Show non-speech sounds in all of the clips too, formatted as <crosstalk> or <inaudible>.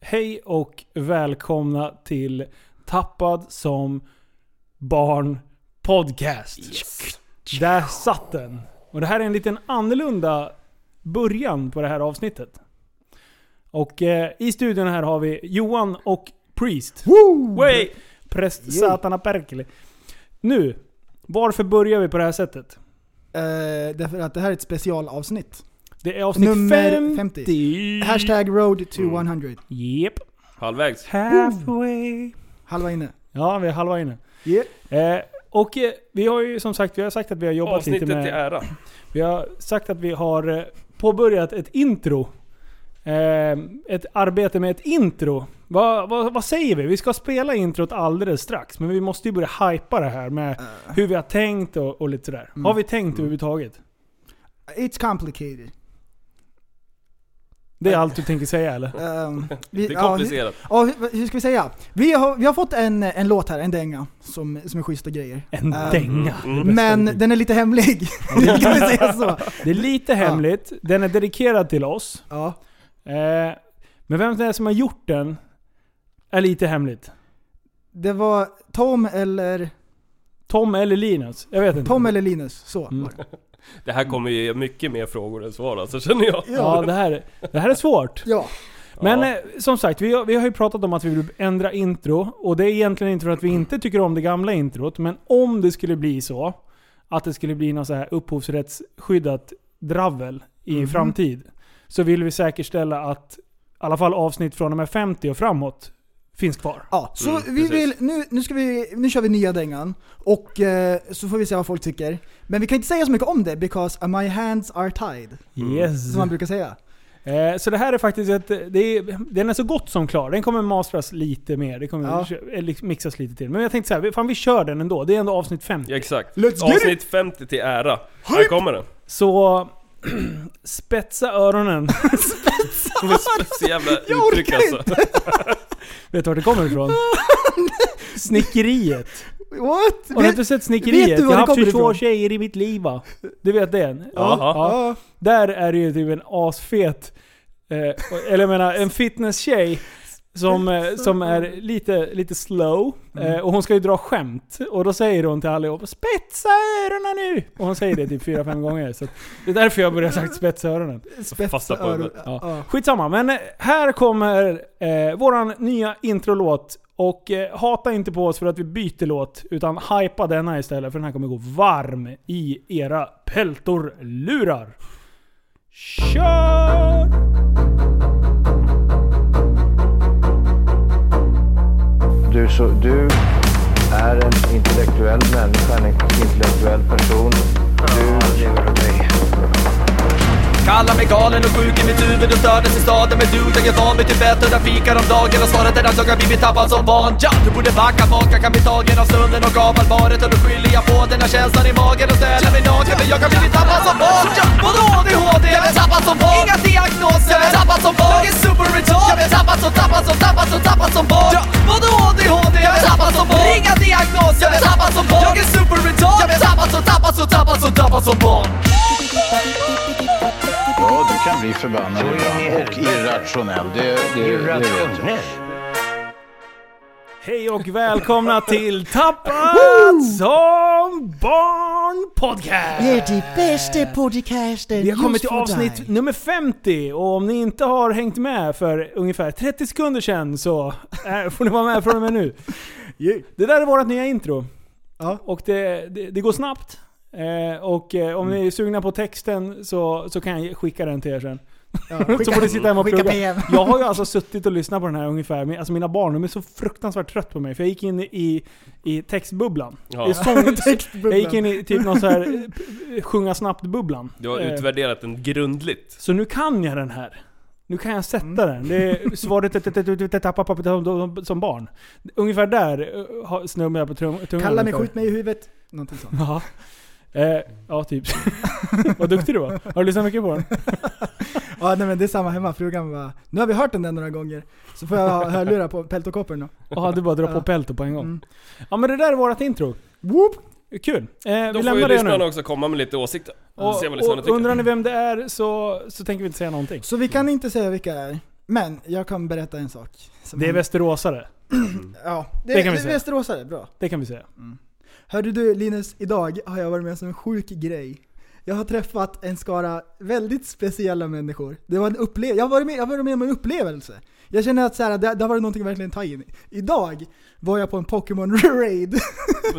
Hej och välkomna till Tappad som barn podcast. Där satt den. Och det här är en liten annorlunda början på det här avsnittet. Och eh, i studion här har vi Johan och Priest. Woo! Präst Satana Perkele. Nu, varför börjar vi på det här sättet? Eh, därför att det här är ett specialavsnitt. Det är avsnitt 50. Nummer 50. Hashtag road to Mm. 100. Yep. Halvvägs. Halfway. Halva inne. Ja, vi är halva inne. Yeah. Eh, och eh, vi har ju som sagt, vi har sagt att vi har jobbat Avsnittet lite med... till ära. Vi har sagt att vi har eh, påbörjat ett intro. Eh, ett arbete med ett intro. Vad, vad, vad säger vi? Vi ska spela introt alldeles strax, men vi måste ju börja hypa det här med Eh, hur vi har tänkt och, och lite sådär. Har vi tänkt överhuvudtaget? It's complicated. Det är allt du tänker säga eller? <laughs> Ehm, vi, Det är ja, <laughs> komplicerat. hur- Ja, hur, hur ska vi säga? Vi har, vi har fått en, en låt här, en dänga, som, som är schyssta grejer. En Ehm, dänga. Det Mm. bästa Men uttrycket. den är <laughs> lite hemlig. <laughs> kan vi säga så? det är lite hemligt. Den är dedikerad till oss. Ja. Eh, men vem det är som har gjort den är lite hemligt. Det var Tom eller, Tom eller Linus? Jag vet inte. Tom eller Linus, så. Mm. var det. Det här kommer ju ge mycket mer frågor än svar alltså, känner jag. Ja, det här, det här är svårt. Ja. Men Ja. eh, som sagt, vi har, vi har ju pratat om att vi vill ändra intro. Och det är egentligen inte för att vi inte tycker om det gamla introt. Men om det skulle bli så, att det skulle bli något så här upphovsrättsskyddat dravel i Mhm. framtid. Så vill vi säkerställa att i alla fall avsnitt från och med 50 och framåt finns kvar. Ja, så Mm, vi precis. vill, nu, nu, ska vi, nu kör vi nya dängan och eh, så får vi se vad folk tycker. Men vi kan inte säga så mycket om det because my hands are tied, Yes. som man brukar säga. Eh, så det här är faktiskt ett... Det är, den är så gott som klar. Den kommer mastras lite mer. Det kommer Ja. eller mixas lite till. Men jag tänkte så här, vi- fan vi kör den ändå. Det är ändå avsnitt 50. Ja, exakt. Let's get Avsnitt 50 till ära. Här kommer den. Så <clears throat> spetsa öronen. Med spets jävla Jag orkar uttryck alltså. Vet du var det kommer <laughs> ifrån? Snickeriet. What? Har du Vet, inte sett Snickeriet? vet du Jag har var det haft kommer 22 ifrån? tjejer i mitt liv va? Du vet den? Jaha. ja, Där är det ju typ en asfet, eh, och- eller jag menar en fitnesstjej som, eh, som är lite, lite slow. Eh, och hon ska ju dra skämt. Och då säger hon till allihopa 'Spetsa öronen nu!' Och hon säger det typ 4-5 gånger. Så att det är därför jag börjar sagt 'spetsa öronen'. spets Fasta på öron. det. Ja. Ja. Skitsamma, men eh, här kommer eh, våran nya introlåt. Och eh, hata inte på oss för att vi byter låt, utan hypa denna istället för den här kommer gå varm i era peltorlurar. Kör! Du, så, du är en intellektuell människa, en intellektuell person. Du lever av dig. Kallar mig galen och sjuk i mitt huvud och stördes i staden Men du, jag är van vid typ Tibet och där fikar om dagen Och svaret är att jag har blivit tappad som van ja! Du borde backa bak, jag kan bli tagen av stunden och av allvaret Och då skyller jag på den här känslan i magen och ställer mig naken Men jag kan blivit tappad som barn ja! Vadå ADHD? Jag blir tappad som barn Inga diagnoser Jag blir tappad som barn Jag är superretard Jag blir tappad som, tappad som, tappad som, tappad som barn ja! Vadå ADHD? Jag blir tappad som barn Inga diagnoser Jag blir tappad som barn Jag är superretard Jag blir tappad som, tappad som, tappad som, tappad som barn Ja, du kan bli förbannad ibland och helvete. irrationell. Det, det, det vet jag. Hej och välkomna till Tappad som barn podcast! Det är de bästa podcasten Vi har kommit just till för avsnitt dig. nummer 50 och om ni inte har hängt med för ungefär 30 sekunder sedan så <laughs> eh, får ni vara med från och med nu. Det där är vårt nya intro. Ja. Och det, det, det går snabbt. Eh, och eh, om ni är sugna på texten så, så kan jag skicka den till er sen. <laughs> så får ni sitta hemma och Skicka plugga. <laughs> PM. Jag har ju alltså suttit och lyssnat på den här ungefär, men alltså mina barn de är så fruktansvärt trött på mig för jag gick in i, i textbubblan. Ja, I sång, <laughs> Textbubblan. jag gick in i typ någon så här eh, p- sjunga snabbt-bubblan. du har Eh, utvärderat den grundligt. så nu kan jag den här. Nu kan jag Mm. sätta den. Det <laughs> är svaret ett- ett- ett- ett- ett- app- app- app- som- som barn. Ungefär där eh, har- snubblade jag på trum- tungan. Kalla mig, ungefär. skjut mig i huvudet. Någonting sånt. <laughs> Ja. Eh, ja, <laughs> typ. Vad duktig du var. Har du lyssnat mycket på den? Ja, nej men det är samma hemma. Frugan bara, nu har vi hört den där några gånger. Så får jag ha hörlurar på peltokoppen då. Ja, du bara drar på Ja. pelto på en gång. Mm. Ja men det där är vårt intro. Whoop. Kul. Eh, Då vi får ju lämnar det lyssnarna nu. också komma med lite åsikter. Se liksom vad Och, lyssnarna och tycker. undrar ni vem det är så, så tänker vi inte säga någonting. Så vi kan inte säga vilka det är. Men jag kan berätta en sak. som Det är hände- västeråsare. Ja, det, det det kan vi är säga. västeråsare. Bra. Det kan vi säga. Hörde du Linus, idag har jag varit med om en sjuk grej. Jag har träffat en skara väldigt speciella människor. Det var en upple- jag, har varit med, jag har varit med om en upplevelse. Jag känner att så här, det, det har varit någonting att verkligen ta in. Idag var jag på en <laughs> Pokémon-raid. <laughs>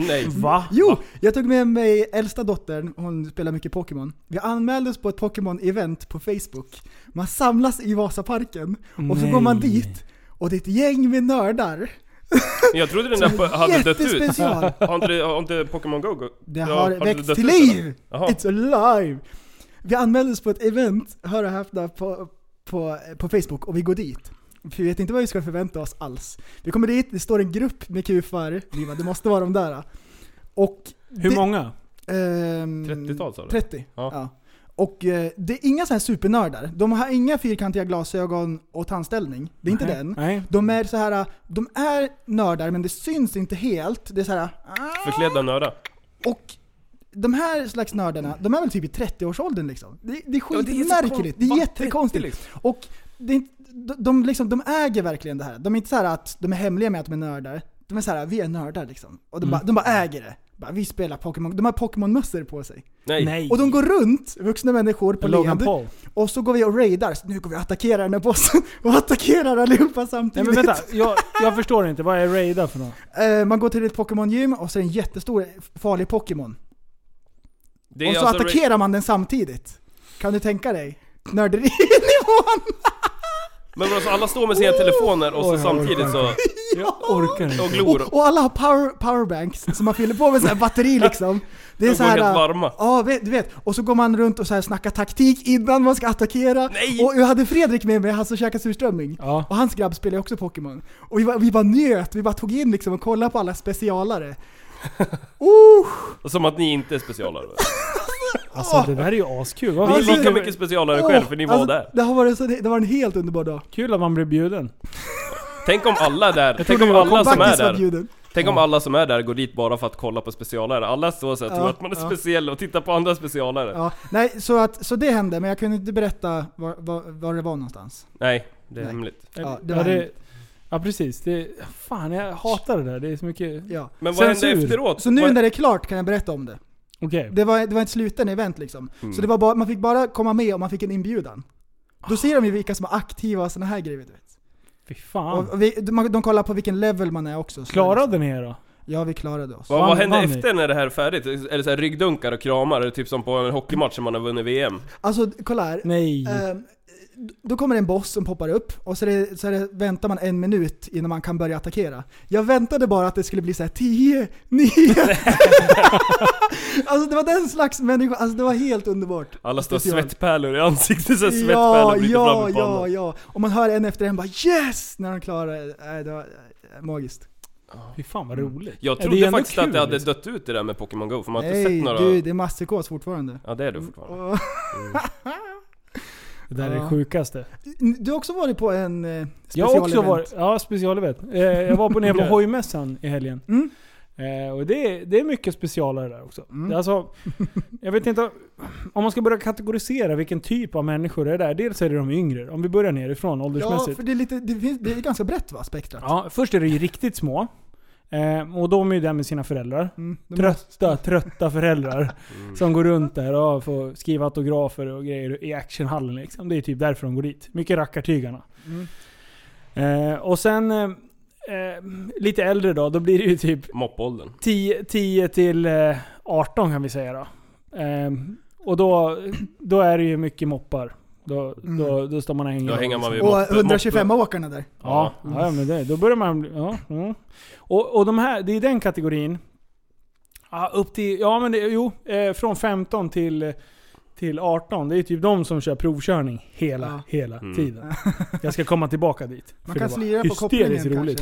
Nej. Va? Jo, jag tog med mig äldsta dottern, hon spelar mycket Pokémon. Vi anmälde oss på ett Pokémon-event på Facebook. Man samlas i Vasaparken och så Nej. går man dit och det är ett gäng med nördar. Jag trodde den där hade dött ut. Jättespecial! Har inte, har inte Pokémon Go, Go Det Ja, har det väckts dött till ut eller? liv! Jaha. It's alive! Vi anmälde oss på ett event, hör och häpna, på, på, på Facebook och vi går dit. För vi vet inte vad vi ska förvänta oss alls. Vi kommer dit, det står en grupp med kufar, vi bara, det måste vara de där. Och... Hur det- många? Ehm, 30-tal sa du? 30. Ja. Ja. Och eh, det är inga så här supernördar. De har inga fyrkantiga glasögon och tandställning. Det är inte Nej. den. Nej. De är så här, de är nördar men det syns inte helt. Det är så här. Förklädda nördar. Och de här slags nördarna, de är väl typ i 30-årsåldern liksom. Det, det är Ja, det är så skitmärkligt. kon- Det är, vad jättekonstigt. trettio liksom. Och det är, inte- de, de, liksom, de äger verkligen det här. De är inte så här att de är hemliga med att de är nördar. De är så här, vi är nördar liksom. Och de, bara, de bara äger det. Bara, vi spelar Pokémon. De har Pokémon-mössor på sig. Nej. Nej. Och de går runt, vuxna människor på Logan led. Paul. Och så går vi och raidar. Så nu går vi och attackerar den här bossen. <laughs> Och attackerar allihopa Nej samtidigt. men vänta, jag, jag förstår inte. Vad är raida för något? Eh, Man går till ett Pokémon-gym och så är det en jättestor farlig Pokémon. Det är Och så alltså- attackerar man den samtidigt. Kan du tänka dig? <laughs> Nörderinivån! Men alltså alla står med sina telefoner och så Oj, jag samtidigt så... Jag orkar Och inte. glor. Och, och alla har power, powerbanks som man fyller på med sån här <laughs> batteri liksom. Det är De så går här, helt varma. Ja, vet- du vet. Och så går man runt och så här snackar taktik innan man ska attackera. Nej! Och jag hade Fredrik med mig, han som käkade surströmming. Ja. Och hans grabb spelar ju också Pokémon. Och vi bara, vi bara njöt, vi bara tog in liksom och kollade på alla specialare. Som att ni inte <laughs> är specialare. Alltså det där är ju askul. Vad Ni är alltså, lika mycket specialare själv för ni var Åh, alltså, där. Det, har varit så, det, det var en helt underbar dag. Kul att man blir bjuden. Tänk om alla är där. Tänk trodde om det var alla som är Backis var där. bjuden. Tänk om alla som är där går dit bara för att kolla på specialare. Alla står såhär och tror Ja, att man är ja. speciell och tittar på andra specialare. Ja, nej, så, att, så det hände, men jag kunde inte berätta var, var, var det var någonstans. Nej, det är Nej. hemligt. Ja, det Ja, var det, hemskt. ja precis. Det, fan jag hatar det där. Det är så mycket... Ja. Men vad hände Censur. efteråt? Så nu Vad- när det är klart kan jag berätta om det. Okej. Det var, det var ett sluten event liksom. Mm. Så det var bara, man fick bara komma med om man fick en inbjudan. Då ser de ju vilka som är aktiva och såna här grejer. Du vet. Fy fan. Och vi, de, de kollar på vilken level man är också. så- Ah. Klarade ni er då? Ja, vi klarade oss. Vad, Vann- vad händer vann ni? efter när det här är färdigt? Är det så här ryggdunkar och kramar? Är det typ som på en hockeymatch som man har vunnit VM? Alltså, kolla här. Nej. Ehm, Då kommer det en boss som poppar upp och så, är det, så är det, väntar man en minut innan man kan börja attackera. Jag väntade bara att det skulle bli så här 10, 9... <laughs> alltså det var den slags människa, alltså det var helt underbart. Alla står Special. svettpärlor i ansiktet, så Ja, här svettpärlor bryter ja, fram i ja, pannan. ja. Och man hör en efter en bara 'Yes!' när de klarar det. Nej, det. var eh, magiskt. Fy fan vad roligt. Jag Ja, det är trodde ändå faktiskt att det hade liksom. dött ut det där med Pokémon Go, för man har inte Nej, sett några... du, det är masspsykos fortfarande. Ja det är du fortfarande. Och- Det där är Ja. det sjukaste. Du har också varit på en eh, Jag har också specialevent. varit, ja specialevent. Eh, jag var på, nere <laughs> på Bra. hojmässan i helgen. Mm. Eh, och det, är- det är mycket specialare där också. Mm. Det är alltså, jag vet inte, om man ska börja kategorisera vilken typ av människor det är där. Dels är det de yngre, om vi börjar nerifrån Ja, åldersmässigt. för det är, lite, det, finns, det är ganska brett va, spektrat? Ja, först är det ju riktigt små. Eh, och de är ju där med sina föräldrar. Mm, de- Trötta, trötta föräldrar. Mm. Som går runt där och får skriva autografer och grejer i actionhallen liksom. Det är typ därför de går dit. Mycket rackartygarna. Mm. Eh, och sen eh, eh, lite äldre då, då blir det ju typ Moppåldern. 10, 10 till eh, 18 kan vi säga då. Eh, och då, då är det ju mycket moppar. Då, då, Mm. då står man och hänger. Då hänger man vid Och moppe- 125-åkarna där. Ja, Ja. ja men det, då börjar man bli- ja, mm. och, och de här, det är den kategorin. Ja, upp till, ja men det, jo, eh, från 15 till, till 18. Det är typ de som kör provkörning hela, Ja. hela <laughs> Mm. tiden. Jag ska komma tillbaka dit. Man för kan det var slira på hysteriskt kopplingen roligt.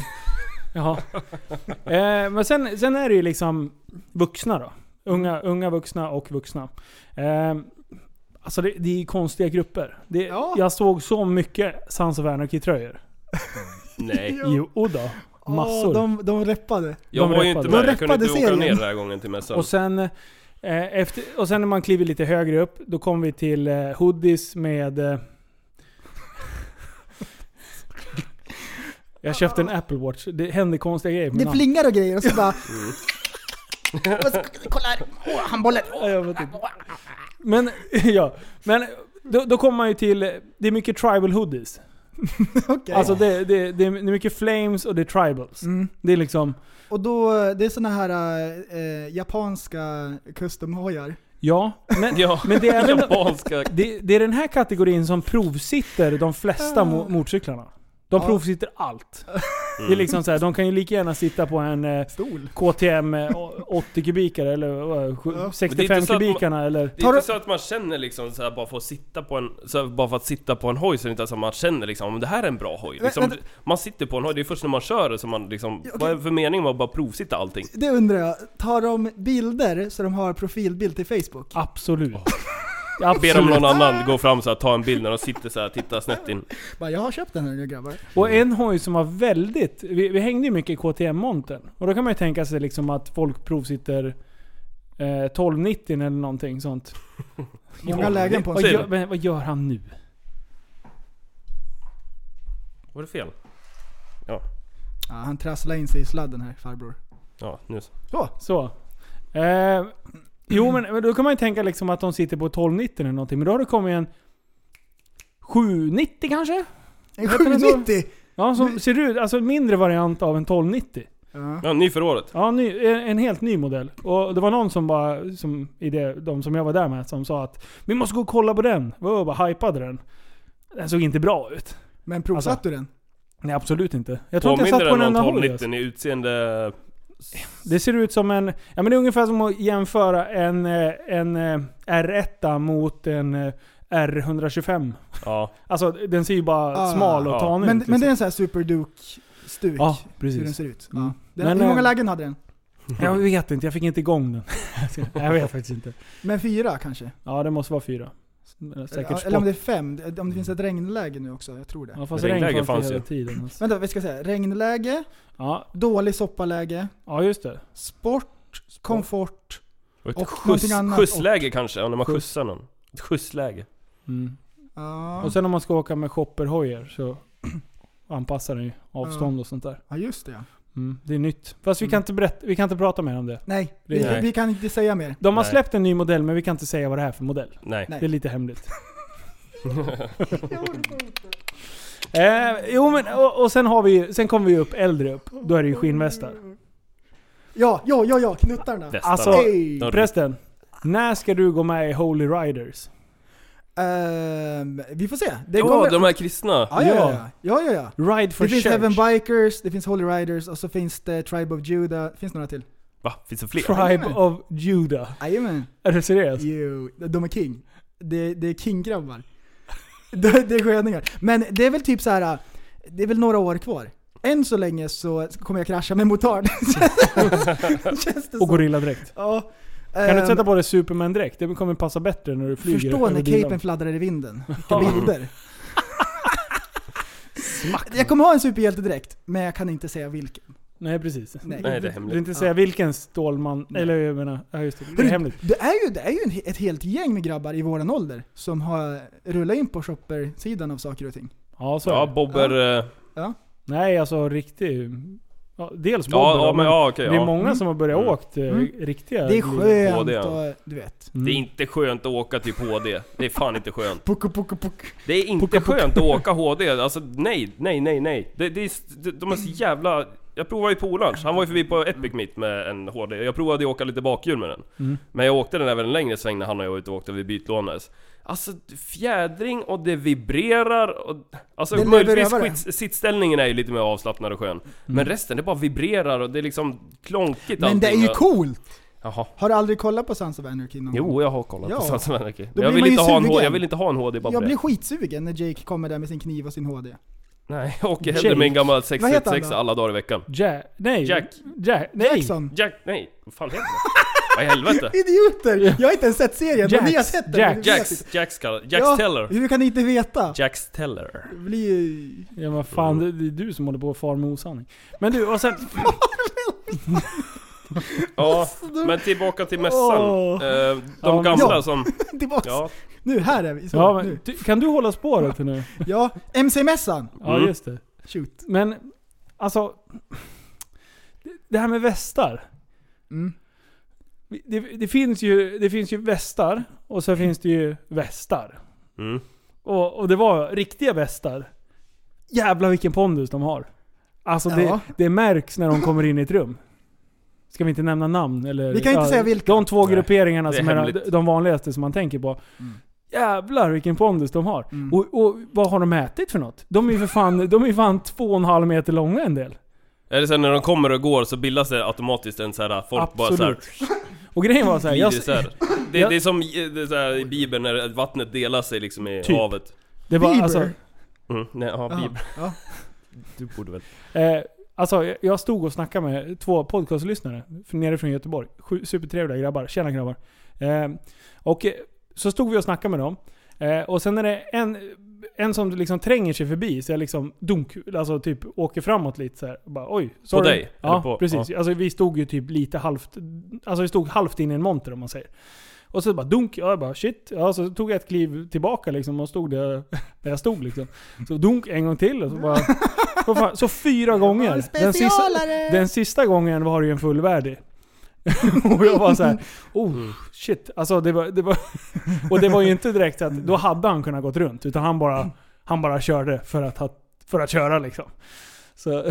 kanske. <laughs> Jaha. Eh, men sen, sen är det ju liksom vuxna då. Unga, Mm. unga vuxna och vuxna. Eh, alltså det, det är konstiga grupper. Det, Ja. Jag såg så mycket Sons of Anarchy-tröjor. Nej. Jo, och då. Åh, Massor. de, de reppade. Jag De var ju reppade. inte med, De jag kunde inte reppade åka ner serien. den här gången till mässan. Och sen, eh, efter, och sen när man kliver lite högre upp, då kommer vi till eh, hoodies med... Eh, Jag köpte en Apple Watch. Det händer konstiga grejer med Det namn. flingar och grejer och <laughs> så bara... Kolla här. Åh, handbollen. Ja, jag vet inte. Men, <laughs> ja. Men då, då kommer man ju till... Det är mycket tribal hoodies. Okej. Alltså det, det, det är mycket flames och det är tribals. Mm. Det är liksom... Och då, det är såna här eh, japanska custom-hojar. Ja, men, <laughs> Ja, men det, är även, japanska... det, det är den här kategorin som provsitter de flesta Ah. mo- motorcyklarna. De Ja. provsitter allt. Mm. Det är liksom så här, de kan ju lika gärna sitta på en eh, Stol. KTM eh, å- 80 kubikare eller vad, sju- Ja. 65 så att man- kubikarna eller... Det är inte så att man känner liksom så här, bara för att sitta på en... Så här, bara för att sitta på en hoj så är det inte så att man känner liksom om det här är en bra hoj. Liksom, vänta. man sitter på en hoj, det är först när man kör det som man liksom... Ja, okej. Vad är det för mening med att bara provsitta allting? Det undrar jag, tar de bilder så de har profilbild till Facebook? Absolut. Ber om Absolut. någon annan gå fram så här, ta en bild när de sitter så här, titta snett in. Bara, jag har köpt den här nu grabbar. Och en hoj som var väldigt... Vi, vi hängde ju mycket i KTM-montern. Och då kan man ju tänka sig liksom att folk provsitter eh, 1290 eller någonting sånt. Många lägen på en Vad Säg gör, det. men vad gör han nu? Var det fel? Ja, han trasslar in sig i sladden här farbror. Ja, nu så. Så, Så. Eh, jo men men då kan man ju tänka liksom att de sitter på 1290 eller någonting. Men då har det kommit en 790 kanske? en Heter den så? 790! Ja, som ser ut... Alltså en mindre variant av en 1290. Ja. Ja, ny för året. Ja, ny, en en helt ny modell. Och det var någon som bara, som, i det, de som jag var där med, som sa att vi måste gå och kolla på den. Vi var bara hypade den. Den såg inte bra ut. Men provsatte Alltså. du den? Nej, absolut inte. Jag tror inte jag Påminner satt på den en om enda hoj. Alltså. 1290 i utseende... Det ser ut som en... Ja men det är ungefär som att jämföra en, eh, en eh, R1 mot en eh, R125. Ja. Alltså den ser ju bara Ah. smal och Ja. tanig Men, ut. men det liksom. är en sån här superduke-stuk? Ja, Hur den precis. ser ut? Mm. Ja. Den, Men, hur många eh, lägen hade den? Jag vet inte, jag fick inte igång den. <laughs> jag vet faktiskt inte. Men fyra kanske? Ja, det måste vara fyra. Säkert Eller, sport. eller om det är fem, om det finns ett regnläge nu också, jag tror det. Ja, fast Regnläge regnläge fanns fanns hela ju. tiden. Alltså. Vänta, vi ska säga regnläge, Ja, dålig soppaläge, ja just det. sport, komfort. Och ett Och skjuts, någonting annat. skjutsläge kanske, ja, när man Skjuts. skjutsar någon. Ett skjutsläge. Mm. Ja, Och sen om man ska åka med shopperhojar så <clears throat> anpassar den ju avstånd och sånt där. ja just det ja. Mm. Det är nytt. Fast vi kan, inte berätta, vi kan inte prata mer om det. Nej, Nej. Vi, vi kan inte säga mer. De har Nej. släppt en ny modell men vi kan inte säga vad det är för modell. Nej. Nej. Det är lite hemligt. <laughs> eh, jo men och, och sen har vi ju- sen kommer vi upp äldre upp. Då är det ju skinnvästar. Mm. Ja, ja, ja, ja, knuttarna. Västarna. Alltså Hey. De- förresten. När ska du gå med i Holy Riders? Ehm, vi får se. Det Ja, kommer... de här kristna. ja, ja, ja, ja, ja, ja. Ride for Det finns Church. Heaven Bikers, det finns Holy Riders och så finns det Tribe of Judah. Finns några till? Va? Finns det fler? Tribe of Judah. Jajamän. Är du seriös? Jo, de är king. Det, det är <laughs> kinggrabbar. Det, det är sköningar. Men det är väl typ så här. det är väl några år kvar. Än så länge så kommer jag krascha med motard. <laughs> Känns det Och som. gorilladräkt. Ja. Kan du inte Ehm, sätta på dig Superman-dräkt? Det kommer passa bättre när du flyger. Förstå när över bilarna. capen fladdrar <laughs> i vinden. Vilka bilder. Jag kommer ha en superhjälte direkt, men jag kan inte säga vilken. Nej precis. Nej. Nej, det är Du vill hemligt. inte säga vilken Stålman... Eller jag menar... Ja just det. Det är Hörru, hemligt. Det är ju, det är ju en, ett helt gäng med grabbar i våran ålder som har rullat in på shopper-sidan av saker och ting. Ja så är Ja, det. bobber... eh, Nej alltså riktig... Ja, dels Bobber Ja, ja, men ja, okej. Det är ja. många som har börjat Mm. åkt eh, Mm. riktiga... Det är glidor. Både, skönt ja. och du vet. Mm. Det är inte skönt att åka typ HD. Det är fan inte skönt. Pucko, pucko, puck. Det är inte Pucka, pucka. skönt att åka HD. Alltså nej, nej, nej, nej. Det, det är, s- det- de är så jävla... Jag provade ju Polans. Han var ju förbi på Epic Meet med en HD. Jag provade ju åka lite bakhjul med den. Mm. Men jag åkte den även en längre sväng när han och jag var ute och åkte vid Bytlånes. Alltså fjädring och det vibrerar och... Alltså Det möjligtvis levererar. skits, sittställningen är ju lite mer avslappnad och skön. Men resten, det bara vibrerar och det är liksom klonkigt Men det är ju och- coolt! Jaha. Har du aldrig kollat på Sons of Anarchy någon gång? Jo, jag har kollat Ja. <laughs> på Sons of Anarchy. Då blir Jag vill, man inte ju ha en sugen. HD, jag vill inte ha en HD bara Jag för blir det. skitsugen när Jake kommer där med sin kniv och sin HD. Nej, jag åker hellre Jake. med en gammal Vad heter han 636 då? alla dagar i veckan. Ja, nej. Jack. Jack. Nej. Jackson. Jack, nej, vad fan heter det? Vad <laughs> i helvete? Idioter! Jag har inte ens sett serien, men ni har Jacks. sett den. men ni vet inte. Jacks, Jacks kallar, Jacks Ja, Teller. Hur kan ni inte veta? Jacks Teller. Det blir ju... Ja men fan, det, det är du som håller på och far med osanning. Men du, och sen... Ja, men tillbaka till mässan. Åh. Eh, Ja, De men- gamla Ja. som... Tillbaks! Ja, Nu, här är vi. <laughs> Så, Ja, nu. men, du, kan du hålla spåret nu? ja MC-mässan! Ja Mm. just det. Shoot. Men Alltså, det här med västar. Mm. Det, det, finns ju, det finns ju västar och Mm. så finns det ju västar. Mm. Och, och det var riktiga västar. Jävlar vilken pondus de har. Alltså det, Ja. det märks när de kommer in i ett rum. Ska vi inte nämna namn? Eller, Vi kan inte säga vilka. De två Nej, grupperingarna det är som är de, hemligt. de vanligaste som man tänker på. Jävlar vilken pondus de har. Mm. Oh, Och, och vad har de ätit för något? De är ju för fan, de är ju fan två och en halv meter långa en del. Eller sen när de kommer och går så bildas det automatiskt en så här folk bara så här, Absolut. Och grejen var såhär, glider jag, isär. Det, jag- det är som i- det är så här, i Bibeln när vattnet delar sig liksom i Typ. havet. det var Bieber. alltså, Mm, nej, ja, Jaha, Bibeln. ja. Du borde väl... eh, alltså jag- jag stod och snackade med två podcastlyssnare f- nere från Göteborg. Sju- Supertrevliga grabbar. Tjena grabbar. Eh, och eh, så stod vi och snackade med dem. Eh, och sen är det en, en som liksom tränger sig förbi, så jag liksom dunk, alltså typ åker framåt lite så här. Och bara, Oj, sorry. dig? Ja, Eller på- precis. Alltså vi stod ju typ lite halvt, alltså vi stod halvt in i en monter om man säger. Och så bara dunk, ja, jag bara shit. Ja, så tog jag ett kliv tillbaka liksom och stod där, där jag stod liksom. Så dunk en gång till och så bara... vad fan, så fyra gånger. Den sista, Specialare! den sista gången var det ju en fullvärdig. <laughs> och jag var så här, oh shit. Alltså det var, det var, och det var ju inte direkt att då hade han kunnat gått runt. Utan han bara, han bara körde för att, ha- för att köra liksom. Så,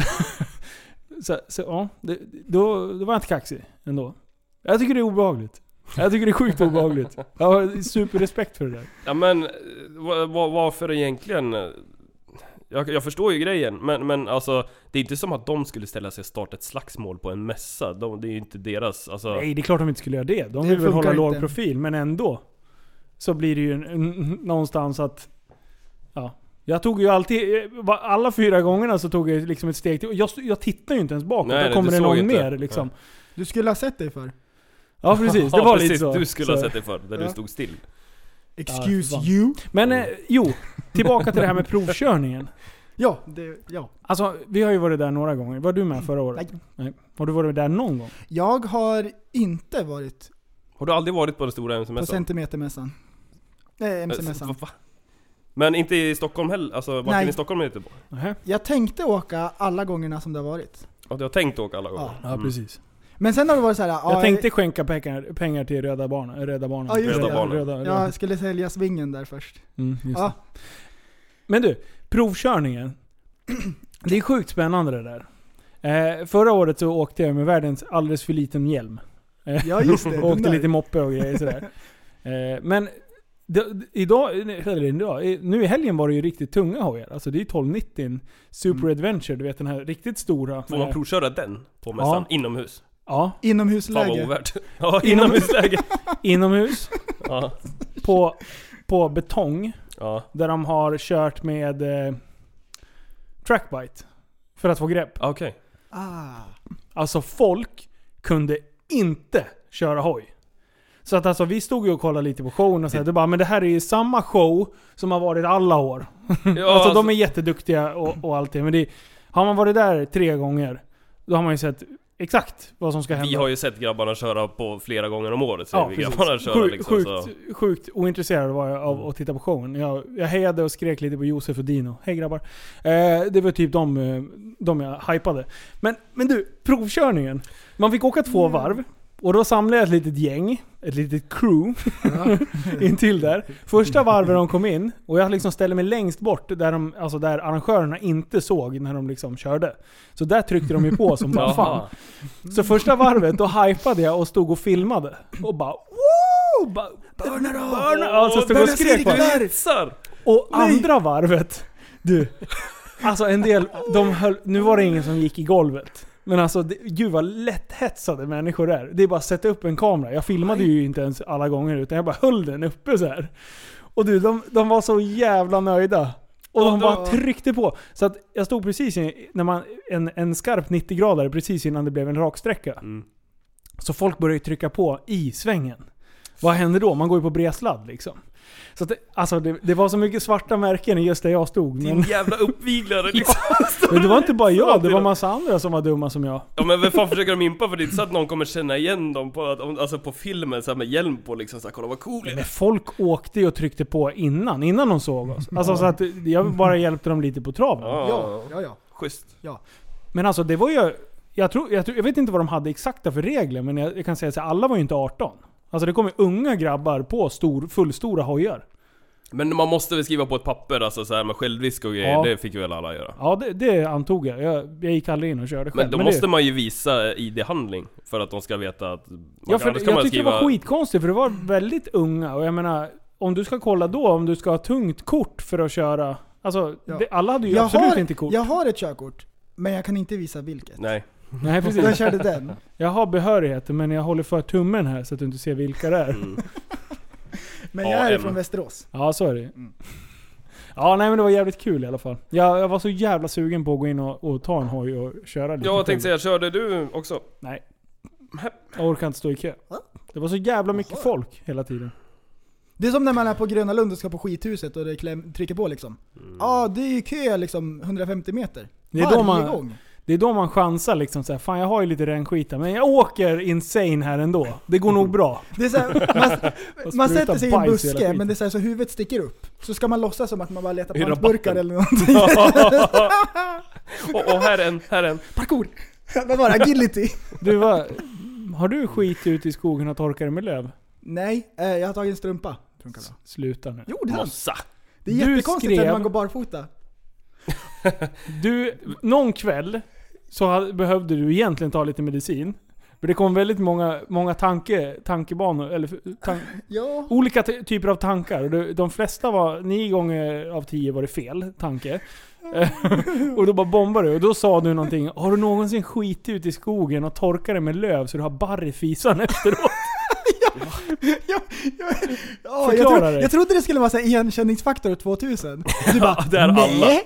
<laughs> så, så ja, det, då, då var jag inte kaxig ändå. Jag tycker det är obehagligt. Jag tycker det är sjukt obehagligt. Jag har superrespekt för det där. Ja men, eh, va- va- varför egentligen? eh, Jag, jag förstår ju grejen, men, men alltså Det är inte som att de skulle ställa sig och starta ett slagsmål på en mässa de, Det är ju inte deras, alltså Nej, det är klart de inte skulle göra det. De Det vill väl funkar hålla låg inte. profil, men ändå. Så blir det ju en- en- någonstans att... Ja. Jag tog ju alltid... var- Alla fyra gångerna så tog jag liksom ett steg till. Jag, jag tittar ju inte ens bakåt. Nej, då nej, kommer du det såg någon inte. mer liksom. Du skulle ha sett dig för. Ja, precis. Det <laughs> <laughs> Ja, var precis, lite så. Du skulle så. ha sett det förr, där Ja. du stod still Excuse Ja, fan. you. Men eh, jo, tillbaka till det här med provkörningen. Ja, det, ja. Alltså, vi har ju varit där några gånger. Var du med förra året? Nej. Har du varit där någon gång? Jag har inte varit Har du aldrig varit på den stora på MC-mässan? centimetermässan. Nej, Eh, MC-mässan. va- va? Men inte i Stockholm heller? Alltså varken Nej. i Stockholm eller Göteborg? Nähä? Jag tänkte åka alla gångerna som det har varit. Ja, du har tänkt åka alla gånger? Mm. Ja, precis. Men sen har det varit så här. ja, Jag tänkte skänka pengar, pengar till Röda Barnen. Röda Barnen. Ja, just Röda det. Barnen. Röda, röda. Jag skulle sälja svingen där först. Mm, just Ja, det. Men du, provkörningen. <clears throat> Det är sjukt spännande det där. Eh, förra året så åkte jag med världens alldeles för liten hjälm. ja <laughs> just det. den Och åkte där. lite moppe och grejer sådär. Eh, men det- idag, eller idag, eh, nu i helgen var det ju riktigt tunga hojar. Alltså det är 1290 Super Mm. Adventure, du vet den här riktigt stora. Får man med- provköra den? På mässan? Inomhus? Ja, Fan vad Inomhusläge. <laughs> ovärt Ja, inomhusläge! inomhus. ja, på, på betong. ja, Där de har kört med eh, trackbite. För att få grepp. <laughs> Ah, okej Ah. Alltså folk kunde inte köra hoj. Så att alltså vi stod ju och kollade lite på showen och så här, det bara men det här är ju samma show som har varit alla år. ja, alltså, de är jätteduktiga och, och allt det men det, har man varit där tre gånger då har man ju sett exakt vad som ska hända. Vi har ju sett grabbarna köra på flera gånger om året, ser Ja, vi precis. grabbarna köra Sjuk- liksom sjukt, så. sjukt ointresserad var jag av att titta på showen. Jag, jag hejade och skrek lite på Josef och Dino. Hej grabbar. Eh, det var typ de, eh, de jag hypade. Men, men du, provkörningen. Man fick åka två varv. Och då samlade jag ett litet gäng, ett litet crew, <laughs> intill där. Första varvet de kom in, och jag liksom ställde mig längst bort där, de, alltså där arrangörerna inte såg när de liksom körde. Så där tryckte de ju på som bara fan. <laughs> Jaha. Så första varvet, då hypade jag och stod och filmade. Och bara wow! Bara, burna då! Ja, så stod jag och alltså, skrek bara. Pissar! Och andra varvet, du. Alltså en del, de höll, nu var det ingen som gick i golvet. Men alltså det, gud vad lätthetsade människor är. Det är bara att sätta upp en kamera. Jag filmade ju inte ens alla gånger utan jag bara höll den uppe så här. Och du, de, de var så jävla nöjda. Och de bara tryckte på. Så att jag stod precis i, när man, en, en skarp 90-gradare precis innan det blev en raksträcka. Så folk började ju trycka på i svängen. Vad händer då? Man går ju på bredsladd liksom. Så att det, alltså det, det var så mycket svarta märken i just där jag stod. Din Men, <laughs> jävla uppviglare liksom. men det var inte bara jag, det var Samtidigt. massa andra som var dumma som jag. Ja men vem fan försöker de impa för det är inte så att någon kommer känna igen dem på, att- om- alltså på filmen så här med hjälm på liksom såhär, kolla vad cool jag Men är. folk åkte ju och tryckte på innan, innan de såg oss. Alltså så att jag bara hjälpte dem lite på traven. Ja, Ja, ja, ja. Ah, schysst. Men alltså det var ju... Jag, tror, jag, tror, jag vet inte vad de hade exakta för regler, men jag, jag kan säga att alla var ju inte 18. Alltså det kom ju unga grabbar på stor, fullstora hojar. Men man måste väl skriva på ett papper alltså så här med självrisk och grejer, Ja. det fick väl alla göra? Ja, det, det antog jag. jag. Jag gick aldrig in och körde själv. Men då det- måste man ju visa ID-handling för att de ska veta att... Man Ja, för annars jag tyckte det var skriva- skitkonstigt för det var väldigt unga och jag menar, om du ska kolla då om du ska ha tungt kort för att köra. Alltså, Ja. det, alla hade ju Jag absolut har, inte kort. jag har ett körkort, men jag kan inte visa vilket. Nej. Nej Jag precis. körde den. Jag har behörighet men jag håller för tummen här så att du inte ser vilka det är. Men jag är AM. från Västerås. Ja, så är det ju. Ja, nej men det var jävligt kul i alla fall. Jag, jag var så jävla sugen på att gå in och, och ta en hoj och köra lite. Jag själv. tänkte säga, körde du också? Nej. Jag orkar inte stå i kö. Det var så jävla mycket folk hela tiden. Det är som när man är på Gröna Lund och ska på skithuset och det kläm, trycker på liksom. Ja, ah, det är ju kö liksom 150 meter. Mm. Det är då Varje man- gång. Det är då man chansar liksom så här, fan jag har ju lite rännskita men jag åker insane här ändå. Det går nog bra. Det är så här, man, <laughs> Och man spruta sätter sig i en bajs i hela buske, skiten. men det är så, här, så huvudet sticker upp. Så ska man låtsas som att man bara letar I på burkar rabatten. <laughs> eller någonting. och, och här är en, här är en. Parkour! <laughs> Vad var det? Agility? Du va, har du skit ute i skogen och torkar dig med löv? Nej, eh, jag har tagit en strumpa. Funkar bra. Sluta nu. Jo, det är sant. Mossa. Det är Du jättekonstigt skrev- när man går barfota. Du, någon kväll så hade, behövde du egentligen ta lite medicin. För det kom väldigt många, många tanke, tankebanor, eller tan, Ja. olika ty- typer av tankar. Och det- De flesta var, nio gånger av tio var det fel tanke. Eh, <laughs> och då bara bombade du. Och då sa du någonting. Har du någonsin skitit ut i skogen och torkat dig med löv så du har barr i fisan <laughs> efteråt? Ja, ja, ja, jag, Förklara tro, det. jag trodde det skulle vara så här <laughs> igenkänningsfaktor 2000. Du bara, Det är alla. nej.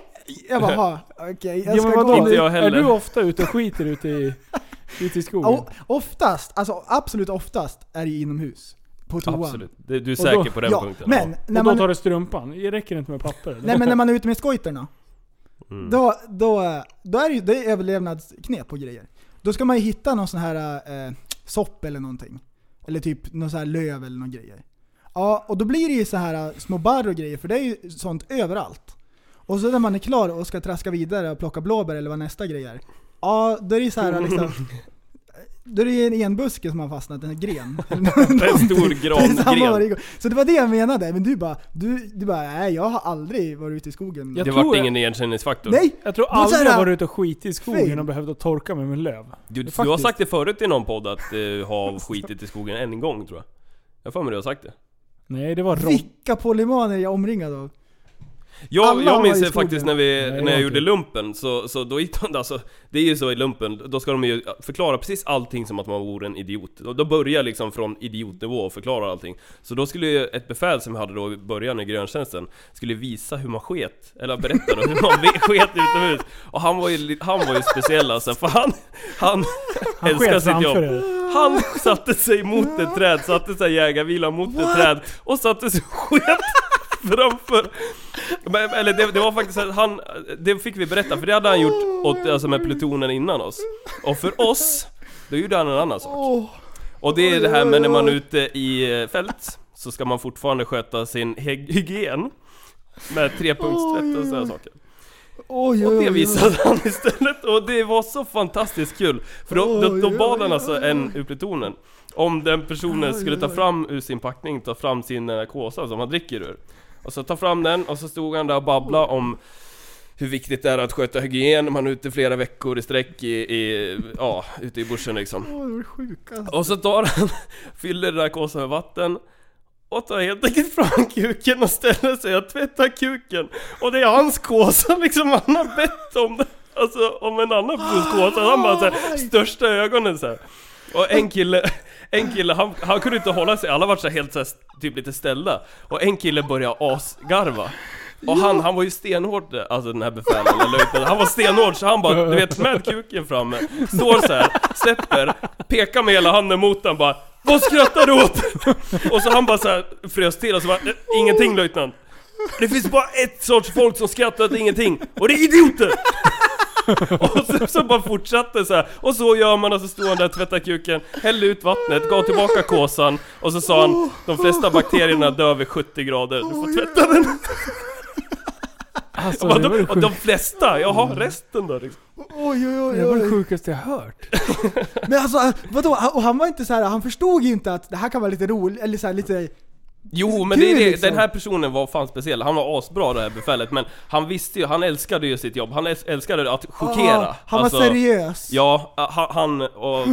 Jag bara, "Ha, okej. jag Ja, men ska gå vadå? Inte nu. jag Är heller. du ofta ute och skiter ute i, ute i skogen? Ja, Oftast, alltså absolut oftast, är det ju inomhus. På toan. Absolut. Det- Du är Och då- säker på den Ja, punkten? men när och då man, tar du strumpan? Det räcker inte med papper? eller? nej, men när man är ute med skojterna, Mm. då, då, då är det ju det är överlevnadsknep på grejer. Då ska man ju hitta någon sån här eh, sopp eller någonting. Eller typ någon sån här löv eller någon grejer. Ja, och då blir det ju så här eh, små barr och grejer, för det är ju sånt överallt. Och så när man är klar och ska traska vidare och plocka blåbär eller vad nästa grej är. Ja, då är det ju så här liksom... <laughs> Då är det ju en enbuske som har fastnat, en gren. Det är en <laughs> stor Det är samma varje grangren. gång. <laughs> Så det var det jag menade, men du bara, du, du bara nej jag har aldrig varit ute i skogen. Jag Det tror vart jag- ingen igenkänningsfaktor. Nej! Jag tror Då så här- aldrig jag varit ute och skitit i skogen Fel. och behövt torka mig med löv. Du, du har Faktiskt. sagt det förut i någon podd att du har skitit i skogen en gång tror jag. Jag får mig du har sagt det. Nej, det var Rob... Vilka polymaner jag är omringad av. Jag, Alla jag har minns ju det skogen. faktiskt när, vi, Nej, när jag okej. gjorde lumpen, så, så då gick de, alltså, Det är ju så i lumpen, då ska de ju förklara precis allting som att man vore en idiot. Och Då börjar liksom från idiotnivå och förklara allting. Så då skulle ju ett befäl som vi hade då i början i gröntjänsten, skulle visa hur man sket, eller berätta då hur man <laughs> ve- sket utomhus. Och han var ju, li- han var ju speciell alltså, för han, han, Han älskar sket sitt framför jobb. er. Han satte sig mot ett träd, satte sig i jägarvilan mot ett träd och satte sig och sket framför. Men, eller det, det var faktiskt att han, det fick vi berätta för det hade han gjort åt, alltså med plutonen innan oss. Och för oss, då gjorde han en annan sak. Åh, Och det är det här med när man är ute i eh, fält, så ska man fortfarande sköta sin hy- hygien. Med trepunktstvätt och sådana saker. oj, Och oj, det oj. visade han istället och det var så fantastiskt kul! För då, då, då Oj, bad oj, han alltså oj. en ur plutonen Om den personen skulle ta fram ur sin packning, ta fram sin narkosa som han dricker ur Och så ta fram den och så stod han där och babblade om hur viktigt det är att sköta hygien när man är ute flera veckor i sträck i, i ja, ute i bushen liksom Åh, det var sjukt alltså. <laughs> och så tar han, fyller narkosen med vatten och tar helt enkelt fram kuken och ställer sig och tvättar kuken. Och det är hans kåsa liksom, han har bett om det. Alltså om en annan persons kåsa. Han bara så här, största ögonen så här. Och en kille, en kille han, han kunde inte hålla sig, alla vart så här helt så här, typ lite ställda. Och en kille började asgarva. Och han, han var ju stenhård, alltså den här befälen, eller löjtnanten, han var stenhård så han bara, du vet med kuken framme, står så här, släpper, pekar med hela handen mot den bara Vad skrattar du åt? Och så han bara så här frös till och så bara, "Eh, ingenting löjtnant. Det finns bara ett sorts folk som skrattar åt ingenting, och det är idioter! Och så, så bara fortsatte så här. och så gör man och så står han där och tvättar kuken, hällde ut vattnet, gav tillbaka kåsan och så sa han De flesta bakterierna dör vid 70 grader, du får tvätta den Alltså, Vadå? det var det Och de sjukaste, flesta? Jaha, resten då liksom. Oj, oj, oj, det var det oj. sjukaste jag hört. Men alltså vadå? Han- Och han var inte så här, han förstod ju inte att det här kan vara lite roligt, eller så här, lite... Jo men Kul, det, är det, liksom. den här personen var fan speciell, han var asbra det här befälet men han visste ju, han älskade ju sitt jobb, han äls- älskade att chockera. Alltså, Ah, han var seriös. Ja, a- ha- han och...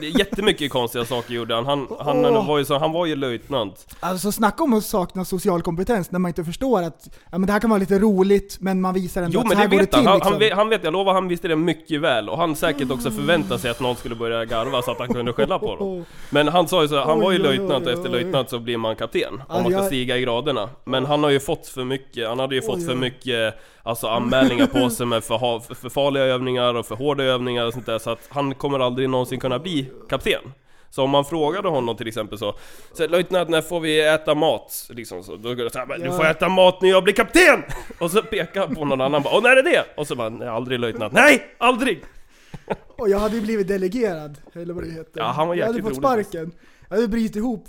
det är Jättemycket konstiga saker gjorde han. Han, han, Åh. var, ju så, han var ju löjtnant. Alltså snacka om att sakna social kompetens när man inte förstår att ja, men det här kan vara lite roligt men man visar ändå Jo att men så det här går vet det han. till Han, liksom. Ah. han, vet, han vet, jag lovar han visste det mycket väl. Och han säkert också förväntade sig att någon skulle börja garva så att han kunde skälla på dem. <laughs> Men han sa ju så, här, han Oj, var ju oj, löjtnant oj, och efter oj. Ah, löjtnant så blir man kapten. Ja, Om man ska jag- stiga i graderna. Men han har ju fått för mycket, han hade ju fått Oj, för oj. mycket alltså, anmälningar på sig med för, ha- för farliga övningar och för hårda övningar och sånt där. Så att han kommer aldrig någonsin kunna bli kapten. Så om man frågade honom till exempel så, så löjtnant när får vi äta mat? Liksom så, då går det så här, "Men du får äta mat när jag blir kapten! Och så pekar han på någon annan bara, åh när är det? Och så bara, nej aldrig löjtnant, nej aldrig! Och jag hade ju blivit delegerad, eller vad det heter. Ja, han var jag hade jäkligt fått rolig sparken. Jag hade brutit ihop.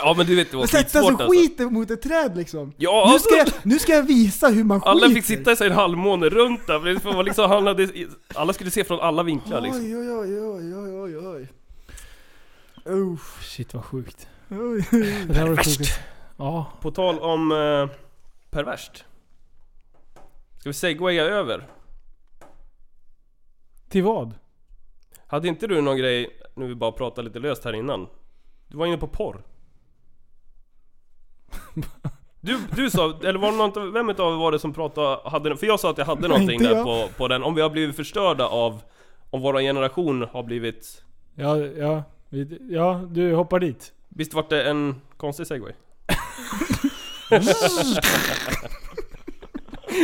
Ja men du vet det var Sätta sig skitsvårt alltså. skit mot ett träd liksom. Ja, nu, ska jag, alltså. nu ska jag visa hur man skiter. Alla fick sitta i sig en halvmåne runt där, för det var liksom, han hade, alla skulle se från alla vinklar liksom. Oj, oj, oj, oj, oj, oj, oj. Uff. Shit vad sjukt. Oj. Det där var det sjukaste. Ja. På tal om eh, perverst. Ska vi segwaya över? Till vad? Hade inte du någon grej, nu vi bara pratar lite löst här innan. Du var inne <laughs> på porr. Du, du sa, eller var det någon, vem utav er var det som pratade, hade, för jag sa att jag hade någonting Inte där jag. på, på den, om vi har blivit förstörda av, om våra generation har blivit, Ja, ja, vi- ja, du hoppar dit. visst vart det en konstig segway? <laughs>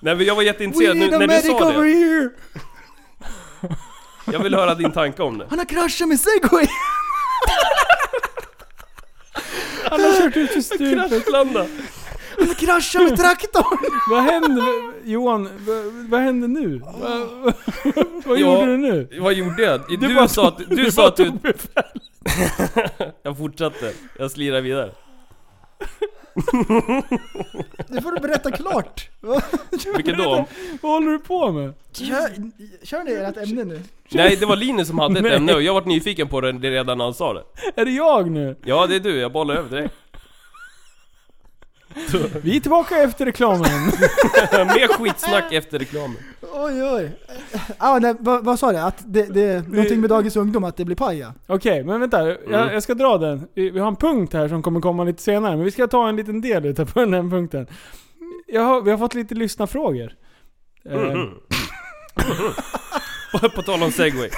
Nej men jag var We jätteintresserad nu, need a när du medic sa over det. here! Jag vill höra din tanke om det. Han har kraschat med segway! Han har kört ut i stupet. Kraschlanda! Han har kraschat med <laughs> traktorn! Vad händer? Johan, vad, vad händer nu? Vad, vad Ja. gjorde du nu? Vad gjorde jag? Du, bara sa att du, sa bara att du tog befäl. Jag fortsatte, jag slirar vidare. Det får du berätta klart. Va? Vilken då? Vad håller du på med? Kör, kör ni ert ämne nu? Nej, det var Linus som hade ett Nej. ämne och jag vart nyfiken på det redan när han sa det. Är det jag nu? Ja, det är du, jag bollar över <laughs> till dig. Vi är tillbaka efter reklamen. Mer skitsnack efter reklamen. Oj oj. Ah, nej, vad, vad sa du? Att det, det, någonting med dagens ungdom, att det blir paja? Okej, men vänta. Jag, Mm. jag ska dra den. Vi, vi har en punkt här som kommer komma lite senare, men vi ska ta en liten del utav den här punkten. Jag har, vi har fått lite lyssnarfrågor. Eh, Mhm. På- På tal om segway.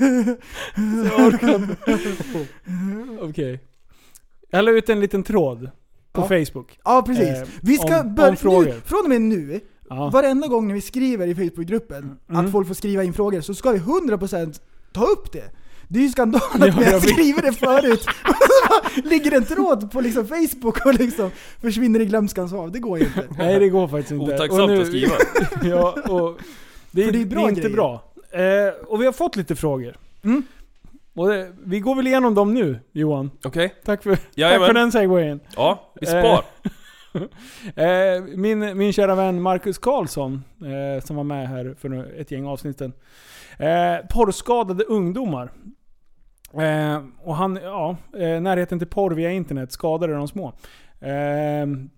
Jag orkar inte. <laughs> Okej. Jag la ut en liten tråd på Facebook. Ja precis. Eh, Vi ska om- börja om frågor. nu, från och med nu, Ja. varenda gång när vi skriver i Facebookgruppen Mm. att folk får skriva in frågor så ska vi 100% ta upp det. Det är ju skandal att vi jag har vet. skrivit det förut. <laughs> Och så bara Ligger det en tråd på liksom Facebook och liksom försvinner i glömskans hav. Det går ju inte. Nej det går faktiskt inte. Och Otacksamt nu- att skriva. <laughs> ja, och det, är, det För det är, är bra inte grejer. bra. Eh, och vi har fått lite frågor. Mm. Och det, vi går väl igenom dem nu Johan. Okej? Tack för, tack Jajamän. för den segwayen. Ja, vi Eh, spar. Eh, min, min kära vän Marcus Karlsson, eh, som var med här för nu- ett gäng avsnitt sedan. Eh, porrskadade ungdomar. Eh, och han, ja, eh, närheten till porr via internet skadade de små. Eh,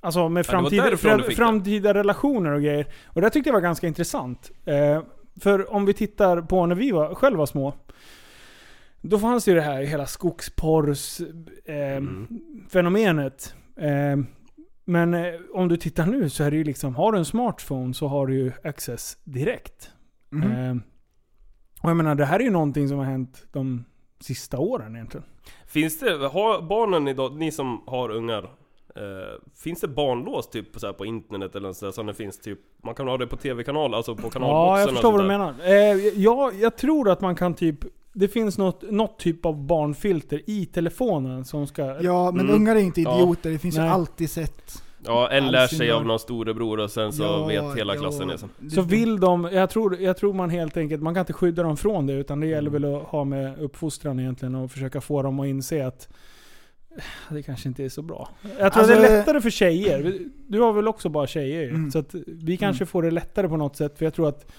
alltså med Ja, det var framtida, därifrån du fra- fick det. framtida relationer och grejer. Och det tyckte jag var ganska intressant. Eh, för om vi tittar på när vi var, själva var små. Då fanns ju det här hela skogsporrs... Eh, Mm. fenomenet. Eh, men eh, om du tittar nu så är det ju liksom, har du en smartphone så har du ju access direkt. Eh, och jag menar, det här är ju någonting som har hänt de sista åren egentligen. Finns det, har barnen idag, ni som har ungar, eh, finns det barnlås typ så här på internet eller så där, som det finns typ, man kan ha det på tv-kanal, alltså på kanalboxen Ja, jag och förstår vad du sådär. menar. Eh, jag, jag tror att man kan typ, det finns något, något typ av barnfilter i telefonen som ska... Ja, men Mm. ungar är inte Ja. idioter. Det finns Nej. ju alltid sätt. Ja, en lär sig Allsynbar. av någon storebror och sen så Ja, vet hela ja. klassen det sen. Så vill de, jag tror, jag tror man helt enkelt, man kan inte skydda dem Mm. från det utan det gäller väl att ha med uppfostran egentligen och försöka få dem att inse att Det kanske inte är så bra. Jag tror Alltså- att det är lättare för tjejer. Du har väl också bara tjejer ju. Mm. Så att vi kanske får det lättare på något sätt. För jag tror att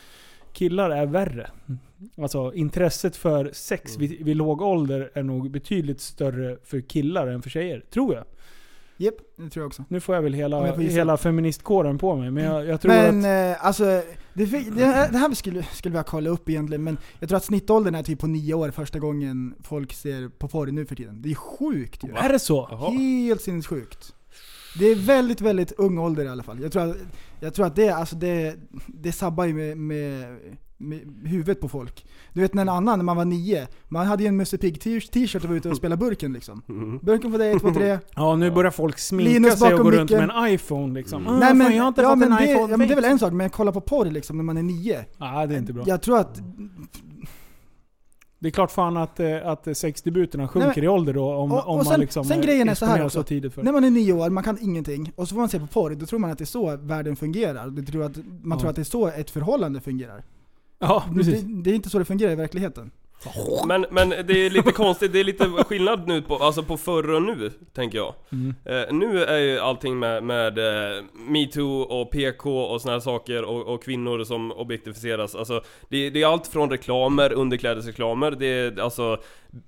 killar är värre. Alltså intresset för sex Mm. vid, vid låg ålder är nog betydligt större för killar än för tjejer. Tror jag. Jep, det tror jag också. Nu får jag väl Om hela, jag får gissa. hela feministkåren på mig. Men jag, jag tror Men att... eh, alltså, det, fi- det här, det här skulle, skulle vi ha kollat upp egentligen, men jag tror att snittåldern är typ på nio år första gången folk ser på porr nu för tiden. Det är sjukt ju. Är det så? Helt sinnessjukt. Det är väldigt, väldigt ung ålder i alla fall. Jag tror att, jag tror att det, alltså det, det sabbar ju med, med, med huvudet på folk. Du vet när en annan, när man var nio, man hade ju en Musse Pigg t- t-shirt och var ute och spelade burken liksom. Burken på dig, ett, två, <laughs> tre. Ja, nu börjar folk sminka Linus sig och bakom gå runt med micken. Mm. en iPhone liksom. Ah, Nej men, fan, jag har inte ja, fått men en det, iPhone. ja, men det är väl en sak, men kolla på porr liksom när man är nio. Nej, det är inte bra. Jag tror att, Det är klart fan att, eh, att sexdebuterna sjunker Nej, men- i ålder då om, och- om och man sen- liksom sen eh, grejen är så här exponeras också. så tidigt för. när man är nio år, man kan ingenting, och så får man se på porr, då tror man att det är så världen fungerar. Det tror att, man Ja. tror att det är så ett förhållande fungerar. ja, Det, precis. det är inte så det fungerar i verkligheten. <laughs> Men, men det är lite konstigt, det är lite skillnad nu på, alltså på förr och nu, tänker jag. Mm. Eh, nu är ju allting med, med eh, metoo och PK och såna här saker och, och kvinnor som objektificeras. Alltså, det, det är allt från reklamer, underklädesreklamer, det är alltså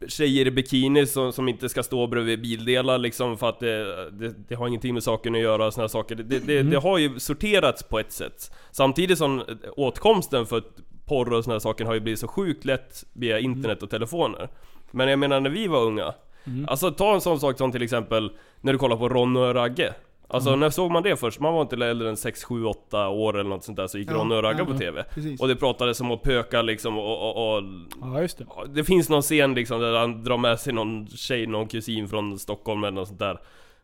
tjejer i bikini som, som inte ska stå bredvid bildelar liksom för att det, det, det har ingenting med saken att göra och såna här saker. Det, det, Mm. det har ju sorterats på ett sätt. Samtidigt som åtkomsten för porr och såna här saker har ju blivit så sjukt lätt via Mm. internet och telefoner. Men jag menar när vi var unga, Mm. Alltså ta en sån sak som till exempel när du kollar på Ronny och Ragge. Alltså Mm. när såg man det först? Man var inte äldre än 6, 7, 8 år eller något sånt där så gick Ja, Ronny och Ragge ja, på ja. TV. Precis. Och det pratades om att pöka liksom och, och, och... Ja, just det. ja, Det finns någon scen liksom där han drar med sig någon tjej, någon kusin från Stockholm eller något sånt där.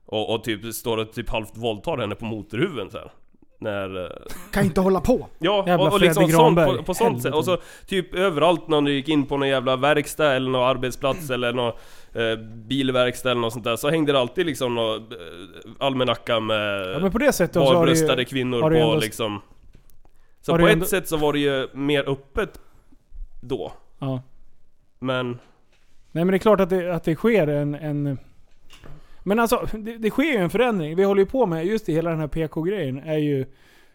Och, och typ står och typ halvt våldtar henne på motorhuven så här. När... eh, Kan inte hålla på. Ja, <laughs> Jävla och, och liksom Fredrik sånt Granberg. på, på sånt sätt. Och så typ överallt när du gick in på någon jävla verkstad eller någon arbetsplats eller någon eh, bilverkstad eller något sånt där så hängde det alltid liksom någon eh, almanacka med Ja, men på det sättet så har det barbröstade ju... kvinnor har på det ju ändå- liksom. Så har på det ett ju ändå- sätt så var det ju mer öppet då. Ja. Men... Nej men det är klart att det, att det sker en... en men alltså, det, det sker ju en förändring. Vi håller ju på med, just i hela den här PK-grejen, är ju...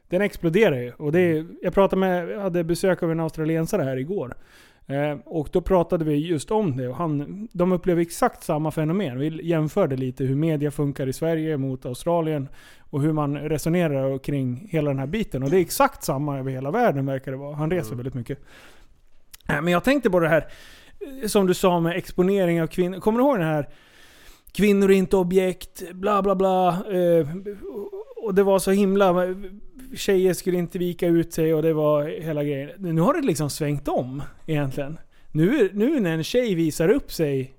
Den exploderar ju. Och det är, jag pratade med, jag hade besök av en australiensare här igår. Eh, och då pratade vi just om det. Och han, de upplever exakt samma fenomen. Vi jämförde lite hur media funkar i Sverige mot Australien. Och hur man resonerar och kring hela den här biten. Och det är exakt samma över hela världen verkar det vara. Han reser väldigt mycket. Eh, men jag tänkte på det här eh, som du sa med exponering av kvinnor. Kommer du ihåg den här? Kvinnor är inte objekt, bla bla bla. Eh, och det var så himla... Tjejer skulle inte vika ut sig och det var hela grejen. Nu har det liksom svängt om egentligen. Nu, nu när en tjej visar upp sig,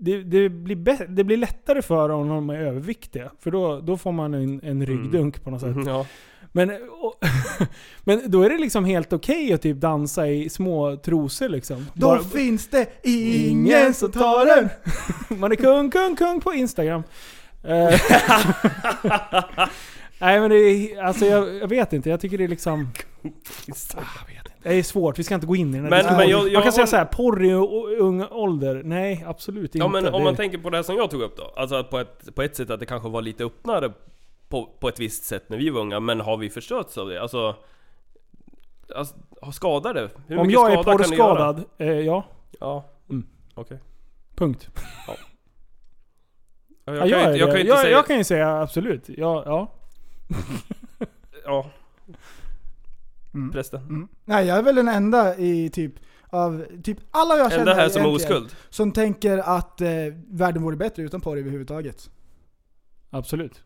det, det, blir, bä- det blir lättare för dem när de är överviktiga. För då, då får man en, en ryggdunk på något sätt. Ja. Men, och, <laughs> men då är det liksom helt okej att typ dansa i små trosor liksom. Då Bara- finns det ingen som tar den! <laughs> Man är kung, kung, kung på Instagram. Eh, <laughs> Nej men det är, alltså jag, jag vet inte, jag tycker det är liksom... Ah, jag vet inte. Det är svårt, vi ska inte gå in i den här Men- diskussionen. men jag- Man jag kan säga håll- såhär, porr i o- ung ålder. Nej, absolut Ja inte. men om Det- man tänker på det här som jag tog upp då. Alltså att på ett, på ett sätt att det kanske var lite öppnare på, på ett visst sätt när vi var unga. Men har vi förstörts av det? Alltså... alltså har skadar det? Hur om mycket jag är skada kan det göra? porrskadad, eh, ja. Ja. Mm. Okej. Punkt. Ja, Jag, Jag ja, kan ju jag, inte, jag kan ju inte jag, säga... jag kan ju säga absolut. Ja, ja. Ja. Mm. Prästen. Mm. Nej, jag är väl den enda i typ, av typ alla jag känner Enda här som är egentligen oskuld. Som tänker att eh, världen vore bättre utan porr överhuvudtaget. Absolut.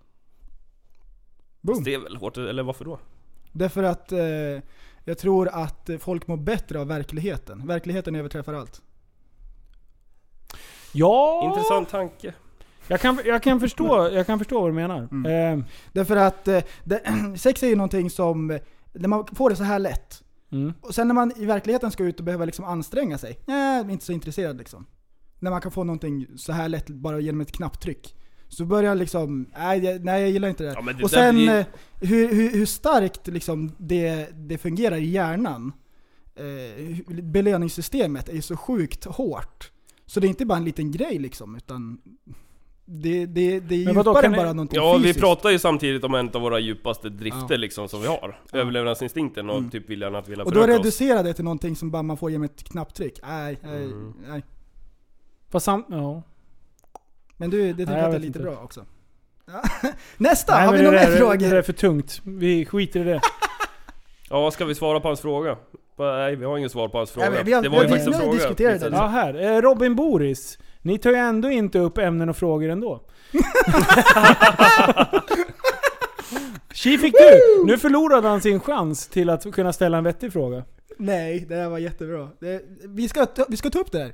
Boom. Det är väl hårt, eller varför då? Därför att eh, jag tror att eh, folk mår bättre av verkligheten. Verkligheten överträffar allt. Ja, Intressant tanke. Jag, kan, jag, kan Mm. förstå, jag kan förstå vad du menar. Eh, Därför att eh, det, <clears throat> sex är ju någonting som, eh, när man får det så här lätt. mm. Och sen när man i verkligheten ska ut och behöver liksom anstränga sig, nej, jag är inte så intresserad liksom. När man kan få någonting så här lätt bara genom ett knapptryck. Så börjar jag liksom, nej jag, nej, jag gillar inte det. Ja, men det och där sen blir- eh, hur, hur, hur starkt liksom det, det fungerar i hjärnan. Eh, hur- belöningssystemet är ju så sjukt hårt. Så det är inte bara en liten grej liksom, utan Det, det, det är Men vadå, djupare kan än ni- bara någonting Ja, fysiskt. vi pratar ju samtidigt om en av våra djupaste drifter liksom som vi har. Överlevnadsinstinkten och typ viljan att vilja och då föröka oss. reducerar det till någonting som bara man får genom ett knapptryck. Nej, nej, Mm. nej. Fast sam... Ja. Men du, det tycker Nej, jag jag att är vet lite inte. bra också. Ja. <laughs> Nästa! Nej, har vi men några det mer där- Det där är frågor? för tungt. Vi skiter <laughs> i det. Ja, vad ska vi svara på hans fråga? Bara, Nej, vi har ingen svar på hans fråga. Nej, men vi har- det var ju vi faktiskt en har fråga. diskuterat det. Ja, här. Eh, Robin Boris. Ni tar ju ändå inte upp ämnen och frågor <laughs> ändå. Tji fick du! Nu förlorade han sin chans till att kunna ställa en vettig fråga. Nej, det där var jättebra. Det, vi, ska ta, vi ska ta upp det här.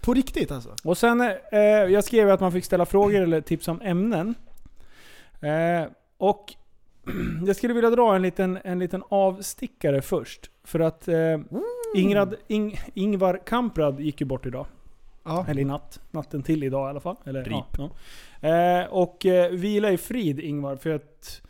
På riktigt alltså. Och sen, eh, jag skrev att man fick ställa frågor eller tips om ämnen. Eh, och <clears throat> jag skulle vilja dra en liten, en liten avstickare först. För att eh, Mm. Ingrad, Ing, Ingvar Kamprad gick ju bort idag. Ja. Eller i natt. Natten till idag i alla fall. Eller, Rip. Ja, ja. Eh, och eh, vila i frid Ingvar, för att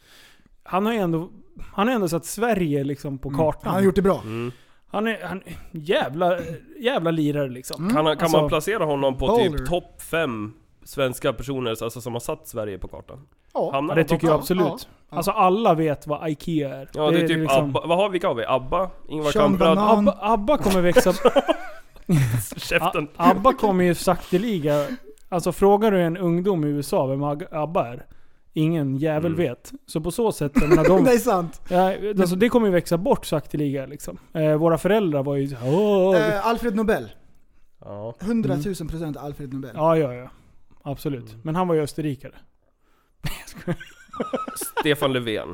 han har ju ändå, han har ändå satt Sverige liksom på kartan. Han har gjort det bra. Mm. han är han, jävla, jävla lirare liksom. Mm. Kan, han- kan Alltså- man placera honom på Boulder. typ topp 5 svenska personer alltså, som har satt Sverige på kartan? Ja. Ja, Hamnar det han topp tycker jag fem? absolut. ja, ja. Alltså alla vet vad IKEA är. Ja, det är typ liksom- Abba. Vad har, vilka har vi? Abba? Ingvar Sean Kamprad? Banan. Abba, Abba kommer växa... <laughs> Käften. A- Abba kommer ju sakteliga... Alltså frågar du en ungdom i USA vem Ag- Abba är? Ingen jävel Mm. vet. Så på så sätt, jag menar, <laughs> de, Det är sant. ja, alltså, det kommer ju växa bort sakteliga liksom. Eh, våra föräldrar var ju så här, "Åh, vi- Eh, Alfred Nobel. Ja. 100 000 procent Alfred Nobel. Mm. Ja, ja, ja. Absolut. Mm. Men han var ju österrikare. Stefan Löfven.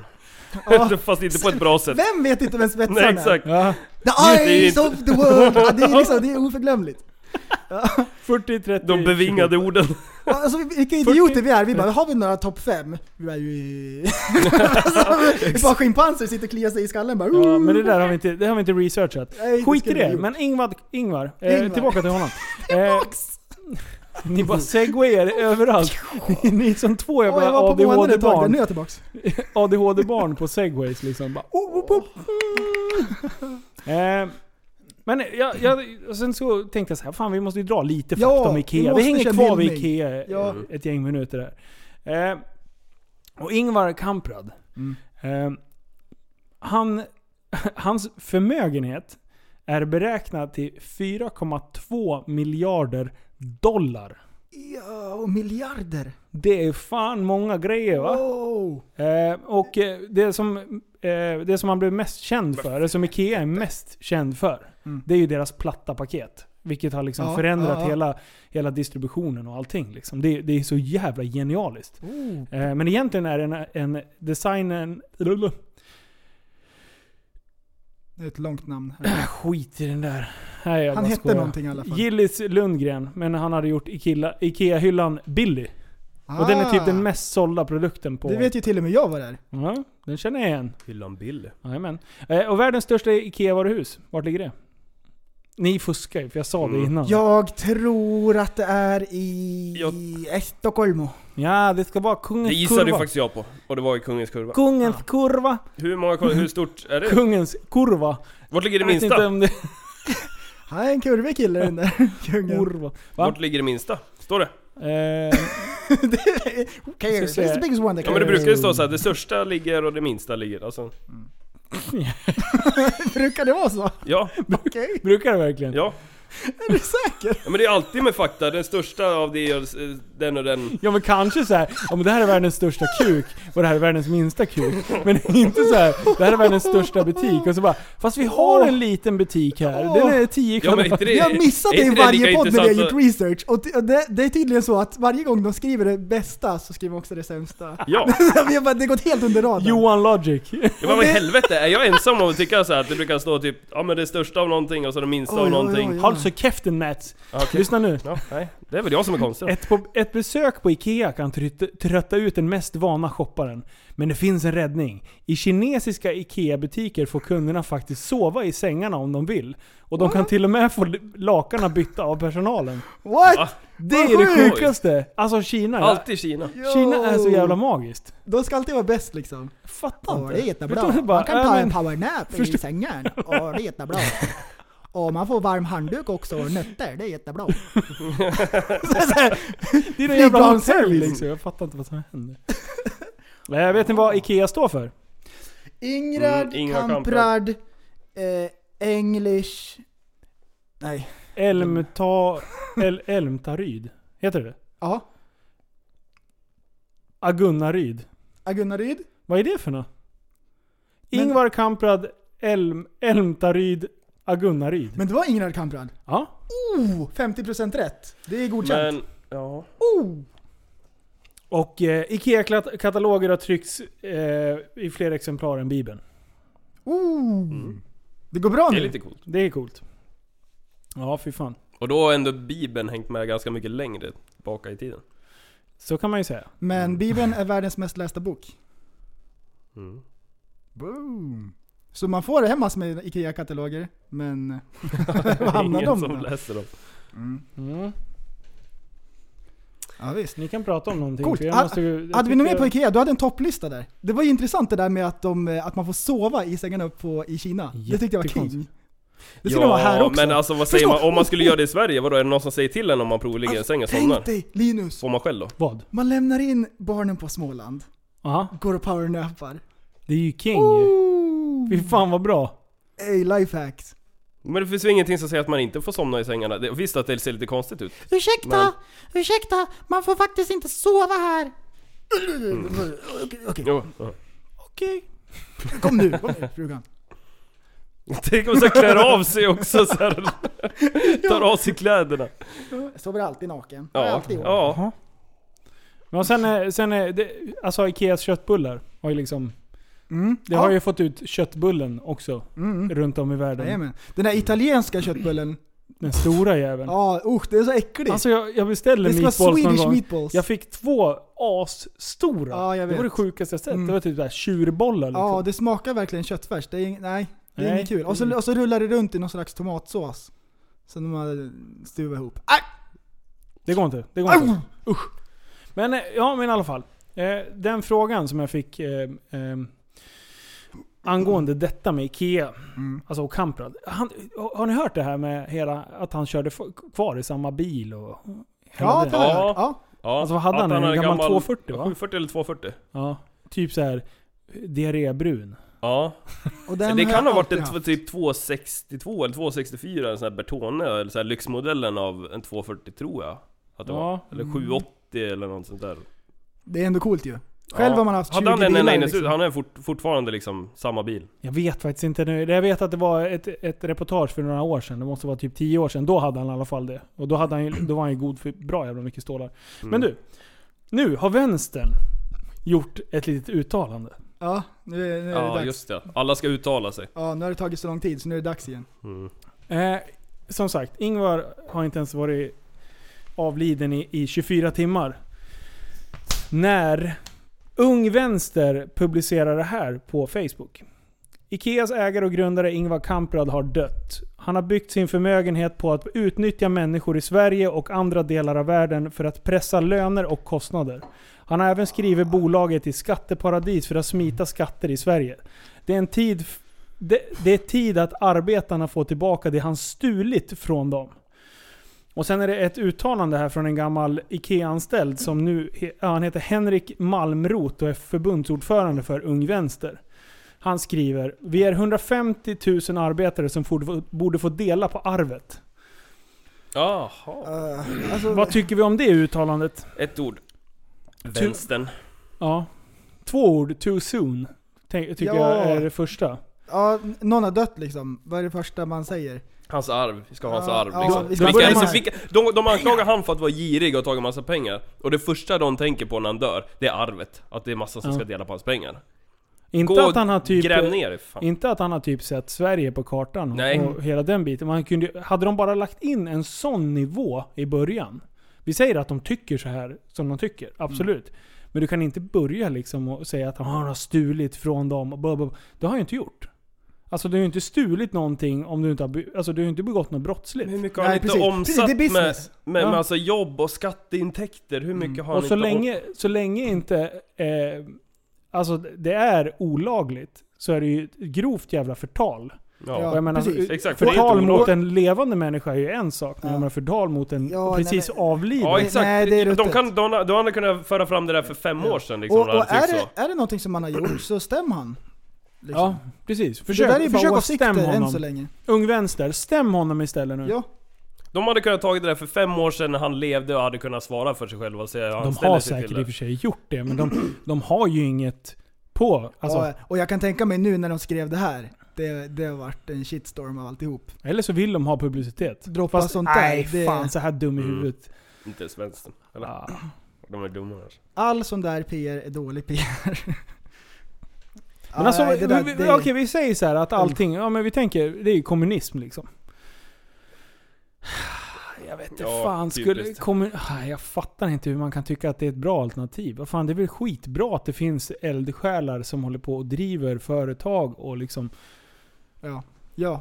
Ja. <laughs> Fast inte på ett bra sätt. Vem vet inte vem spetsaren Nej, exakt. <laughs> Ja. är? är The eyes inte- of the world! Ja, <laughs> det, är liksom, det är oförglömligt. 40, 30, De bevingade orden. Alltså vilka idioter vi är. Vi bara, har vi några topp fem? Vi <laughs> bara, ju- <laughs> alltså, vi bara schimpanser sitter och kliar sig i skallen bara. Ja, men det där har vi inte, det har vi inte researchat. Nej, det Skit i skulle vi det. gjort. Men Ingvar, Ingvar, eh, Ingvar. tillbaka till <laughs> honom. Eh, ni bara segwayar överallt. Ni- Ni är som två Åh, jag jävla var på månen ett tag där. Nu är ADHD-barn jag tillbaks. ADHD-barn på segways liksom. Bara, oh, oh, oh. Eh, men jag, jag, och sen så tänkte jag så här, fan vi måste ju dra lite fakta Ja, om vi Ikea. Vi måste hänger känna kvar vid hyllning. Ikea Ja. ett gäng minuter där. Eh, och Ingvar Kamprad. Mm. Eh, han, <laughs> hans förmögenhet är beräknad till 4,2 miljarder dollar. Ja, och miljarder. Det är fan många grejer va? Wow. Eh, och eh, det som, eh, det som han blev mest känd för, det som IKEA är mest känd för, Mm. det är ju deras platta paket. Vilket har liksom Ja, förändrat ja, ja. Hela, hela distributionen och allting. Liksom. Det, det är så jävla genialiskt. Oh. Eh, men egentligen är det en, en designen... Det är ett långt namn. Skit i den där. Nej, jag Han bara hette skojar. någonting i alla fall. Gillis Lundgren, men han hade gjort Ikea- IKEA-hyllan billig. Och den är typ den mest sålda produkten på... Det Ah. vet ju till och med jag vad det är. ja, den känner jag igen. Hyllan Billy. Jajamän. Eh, och världens största IKEA-varuhus, vart ligger det? Ni fuskar ju, för jag sa det Mm. innan. Jag tror att det är i Stockholm. Ja, det ska vara kungens Det gissade ju kurva. faktiskt jag på. Och det var i Kungens Kurva. Kungens kurva. Hur många hur stort är det? Kungens kurva. Vart ligger det Jag vet inte minsta? om det Han är en kurvig kille den där är kungen. kurva. Va? Vart ligger det minsta? Står det? Eh, Who cares? Jag ska It's se. the biggest one that Ja men cares. det brukar ju stå såhär, det största ligger och det minsta ligger. Alltså, brukar det vara så? ja, Okej, brukar det verkligen? ja. <laughs> är du säker? Ja men det är alltid med fakta, den största av det och eh, den och den. Ja men kanske så här, om det här är världens största kuk och det här är världens minsta kuk. Men <laughs> inte så här, det här är världens största butik och så bara, fast vi har en liten butik här. Den är 10 Ja, men inte kvadrat. det, Vi har missat är det i inte lika varje podd när vi har intressant gjort research. Och det- och det, det är tydligen så att varje gång de skriver det bästa så skriver de också det sämsta. <laughs> att- Ja, Vi har bara, det har gått helt under radarn. Johan Logic. Ja, men vad i helvete, är jag ensam om att tycka så här att det brukar stå typ, ja men det största av någonting och så det minsta Oj, av oj, någonting. oj, oj. Håll så käften Mats. Ja, okej. Lyssna nu. Ja, nej. Det är väl jag som är konstig då. Ett, på, ett besök på IKEA kan tryt- trötta ut den mest vana shopparen. Men det finns en räddning. I kinesiska IKEA-butiker får kunderna faktiskt sova i sängarna om de vill. Och de kan till och med få lakanen bytta av personalen. What? Va? Det är det sjukaste! Alltså Kina. ja. Alltid Kina. Kina är så jävla magiskt. De ska alltid vara bäst liksom. Fattar Ja, inte. det är jättebra. Utan det bara, Man kan ta äh, en men- powernap i förstå- <laughs> sängen. Ja, det är jättebra. Och man får varm handduk också och nötter, det är jättebra. Mm, så, så, <laughs> <laughs> Det är en jävla Flygplansservice. hotell liksom. Jag fattar inte vad som händer. <laughs> Nej, vet ni vad IKEA står för? Ingrad, Mm, Ingvar Kamprad, eh, English... Nej. Elmta... El, Elmtaryd? Heter det Ja. Agunnaryd? Agunnaryd. Vad är det för något? Men- Ingvar Kamprad Elm, Elmtaryd Agunnaryd. Men det var Ingrad Kamprad. Ja. Oh, 50% rätt. Det är godkänt. Oh! Men, ja. Och eh, IKEA-kataloger har tryckts eh, i fler exemplar än Bibeln. Oh. Det går bra Mm. Det nu. är lite coolt. Det är coolt. Ja, fy fan. Och då har ändå Bibeln hängt med ganska mycket längre tillbaka i tiden. Så kan man ju säga. Men Bibeln är världens mest lästa bok. Mm. Boom. Så man får hem massor med IKEA-kataloger, men var hamnar Ingen de? som då? läser dem. Mm. Ja, visst. Ni kan prata om någonting. Coolt. för jag Ha- måste ju- jag Hade vi något mer tycker- på IKEA? Du hade en topplista där. Det var ju intressant det där med att, de, eh, att man får sova i sängarna på, i Kina. Det tyckte jag var king. Jättekonstigt. Det skulle vara här också. men alltså vad säger Förstå- Oh. Alltså, man? Om man skulle göra det i Sverige, vadå? Är det någon som säger till en om man provligger i en säng och somnar? Tänk dig Linus! Får man själv då? Vad? Man lämnar in barnen på Småland, Aha. går och powernappar. Det är ju king Oh! ju. Fy fan vad bra. Ey, lifehacks. Men det finns ju ingenting som säger att man inte får somna i sängarna. Det, visst att det ser lite konstigt ut. Ursäkta, ursäkta, man får faktiskt inte sova här. Jo. <laughs> ja. Okej. Kom nu, kom nu frugan. Tänk om så här klär av sig också så <laughs> här. Tar av sig kläderna. Jag sover alltid naken. Jag är Ja. Alltid i år. ja. Men sen, är- sen är det, alltså Ikeas köttbullar har ju liksom... Mm, Det ja. har ju fått ut köttbullen också. Mm. Runt om i världen. Jajamän. Den där italienska Mm. köttbullen. Den stora jäveln. Ja, usch det är så äckligt. Alltså jag, jag beställde det ska meatballs vara någon Swedish gång. meatballs. Jag fick två asstora. Ja, jag det var det vet. sjukaste jag sett. Mm. Det var typ där tjurbollar liksom. Ja, det smakar verkligen köttfärs. Det är, ing- nej, det är Nej. inget kul. Och så, och så rullar det runt i någon slags tomatsås. Som de hade stuvat ihop. Det går inte. Det går inte. Usch. Men eh, ja, men i alla fall. Eh, den frågan som jag fick eh, eh, angående detta med Ikea, alltså och Kamprad. Han, har- har ni hört det här med hela, att han körde f- kvar i samma bil och hela Ja, det? det har jag Ja. hört. ja. ja. Alltså, vad hade Att han? En hade gammal 240, va? 740 eller 240? ja. Typ så här diarrébrun. Ja. Och den det har kan jag ha varit en alltid t- haft. typ 262 eller 264, en sån här Bertone, eller så här lyxmodellen av en 240 tror jag. Att det Ja. var. Eller 780 eller något sånt där. Det är ändå coolt ju. Själv Ja. har man haft 20 Alltså, Hade han den bilar ena inne i liksom. studion? Han är fort, fortfarande liksom samma bil. Jag vet faktiskt inte nu. Jag vet att det var ett, ett reportage för några år sedan. Det måste vara typ 10 år sedan. Då hade han i alla fall det. Och då, hade han ju, då var han ju god för bra jävla mycket stålar. Mm. Men eh, du. Nu har vänstern gjort ett litet uttalande. Ja, nu är, nu är det Ja, dags. just det. Alla ska uttala sig. Ja, nu har det tagit så lång tid så nu är det dags igen. Mm. Eh, som sagt, Ingvar har inte ens varit avliden i, i 24 timmar. När Ung Vänster publicerar det här på Facebook. Ikeas ägare och grundare Ingvar Kamprad har dött. Han har byggt sin förmögenhet på att utnyttja människor i Sverige och andra delar av världen för att pressa löner och kostnader. Han har även skrivit bolaget i skatteparadis för att smita skatter i Sverige. Det är en tid f- det, det är tid att arbetarna får tillbaka det han stulit från dem. Och sen är det ett uttalande här från en gammal IKEA-anställd som nu he- ja, han heter Henrik Malmrot och är förbundsordförande för Ung Vänster. Han skriver Vi är 150 000 arbetare som borde få- borde få dela på arvet. Jaha. Uh, alltså, Vad tycker vi om det uttalandet? Ett ord. Vänstern. Ja. Två ord, too soon. Tänk, tycker Ja. jag är det första. ja, någon har dött liksom. Vad är det första man säger? Hans arv. Vi ska ha hans Ja, arv ja, liksom. vi ska vilka, börja är det som- med- vilka, de, de anklagar han för att vara girig och tagit massa pengar. Och det första de tänker på när han dör, det är arvet. Att det är massa som Ja. ska dela på hans pengar. Inte Gå att han har och typ... eh, gräv ner dig för fan. Inte att han har typ sett Sverige på kartan Nej. och hela den biten. Man kunde, hade de bara lagt in en sån nivå i början. Vi säger att de tycker så här som de tycker, Mm. absolut. Men du kan inte börja liksom och säga att "Ah, han har stulit från dem. och blah, blah, blah." Det har han ju inte gjort. Alltså du har ju inte stulit någonting om du inte har, be- alltså, du har ju inte begått något brottsligt. Hur mycket har han Nej, inte precis. omsatt Precis, det är med, business. Mm. med, Ja. med alltså jobb och skatteintäkter? Hur mycket har han Och så inte om- länge, så länge inte eh, alltså det är olagligt så är det ju ett grovt jävla förtal. Ja, Och jag menar, precis. Exakt, för det är inte förtal mot olagligt. en levande människa är ju en sak, men Ja. jag menar förtal mot en Ja, precis nej, avliden. Ja Nej, exakt. nej, det är de ruttet. kan, de, de hade kunnat föra fram det där för fem år sedan liksom. och hade och är, tyckt så. det, är det någonting som man har gjort så stäm han. Liksom. Ja, precis. det där är ju Försök, bara försök att åsikter stämma än så honom. Mm. länge. Ung vänster, stäm honom istället nu. Ja. De hade kunnat tagit det där för fem år sedan när han levde och hade kunnat svara för sig själv och säga hur han De ställer har sig till säkert i och för det. sig gjort det, men de, de har ju inget på. Alltså, Ja, och jag kan tänka mig nu när de skrev det här, det, det har varit en shitstorm av alltihop. Eller så vill de ha publicitet. Droppa sånt där, nej, det- fan så här dum i Mm. huvudet. Inte ens vänstern. Eller? Ah. De är dumma alltså. All sån där PR är dålig PR. Men Ah, alltså, nej, vi, där- vi, okej vi säger så här att allting, ja men vi tänker, det är ju kommunism liksom. Jag vet inte Ja, fan, skulle, typiskt. kommun, ah, jag fattar inte hur man kan tycka att det är ett bra alternativ. Vad fan, det är väl skitbra att det finns eldsjälar som håller på och driver företag och liksom Ja,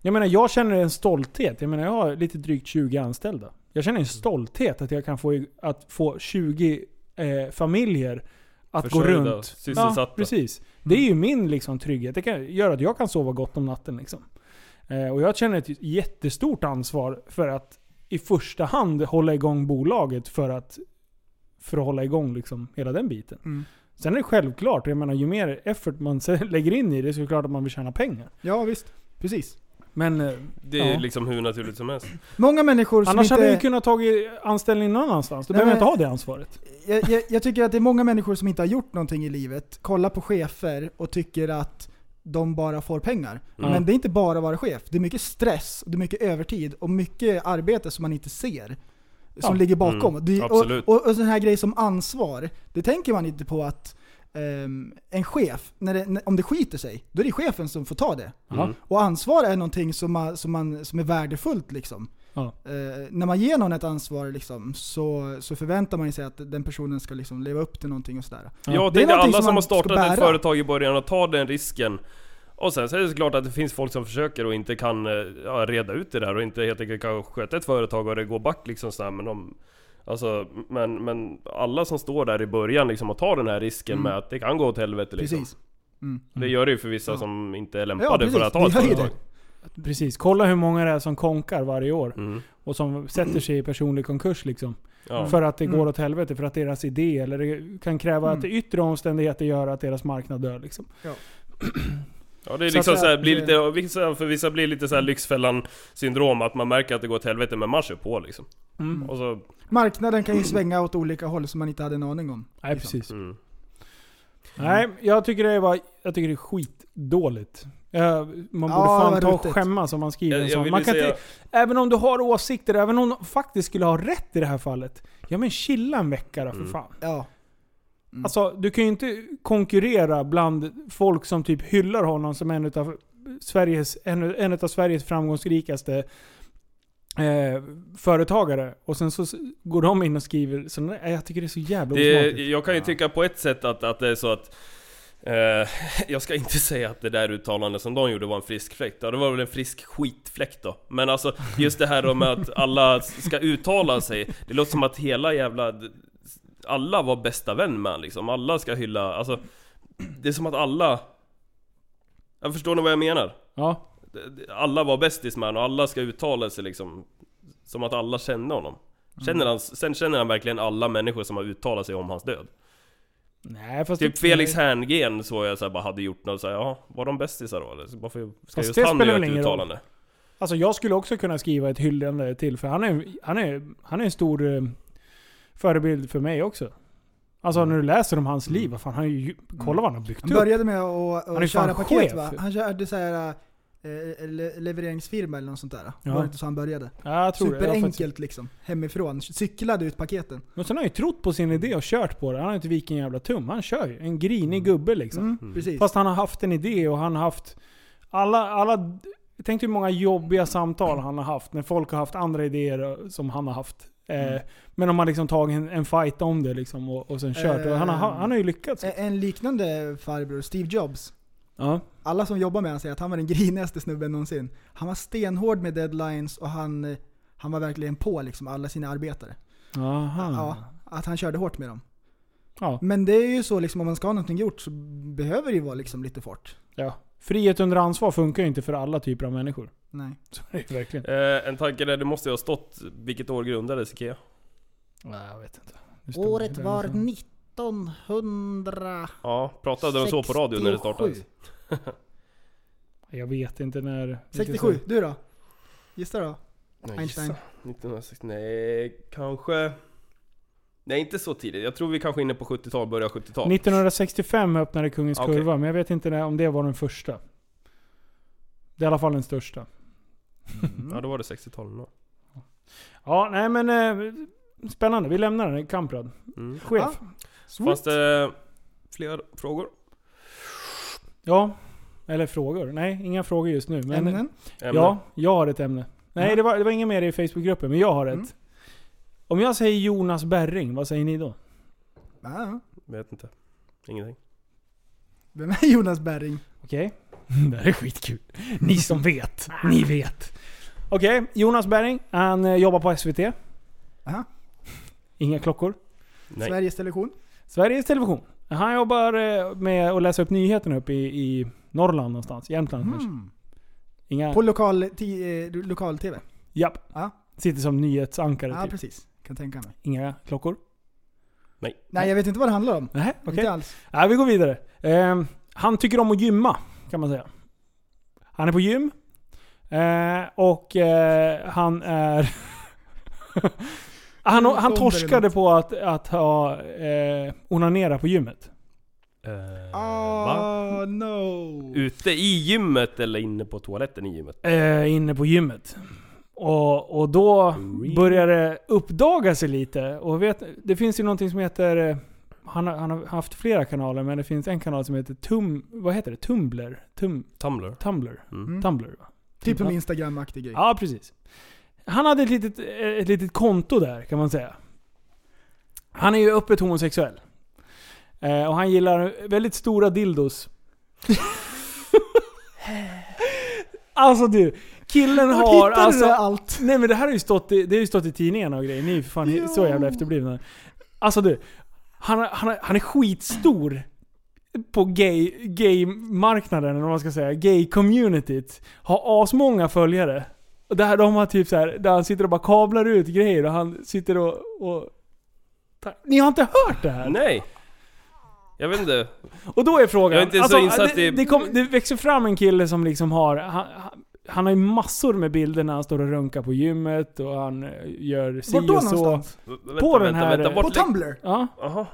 Jag menar, jag känner en stolthet. Jag menar, jag har lite drygt 20 anställda. Jag Mm. känner en stolthet att jag kan få, att få 20 eh, familjer att Försörjda, gå runt. sysselsatta. Mm. Ja, precis. Det är ju min liksom, trygghet. Det kan, gör att jag kan sova gott om natten. Liksom. Eh, och jag känner ett jättestort ansvar för att i första hand hålla igång bolaget för att, för att hålla igång liksom, hela den biten. Mm. Sen är det självklart, jag menar, ju mer effort man <laughs> lägger in i det så är det klart att man vill tjäna pengar. ja visst. Precis. Men... eh, Det är Ja. liksom hur naturligt som helst. Många människor som Annars inte... hade jag ju kunnat tagit anställning någon annanstans. Då Nej, behöver jag men- inte ha det ansvaret. jag, jag, jag tycker att det är många människor som inte har gjort någonting i livet, kollar på chefer och tycker att de bara får pengar. Mm. Men det är inte bara att vara chef. Det är mycket stress, det är mycket övertid och mycket arbete som man inte ser. Som Ja. ligger bakom. Mm, Det, och, absolut. och, och sån här grej som ansvar, det tänker man inte på att ehm, en chef, när det, när, om det skiter sig, då är det chefen som får ta det. Ja. Mm. Och ansvar är någonting som, man, som, man, som är värdefullt liksom. Ja. Eh, när man ger någon ett ansvar liksom, så, så förväntar man sig att den personen ska liksom leva upp till någonting och sådär. Ja. Jag Det är tänkte någonting som alla som man har ska startat bära. ett företag i början och tar den risken. Och sen så är det såklart att det finns folk som försöker och inte kan eh, ja, reda ut det där och inte helt enkelt kan sköta ett företag och det går back liksom så här, men de, Alltså, men, men alla som står där i början liksom och tar den här risken Mm. med att det kan gå åt helvete liksom. Precis. Mm. Det gör det ju för vissa Ja. som inte är Ja, lämpade precis. för att ha ett Det gör ju företag. Precis. Kolla hur många det är som konkar varje år. Mm. Och som sätter sig i personlig konkurs liksom. Ja. För att det Mm. går åt helvete. För att deras idé eller det kan kräva att yttre omständigheter gör att deras marknad dör liksom. Ja det är Så liksom att så säga här, att blir det- lite, och vissa, för vissa blir lite så här lyxfällan syndrom att man märker att det går åt helvete men man kör på liksom. Mm. Och så, Marknaden kan ju svänga åt olika håll som man inte hade en aning om. Nej Liksom. precis. mm. Nej, jag tycker det var, jag tycker det är skitdåligt. Eh, Man Ja, borde fan vad ta och ruttet. skämmas om man skriver jag, en jag sån. vill Man ju kan säga, inte, Även om du har åsikter, även om de faktiskt skulle ha rätt i det här fallet. Ja men chilla en vecka då för Mm. fan. Ja. Mm. Alltså du kan ju inte konkurrera bland folk som typ hyllar honom som en utav Sveriges, en, en utav Sveriges framgångsrikaste eh, företagare. Och sen så s- går de in och skriver sådana där. Jag tycker det är så jävla det, osmakligt. jag kan ju tycka på ett sätt att, att det är så att eh, <laughs> jag ska inte säga att det där uttalandet som de gjorde var en frisk fläkt. Ja, det var väl en frisk skitfläkt då. Men alltså just det här då med att alla ska uttala sig. Det låter som att hela jävla... Alla var bästa vän med han, liksom. Alla ska hylla... Alltså, det är som att alla... Jag förstår ni vad jag menar? Ja. Alla var bästis med honom och alla ska uttala sig liksom Som att alla kände honom Mm. känner han, Sen känner han verkligen alla människor som har uttalat sig om hans död Nej fast... Typ Felix Herngren så jag så här, bara hade gjort något såhär, ja var de bästisar då eller? Så Varför ska Fast just det han spelar göra väl ett ingen roll. uttalande? Alltså jag skulle också kunna skriva ett hyllande till, för han är, han är, han är en stor eh, förebild för mig också. Mm. Alltså när du läser om hans liv, vad fan, han är ju, kolla vad han har byggt Han upp. började med att Han är att fan köra paket chef. va? Han körde så här eh, le- levereringsfirma eller något sånt där. Ja. Var det inte så han började? Ja, jag tror det. Jag har faktiskt- Superenkelt liksom. Hemifrån. Cyklade ut paketen. Men sen har han ju trott på sin idé och kört på det. Han har inte vikit en jävla tum. Han kör ju. En grinig gubbe liksom. Mm, Precis. Fast han har haft en idé och han har haft... Alla, alla... Tänk dig hur många jobbiga samtal han har haft när folk har haft andra idéer eh, som han har haft. Eh, Men de har liksom tagit en, en fight om det liksom och, och sen kört. och han, har, Eh, han har ju lyckats. E- En liknande farbror, Steve Jobs. ja. Alla som jobbar med honom säger att han var den <laughs> grinigaste snubben någonsin. Han var stenhård med deadlines och han, eh, han var verkligen på liksom alla sina arbetare. Aha. Ja, att han körde hårt med dem. Ja. Men det är ju så liksom om man ska ha någonting gjort så behöver det ju vara liksom lite fort. Ja. Frihet under ansvar funkar ju inte för alla typer av människor. <laughs> Nej. Så är det ju verkligen. Eh, en tanke där, det måste ju ha stått vilket år grundades IKEA? Nej, jag vet inte. Det liksom. stod Året där var någonstans. 1900... Ja, pratade de så på radio när det startades? 67. Jag vet inte när... 67, du då? Gissa då? Nej, Einstein. gissa. 1960, nej kanske... Nej inte så tidigt, jag tror vi kanske är inne på 70-tal, början av 70-tal. 1965 öppnade Kungens Okej. Kurva, men jag vet inte när, om det var den första. Det är i alla fall den största. Ja då var det 60-tal nog. Ja, nej men... Eh, spännande. Vi lämnar den. Kamprad. Mm. Chef. Fanns det fler frågor? Ja. Eller frågor. Nej, inga frågor just nu. Men, Mm. Ämnen? Ämne? Ja, jag har ett ämne. Nej, Ja. det, var, det var ingen mer i Facebookgruppen, men jag har ett. Mm. Om jag säger Jonas Berring, vad säger ni då? Ja. Vet inte. Ingenting. Vem är <laughs> Jonas Berring? Okej? <laughs> det här är skitkul. Ni som vet, Ah. ni vet. Okej, Jonas Berring, han eh, jobbar på SVT. Aha. Inga klockor. Nej. Sveriges Television? Sveriges Television. Han jobbar eh, med att läsa upp nyheterna uppe i, i Norrland någonstans. Jämtland kanske. Mm. Inga... På lokal, ti- eh, lokal-tv? Japp. Ja. Sitter som nyhetsankare Ja, typ. precis. Kan tänka mig. Inga klockor. Nej, jag vet inte vad det handlar om. Nej, okej. Inte alls. Nej, vi går vidare. Ehm, han tycker om att gymma, kan man säga. Han är på gym. Eh, och eh, han är... <laughs> han, han torskade på att, att ha eh, onanera på gymmet. Eh, va? Oh no! Ute i gymmet eller inne på toaletten i gymmet? Eh, inne på gymmet. Och, och då började det uppdaga sig lite. Och vet, det finns ju någonting som heter... eh, Han har, han har haft flera kanaler, men det finns en kanal som heter Tum... Vad heter det? Tumblr? Tum, Tumblr? Tumblr? Mm. Tumblr va? Typ som Instagram-aktig grej. Ja, precis. Han hade ett litet, eh, ett litet konto där, kan man säga. Han är ju öppet homosexuell. Eh, och han gillar väldigt stora <laughs> dildos. alltså du, killen Vart har... hittar du Alltså, det allt? Nej men det här har ju stått i, det har ju stått i tidningarna och grejer. Ni är ju för fan Ja. så jävla efterblivna. Alltså du, han, har- han, har- han är skitstor på gay- gay-marknaden, eller vad man ska säga. Gay-communityt. Har asmånga följare. Och där de har typ så här, där han sitter och bara kablar ut grejer och han sitter och... och Ta- ni har inte hört det här? Nej! Jag vet inte. Och då är frågan... alltså, Jag är inte så insatt det, i- det, kom, det växer fram en kille som liksom har... Han, han- han har ju massor med bilder när han står och runkar på gymmet och han eh, gör si Vart då och så. någonstans? V- vänta, På den vänta, här- Vänta, På vart lä- Tumblr? Ja, Jaha.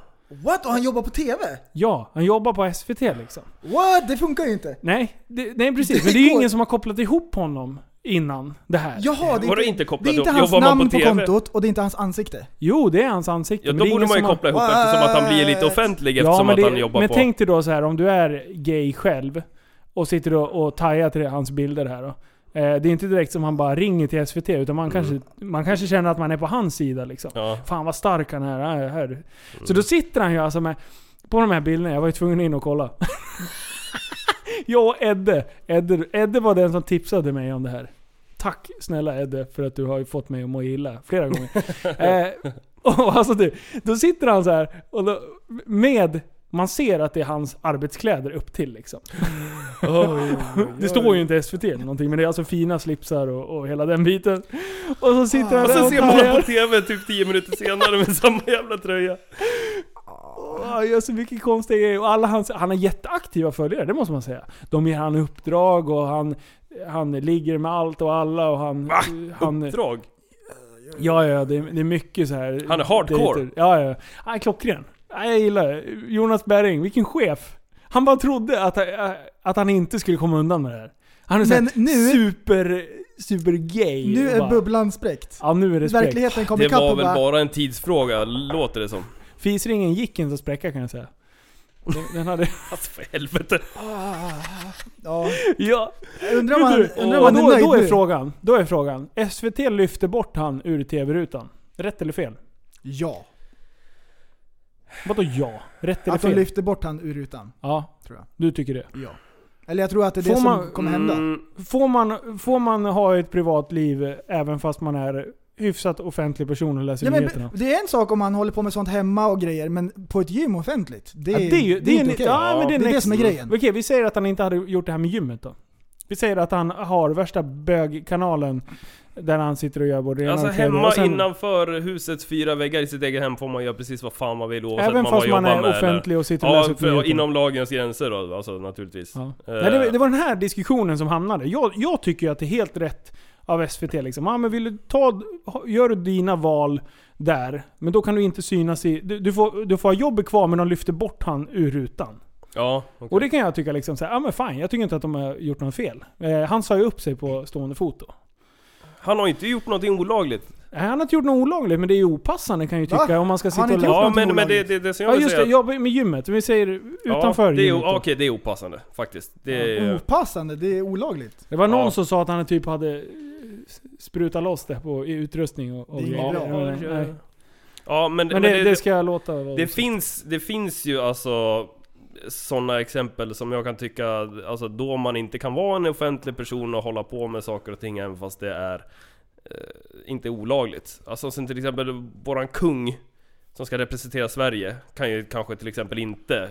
What? Och han jobbar på TV? ja, han jobbar på SVT liksom. What? Det funkar ju inte. Nej, det, nej precis. Det Men det är ju går- ingen som har kopplat ihop honom innan det här. Jaha, det Var är det inte, inte kopplat det är inte ihop? hans Jobbar man namn på på, TV? kontot och det är inte hans ansikte. Jo, det är hans ansikte. Ja men det då är borde ingen man ju som har- koppla ihop eftersom att han blir lite What? offentlig Ja, eftersom men, att det, han jobbar men på... tänk dig då så här om du är gay själv och sitter och, och tajar till hans bilder här då. Eh, det är inte direkt som han bara ringer till SVT utan man, kanske, Mm. man kanske känner att man är på hans sida liksom. Ja. Mm. Fan vad stark han är. här, här. Så då sitter han ju alltså med... På de här bilderna, jag var ju tvungen in och kolla. <laughs> jag och Edde. Edde. Edde var den som tipsade mig om det här. Tack snälla Edde för att du har ju fått mig att må illa flera <laughs> gånger. eh, och <laughs> alltså du, då sitter han så här och då, med... Man ser att det är hans arbetskläder upp till liksom. <laughs> Det står ju inte SVT eller någonting, men det är alltså fina slipsar och, och hela den biten. Och så sitter han Ah. Och där sen och ser man <laughs> honom tajar. på TV typ 10 minuter senare med samma jävla tröja. Åh, Han gör så mycket konstiga grejer. Och alla hans, han har jätteaktiva följare, det måste man säga. De ger han uppdrag och han, han ligger med allt och alla och han... han Drag. ja, ja, det är, det är mycket så här. Han är hardcore. dejter. Ja, ja. Han är klockren. Ja, Jag gillar det. Jonas Berring, vilken chef. Han bara trodde att, eh, att han inte skulle komma undan med det här. Han är <laughs> så Men här nu- super, super gay. Nu är Bara- bubblan spräckt. Ja, nu är det spräck. Verkligheten kom Det ikapp var och väl bara... bara en tidsfråga, låter det som. Fisringen gick inte att spräcka kan jag säga. Den, den hade... Alltså för helvete. Ja, ja. undrar om han, Du, undrar om han och är då, nöjd då, är nu. frågan, då är frågan. SVT lyfte bort han ur TV-rutan. Rätt eller fel? Ja. Vadå ja? Rätt eller Att de fel? lyfter bort han ur rutan. ja, tror jag. du tycker det. Ja. Eller jag tror att det är det Får som man- kommer hända. Mm, Får man, får man ha ett privatliv även fast man är hyfsat offentlig person och läser Ja, men nyheterna. det är en sak om man håller på med sånt hemma och grejer, men på ett gym offentligt. Det är, Ja, det är ju- det är inte en- okej. ja, men det det är är det next- som är grejen. Okej, vi säger att han inte hade gjort det här med gymmet då. Vi säger att han har värsta bögkanalen där han sitter och gör både det ena Alltså och det tredje. hemma Och sen- innanför husets fyra väggar i sitt eget hem får man göra precis vad fan man vill oavsett Även vad Alltså, man fast jobbar man med. är eller- offentlig och sitter och Ja, läser för, nyheterna. inom lagens gränser då, alltså naturligtvis. Ja. Eh, Nej, det, det var den här diskussionen som hamnade. Jag, jag tycker ju att det är helt rätt av SVT liksom. Ja, men vill du ta, ha- gör du dina val där, men då kan du inte synas i... Du, du, får, du får ha jobbet kvar men de lyfter bort han ur rutan. Ja, okej. Och det kan jag tycka liksom såhär, ja men fine, jag tycker inte att de har gjort något fel. Eh, han sa ju upp sig på stående fot då. Han har inte gjort någonting olagligt. Nej, han har inte gjort något olagligt, men det är ju opassande kan jag ju Va? tycka. Om man ska Har sitta han och... inte lä- gjort Ja, någonting men, men det, olagligt? det, det som jag Ja vill just säga... det, jag med gymmet. Vi säger utanför ja, det är, gymmet. o- då. Okej, det är opassande faktiskt. Det Oh, är, Opassande, det är olagligt. <laughs> Det var någon Ja. som sa att han typ hade eh, sprutat loss det på i utrustning och, och Det är inget grejer. bra. Ja, nej. ja, men, Men det, det ska jag låta vara. Det finns, det finns ju alltså sådana exempel som jag kan tycka, alltså då man inte kan vara en offentlig person och hålla på med saker och ting även fast det är eh, inte olagligt. Alltså som till exempel våran kung som ska representera Sverige kan ju kanske till exempel inte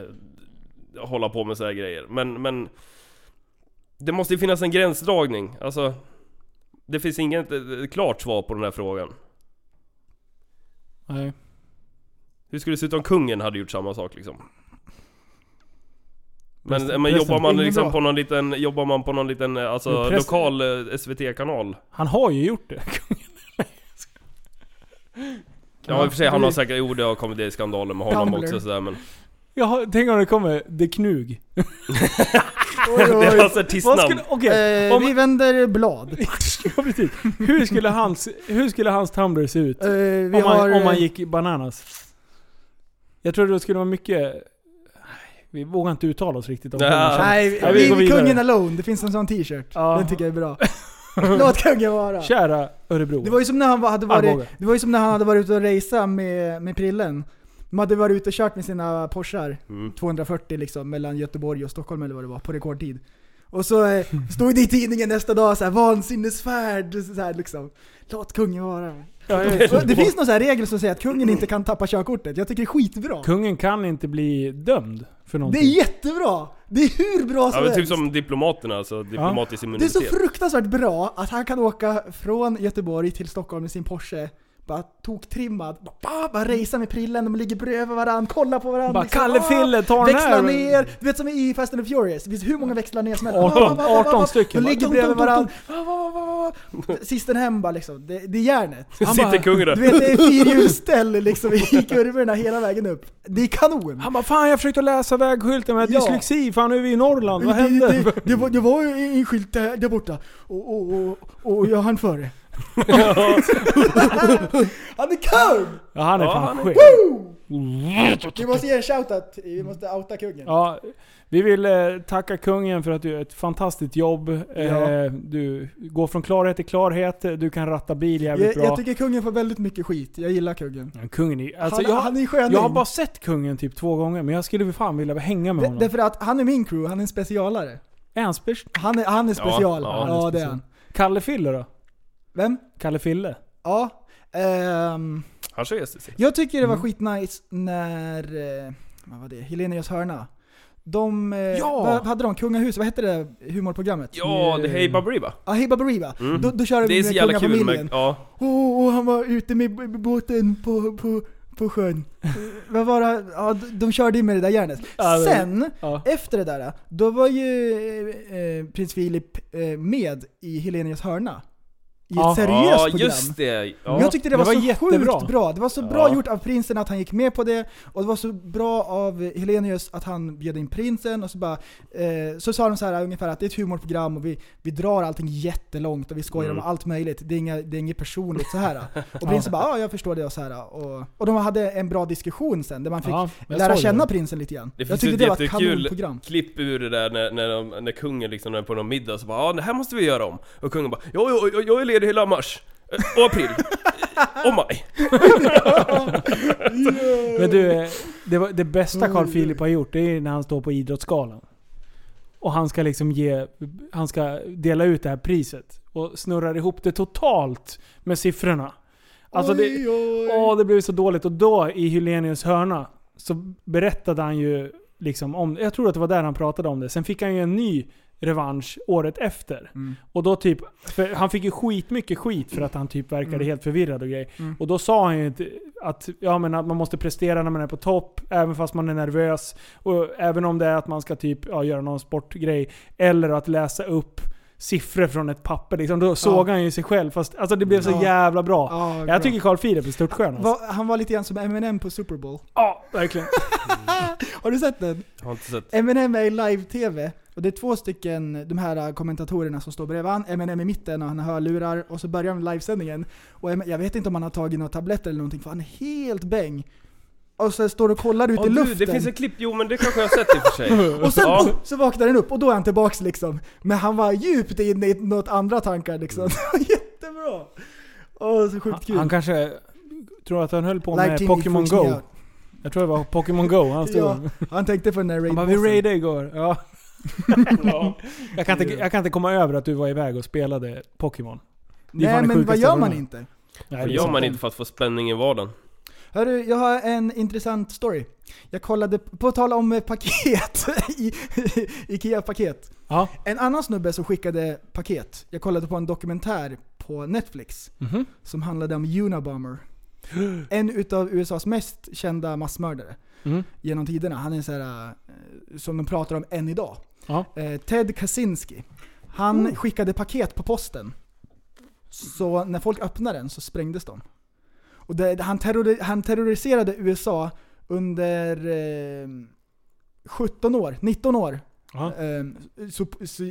hålla på med så här grejer. Men, men det måste ju finnas en gränsdragning. Alltså, det finns inget eh, klart svar på den här frågan. Nej. Hur skulle det se ut om kungen hade gjort samma sak liksom? Men, men Resten- jobbar man ingen liksom bra. på någon liten, jobbar man på någon liten eh, alltså Men präst- lokal eh, SVT-kanal? Han har ju gjort det. <laughs> Ja i och för sig han har säkert, jo det har kommit det skandaler med honom Tumblr. <laughs> också sådär men Jag har, tänk om det kommer The Knug. Oj, <laughs> Det är oj, hans Vad artistnamn! skulle... Okej. <laughs> Eh, om- vi vänder blad. ja, precis. hur, skulle hans, hur skulle hans Tumblr se ut? Eh, vi om, man, har, om man eh, gick i bananas. Jag tror det skulle vara mycket... Nej, Vi vågar inte uttala oss riktigt om Nej. kungen. Nej, Ja, vi vi, går vidare. kungen alone. Det finns en sån t-shirt. Ja. Den tycker jag är <laughs> bra. Låt kungen vara. Kära Örebro. Det var ju som när han var- hade Arboga. varit, det var ju som när han hade varit ute och racea med, med prillen. De hade varit ute och kört med sina Porschar, Mm. 240 liksom, mellan Göteborg och Stockholm eller vad det var, på rekordtid. Och <laughs> så eh, stod det i tidningen nästa dag så här, vansinnesfärd, så här, liksom. Låt kungen vara. Ja, ja, ja. Och Det finns någon så här regel som säger att kungen inte kan tappa körkortet. Jag tycker det är skitbra. Kungen kan inte bli dömd för Det någonting. är jättebra! Det är hur bra Ja som men typ helst. som diplomaterna alltså, diplomatisk Det är immunitet. så fruktansvärt bra att han kan åka från Göteborg till Stockholm med sin Porsche. Bara toktrimmad. Bara, bara, bara racea med prillen, de ligger bredvid varandra, kollar på varandra. Bara Kalle Fille, ta den liksom. Ah, Växla här! ner. Du vet som i Fast and the Furious. Det finns hur många växlar ner som helst. 18, Bara, bara, bara, bara, bara. 18 stycken. De ligger Bara, bredvid dum, dum, varandra. Bara, bara, bara, bara. Sisten hem bara liksom. Det, det <laughs> är järnet. Sitter kungen där. Du <laughs> vet det är fyrhjulsställ liksom i kurvorna hela vägen upp. Det är kanon. Han bara 'Fan jag försökte läsa vägskylten men jag Ja. har dyslexi, fan nu är vi i Norrland, vad Det- hände?' Det, det, det, var, det var ju en skylt där, där borta och, och, och, och jag hann före. han är kung! Ja han är Ja, fan han är- skön. Vi måste ge en shoutout, vi måste outa kungen. Ja, vi vill eh, tacka kungen för att du gör ett fantastiskt jobb. Eh, du går från klarhet till klarhet, du kan ratta bil jävligt jag, bra. jag tycker kungen får väldigt mycket skit, jag gillar kungen. Men kungen är alltså, han, jag, han är en sköning. jag har bara sett kungen typ två gånger, men jag skulle fan vilja hänga med D- honom. Därför att han är min crew, han är en specialare. Är han spec- Han är, han är Ja, special. ja, Ja, han är det special. är han. Kalle Fille då? Vem? Kalle Fille? Ja. ehm, Han ser sig. Jag tycker det var skitnice när, eh, vad var det, Helenius hörna. De, eh, Ja! vad hade de? Kungahuset, vad hette det humorprogrammet? Ja, det Hey Baberiba. Ah, Hibba Bariba. Mm. Då, då körde Det är vi så med jävla kul med, kungafamiljen. ja. Åh, åh, han var ute med b- b- båten på, på, på sjön. Eh, Vad var det? Ja, d- de körde ju med det där järnet. Ja, men- Sen, Ja. efter det där, då var ju eh, eh, prins Philip eh, med i Helenius hörna. I ett Ja. seriöst ja, program. just det. Ja. Jag tyckte det, det var, var så jättebra. sjukt bra. Det var så Ja. bra gjort av prinsen att han gick med på det, och det var så bra av Helenius att han bjöd in prinsen, och så bara... Eh, så sa de så här ungefär att det är ett humorprogram och vi, vi drar allting jättelångt och vi skojar Mm. om allt möjligt. Det är, inga, det är inget personligt <laughs> så här. Och prinsen bara ja, jag förstår det och så här. Och, och de hade en bra diskussion sen, där man fick Ja, jag lära såg känna det. prinsen lite grann. Det Jag finns tyckte ett det var ett jättekul- kanonprogram. klipp ur det där när, när, de, när kungen liksom är på någon middag så bara ja, det här måste vi göra om. Och kungen bara ja, ja, ja, jag är ledig hela mars. eh, Och april. eh, Och maj. Men du, eh, det, var det bästa Carl Philip har gjort, det är när han står på Idrottsgalan. Och han ska liksom ge, han ska dela ut det här priset. Och snurrar ihop det totalt med siffrorna. Alltså det, Oj, oj. Åh, det blev så dåligt. Och då i Hylenius hörna så berättade han ju liksom om Jag tror att det var där han pratade om det. Sen fick han ju en ny revansch året efter. Mm. Och då typ, för han fick ju skitmycket skit för att han typ verkade Mm. helt förvirrad och grej. Och då sa han ju att, att, ja, men att man måste prestera när man är på topp, även fast man är nervös. Och även om det är att man ska typ ja, göra någon sportgrej. Eller att läsa upp siffror från ett papper. Liksom. Då såg han ju sig själv. Fast alltså, det blev så Ja. jävla bra. Ja, bra. Jag tycker Carl Philip är störtskön. Alltså. Va, han var lite grann som Eminem på Super Bowl. Ja, <laughs> verkligen. Har du sett den? Jag har inte sett. Eminem är i live-tv. Och det är två stycken, de här äh, kommentatorerna som står bredvid han. Eminem i mitten och han har hörlurar. Och så börjar han livesändningen. Och Em- jag vet inte om han har tagit några tabletter eller någonting för han är helt bäng. Och så står och kollar ut Ja, i du, luften. det finns ett klipp, jo men det kanske jag har sett i och <laughs> för sig. Och sen Ja. boom, så vaknar den upp och då är han tillbaks liksom. Men han var djupt inne i något andra tankar <laughs> liksom. Jättebra! Åh, så sjukt kul. Mm. Han kanske tror att han höll på Live med TV Pokémon freaks me Go. out. Jag tror det var Pokémon Go han stod. Ja, han tänkte på den där Han bara, vi raid raidade igår. Ja. <laughs> jag, kan inte, jag kan inte komma över att du var iväg och spelade Pokémon. Det är fan Nej det men vad sjukaste gör jag man varit med inte? Nej, Vad det är gör sant. man inte för att få spänning i vardagen? Hörru, jag har en intressant story. Jag kollade, på tal om eh, paket, <laughs> I- IKEA-paket. Ja. En annan snubbe som skickade paket, jag kollade på en dokumentär på Netflix Mhm. som handlade om Unabomber. En utav USAs mest kända massmördare Mm. genom tiderna. Han är så här, eh, som de pratar om än idag. Ja. Mm. Eh, Ted Kaczynski. Han skickade paket på posten. Så när folk öppnade den så sprängdes de. Och det, han, terrori- han terroriserade USA under eh, 17 år, 19 år. Ja. Eh, så, så,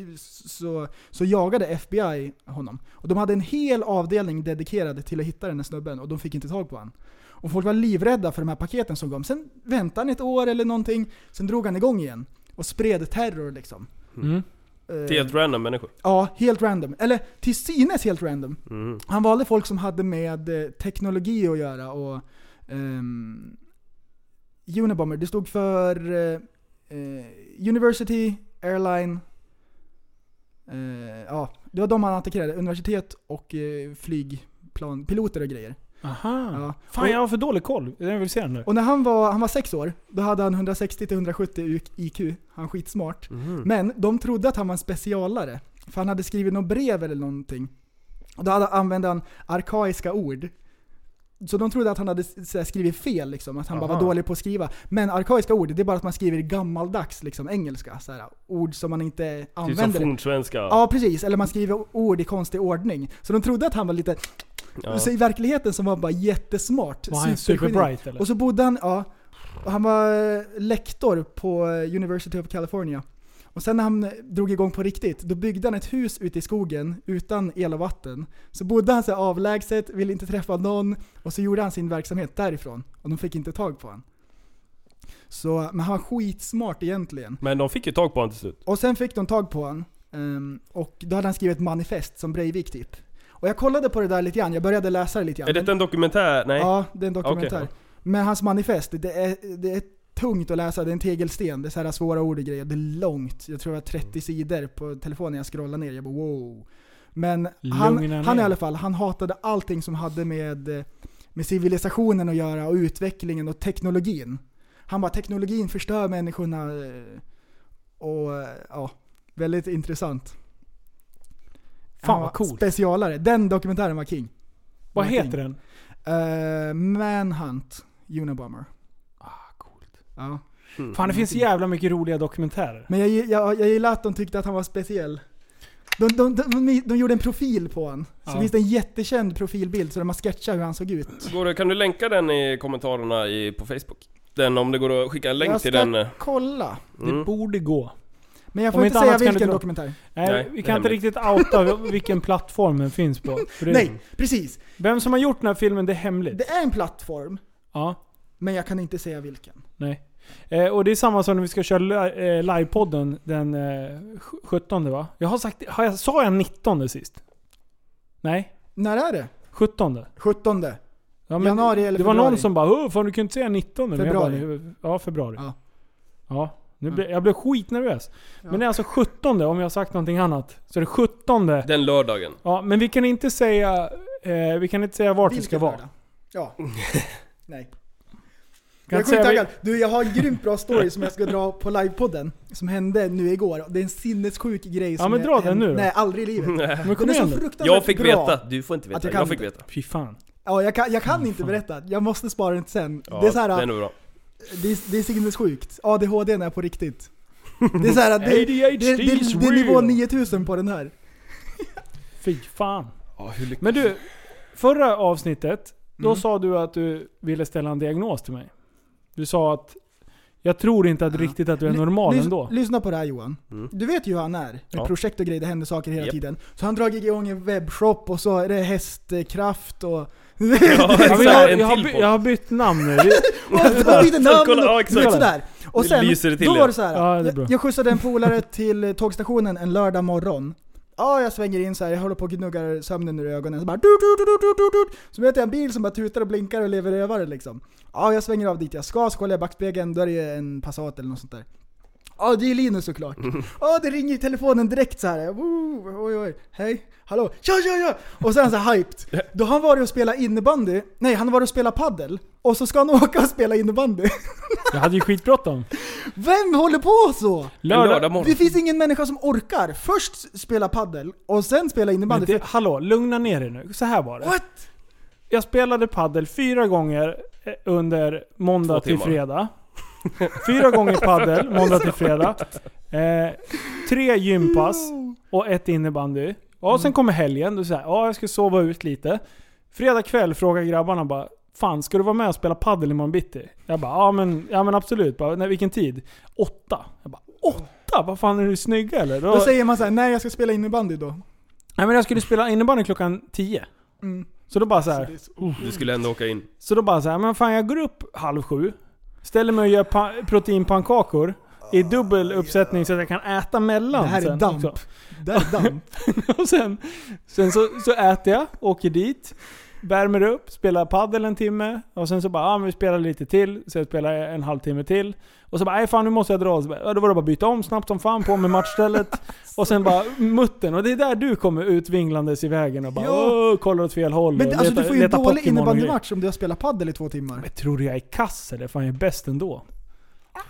så, så jagade FBI honom. Och de hade en hel avdelning dedikerad till att hitta den här snubben och de fick inte tag på honom. Och folk var livrädda för de här paketen som kom. Sen väntade han ett år eller någonting, sen drog han igång igen. Och spred terror liksom. Mm. Eh, Till helt random människor. Ja, helt random. Eller till synes helt random. Mm. Han valde folk som hade med eh, teknologi att göra och... Um, Unabomber, det stod för eh, eh, University, Airline... eh, ja, det var de han attackerade. Universitet och eh, flygplan, piloter och grejer. Aha. Ja. Mm. Fan jag har för dålig koll. Jag vill se den nu. Och när han var, han var sex år, då hade han 160-170 IQ. Han är skitsmart. Men de trodde att han var en specialare. För han hade skrivit något brev eller någonting. Och då hade, använde han arkaiska ord. Så de trodde att han hade s- så här skrivit fel, liksom, att han bara var Aha. dålig på att skriva. Men arkaiska ord, det är bara att man skriver gammaldags liksom, engelska. Så här, ord som man inte Typ som använder. fornsvenska. ja, precis. Eller man skriver ord i konstig ordning. Så de trodde att han var lite... Ja. Så i verkligheten så var han bara jättesmart. Var han super supergeni. bright eller? Och så bodde han, ja. Och han var eh, lektor på eh, University of California. Och sen när han eh, drog igång på riktigt, då byggde han ett hus ute i skogen utan el och vatten. Så bodde han så här avlägset, ville inte träffa någon och så gjorde han sin verksamhet därifrån. Och de fick inte tag på honom. Så, men han var skitsmart egentligen. Men de fick ju tag på honom till slut. Och sen fick de tag på honom. ehm, och då hade han skrivit ett manifest som Breivik typ. Och jag kollade på det där lite grann, jag började läsa det lite grann. Är detta en dokumentär? Nej. Ja, det är en dokumentär. Okej, Men hans manifest, det är, det är tungt att läsa. Det är en tegelsten. Det är så här svåra ord och grejer. Det är långt. Jag tror det var Mm. 30 sidor på telefonen. Jag scrollade ner. Jag bara wow. Men han, Lugna han i ner. alla fall, han hatade allting som hade med, med civilisationen att göra och utvecklingen och teknologin. Han bara teknologin förstör människorna. eh, Och eh, ja, väldigt intressant. Fan Han vad var coolt. Specialare. Den dokumentären var king. Vad var king. heter den? Eh, Manhunt, Unabomber. Ah, coolt. Ja. Fan det finns så jävla mycket roliga dokumentärer. Men jag, jag, jag gillar att de tyckte att han var speciell. De, de, de, de, de gjorde en profil på honom. Så Ja. finns det en jättekänd profilbild så de har sketchat hur han såg ut. Går det, kan du länka den i kommentarerna i, på Facebook? Den om det går att skicka en länk jag till ska den. eh, kolla. Det borde gå. Men jag Om får inte inte säga annat kan vilken du dra- dokumentär. Nej, Nej, vi det är kan inte riktigt outa vilken plattform den finns <laughs> på. För det- Nej, precis. Vem som har gjort den här filmen, det är hemligt. Det är en plattform, Ja, men jag kan inte säga vilken. nej. Eh, och det är samma som när vi ska köra li- eh, livepodden den eh, sj- 17 va? Jag har sagt, har jag, sa jag 19 sist? Nej, När är det? 17. 17. Ja, Januari eller Det var februari? någon som bara "Åh, fan du kunde inte säga 19 Men jag Februari. Bara, ja, februari. Ja. Ja. nu ble, jag blev skitnervös. Ja. Men det är alltså 17 om jag har sagt någonting annat. Så det är 17 Den lördagen. Ja, men vi kan inte säga Eh, vi kan inte säga vart vi ska Vilken vara. lördag? <laughs> Ja. Nej. Kan Jag är inte säga sjukt vi- taggad. Du, jag har en grymt bra story som jag ska dra på livepodden. Som hände nu igår. Det är en sinnessjuk grej som men jag- dra den hände- nu då. Nej, aldrig i livet. Men Den kom är så igen nu. fruktansvärt Jag fick bra. veta, du får inte Att veta. jag kan Jag fick inte. veta. Fy fan. Ja, jag kan, jag kan inte berätta. Jag måste spara den till sen. Ja, det är så här, det är nog bra. det är, det är sinnessjukt. ADHD är på riktigt. Det är så här, det, det, ADHD det, det, is det är nivå real. 9000 på den här. Fy fan. Men du, förra avsnittet, då Mm. sa du att du ville ställa en diagnos till mig. Du sa att jag tror inte att Ja. riktigt att du är Ly- normal lys- ändå. Lyssna på det här Johan. Mm. Du vet ju hur han är. Med Ja. projekt och grejer, det händer saker hela Japp. tiden. Så han har dragit igång en webbshop och så är det hästkraft och... <laughs> Ja, Ja, exakt, men jag, en jag, har till by, podd. jag har bytt namn nu. Det- <laughs> Och man byter Så kolla, namn ja, och du vet exakt. sådär. Och Det sen, lyser det till då det. var det såhär. Ja, det är bra. jag, jag skjutsade en polare till eh, tågstationen en lördag morgon. Ja, jag svänger in så här. jag håller på och gnuggar sömnen ur ögonen. Så bara... Du, du, du, du, du, du, du. Så möter jag en bil som bara tutar och blinkar och lever rövare liksom. Ja, jag svänger av dit jag ska, så kollar jag i backspegeln, då är det ju en Passat eller något sånt där. Ja, det är Linus såklart. Ja, det ringer i telefonen direkt så här. Woo, Oj, oj, hej, hallå, ja, ja, ja! Och sen så här hyped. Då har han varit och spelat innebandy, nej han har varit och spelat paddel. Och så ska han åka och spela innebandy. <laughs> Jag hade ju skitbråttom. Vem håller på så? En Lördag... lördag morgon. Det finns ingen människa som orkar först spela paddel och sen spela Men innebandy. det, hallå, lugna ner dig nu. Så här var det. What? Jag spelade paddel fyra gånger eh, under måndag Två till timmar. fredag. Fyra gånger <laughs> paddel, måndag till fredag. Eh, tre gympass och ett innebandy. Och sen kommer helgen, då säger jag ja jag ska sova ut lite. Fredag kväll frågar grabbarna bara Fan, ska du vara med och spela paddel imorgon bitti? Jag bara, ja men, ja, men absolut. Bara, Nej, vilken tid? Åtta. Jag bara, åtta? Vad fan, är du snygga eller? Då, Då säger man så här: nej jag ska spela innebandy då. Nej men jag skulle spela innebandy klockan tio. Mm. Så då bara så här. Du skulle ändå åka in. Så då bara så här, men fan jag går upp halv sju, ställer mig och gör pa- proteinpannkakor i dubbel uppsättning så att jag kan äta mellan. Ah, Det här är sen damp. också. Där <laughs> damp. <laughs> Och sen sen så, så äter jag, åker dit, värmer upp, spelar paddel en timme. Och sen så bara, ja men vi spelar lite till. Så jag spelar en halvtimme till. Och så bara, nej fan nu måste jag dra. Så bara, ja, då var det bara att byta om snabbt som fan, på med <laughs> matchstället. och sen bara muttern. Och det är där du kommer ut vinglandes i vägen och bara, Ja. åh, kollar åt fel håll. Men och alltså du letar- får ju en letar dålig Pokémon och grejer. innebandymatch om du har spelat paddel i två timmar. Men tror du jag är kass eller? Fan jag är bäst ändå.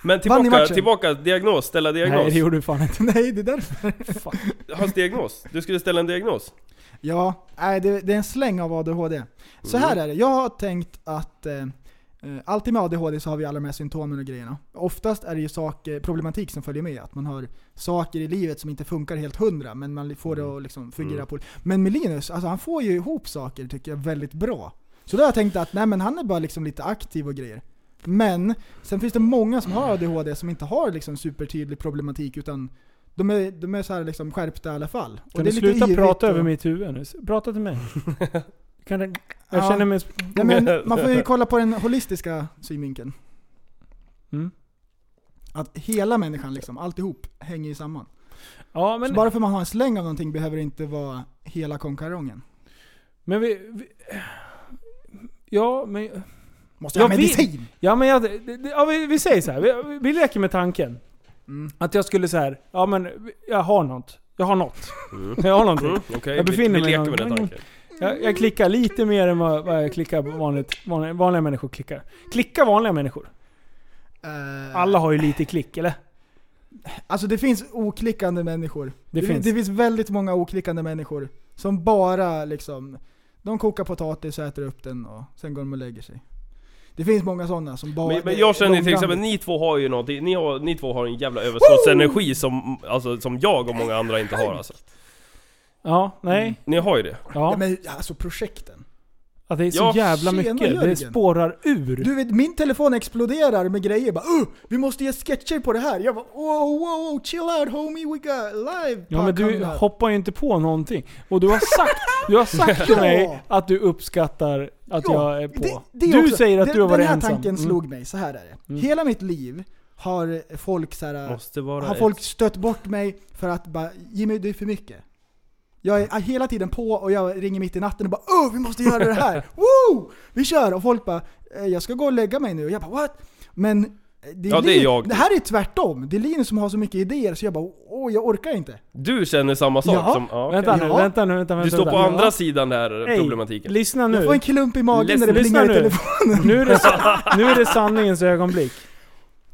Men Vann ni tillbaka, matchen? tillbaka, diagnos, ställa Nej diagnos. det gjorde du <laughs> fan inte. <laughs> Nej, det är därför. Fuck. Hans diagnos. Du skulle ställa en diagnos. Ja, nej, det, det är en släng av ADHD. Så Mm. här är det, jag har tänkt att eh, eh, alltid med ADHD så har vi alla de här symptomen och grejerna. Oftast är det ju saker, problematik som följer med. Att man har saker i livet som inte funkar helt hundra, men man får Mm. det att liksom fungera på. Men med Linus, alltså han får ju ihop saker tycker jag väldigt bra. Så då har jag tänkt att nej men han är bara liksom lite aktiv och grejer. Men sen finns det många som har ADHD som inte har liksom supertydlig problematik utan de är, de är så här liksom skärpta i alla fall. Och Kan det du är lite sluta yvigt prata och- över mitt huvud nu? S- Prata till <laughs> mig. Kan det, jag Ja. känner mig... Ja, men man <laughs> får ju kolla på den holistiska synvinkeln. Mm. Att hela människan, liksom, alltihop, hänger ju samman. Ja, Så men, bara för man har en släng av någonting behöver det inte vara hela konkarongen. men vi, vi... Ja, men... Måste jag ha Jag vet- medicin? Ja, men jag, det- det- ja, vi, vi säger så här. Vi, vi leker med tanken. Mm. Att jag skulle så här, ja men jag har något. Jag har något. Jag har någonting. Mm. Mm. Okej, Jag befinner mig vi, vi leker någon- med den tanken. Jag, jag klickar lite mer än vad, vad jag klickar på vanligt, vanliga, vanliga människor klickar. Klicka vanliga människor. Eh, Alla har ju lite klick, eller? Alltså det finns oklickande människor. Det det, finns. det finns väldigt många oklickande människor. Som bara liksom, de kokar potatis och äter upp den och sen går de och lägger sig. Det finns många sådana som bara... Men, men det- jag känner ju till långrandigt. exempel, ni två har ju någonting, ni, har, ni två har en jävla överskottsenergi som, alltså, som jag och många andra inte har alltså. Ja, nej. Ni har ju det. Mm. Ja, Ja. men alltså projekten. Att det är så Ja, jävla tjena, mycket. Jörgen. Det spårar ur. Du vet, min telefon exploderar med grejer bara uh, Vi måste göra sketcher på det här! Jag bara wow, wow, wow, chill out homie, we got live! Ja men du podcast." hoppar ju inte på någonting. Och du har sagt, du har sagt till <laughs> Ja. mig att du uppskattar att Ja, jag är på. det- det är du också- säger att den- du har varit Den här ensam. tanken Mm. slog mig, så här är det. Hela mitt liv har folk så här, Måste vara har folk stött bort mig för att bara Jimmy det är för mycket. Jag är hela tiden på och jag ringer mitt i natten och bara oh, vi måste göra <laughs> det här! Woo! Vi kör! Och folk bara eh, jag ska gå och lägga mig nu. Och jag bara what? Men Det Ja, det är Lin- jag. Det här är tvärtom. Det är Linus som har så mycket idéer så jag bara åh, jag orkar inte. Du känner samma sak Ja. som... Ja, okej. Vänta nu, Ja. vänta nu, vänta, vänta. Du står på vänta. andra sidan den här Ey, problematiken. Lyssna Jag får en nu. klump i magen när det Lyssna plingar i nu. telefonen. Nu är, det, <laughs> sa- nu är det sanningens ögonblick.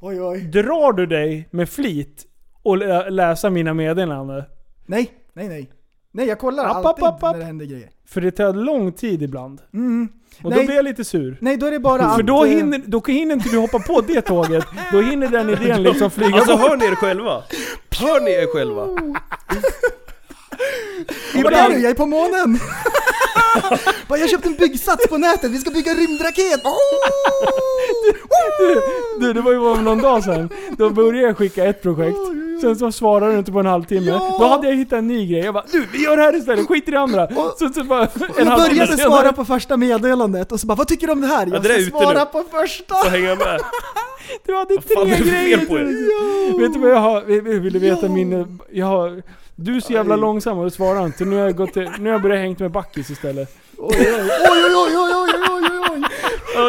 Oj, oj. Drar du dig med flit och lä- läsa mina meddelanden? Nej, nej, nej. Nej, jag kollar App, alltid app, app, app. när det händer grejer. För det tar lång tid ibland. Mm. Och då Nej. blir jag lite sur. Nej, då är det bara <laughs> För att, då eh, hinner, då hinner inte du hoppa på det tåget. Då hinner den <laughs> idén liksom flyga Alltså bort. hör ni er själva? Hör ni <laughs> er själva? Vart är du? Jag är <laughs> på månen! bara, jag köpte en byggsats på nätet, vi ska bygga en rymdraket! Oh! Du, du, det var ju bara någon dag sedan. Då började jag skicka ett projekt. Sen så svarade du inte på en halvtimme. Ja. Då hade jag hittat en ny grej. Jag bara du, vi gör det här istället. Skit i det andra. Så, så bara, Jag en halvtimme började senare. svara på första meddelandet och så bara vad tycker du om det här? Jag det där ska är ute svara nu. på första! Så hänger jag med. Du hade Vad fan tre är det för fel grejer. på er? du. Vet du vad jag har? vill- Vill du veta Ja. min... Jag har, du är så jävla långsam och du svarar inte. Nu har jag, gått till, nu har jag börjat hängt med Backis istället. Oj oj oj oj oj oj oj oj oj! Åh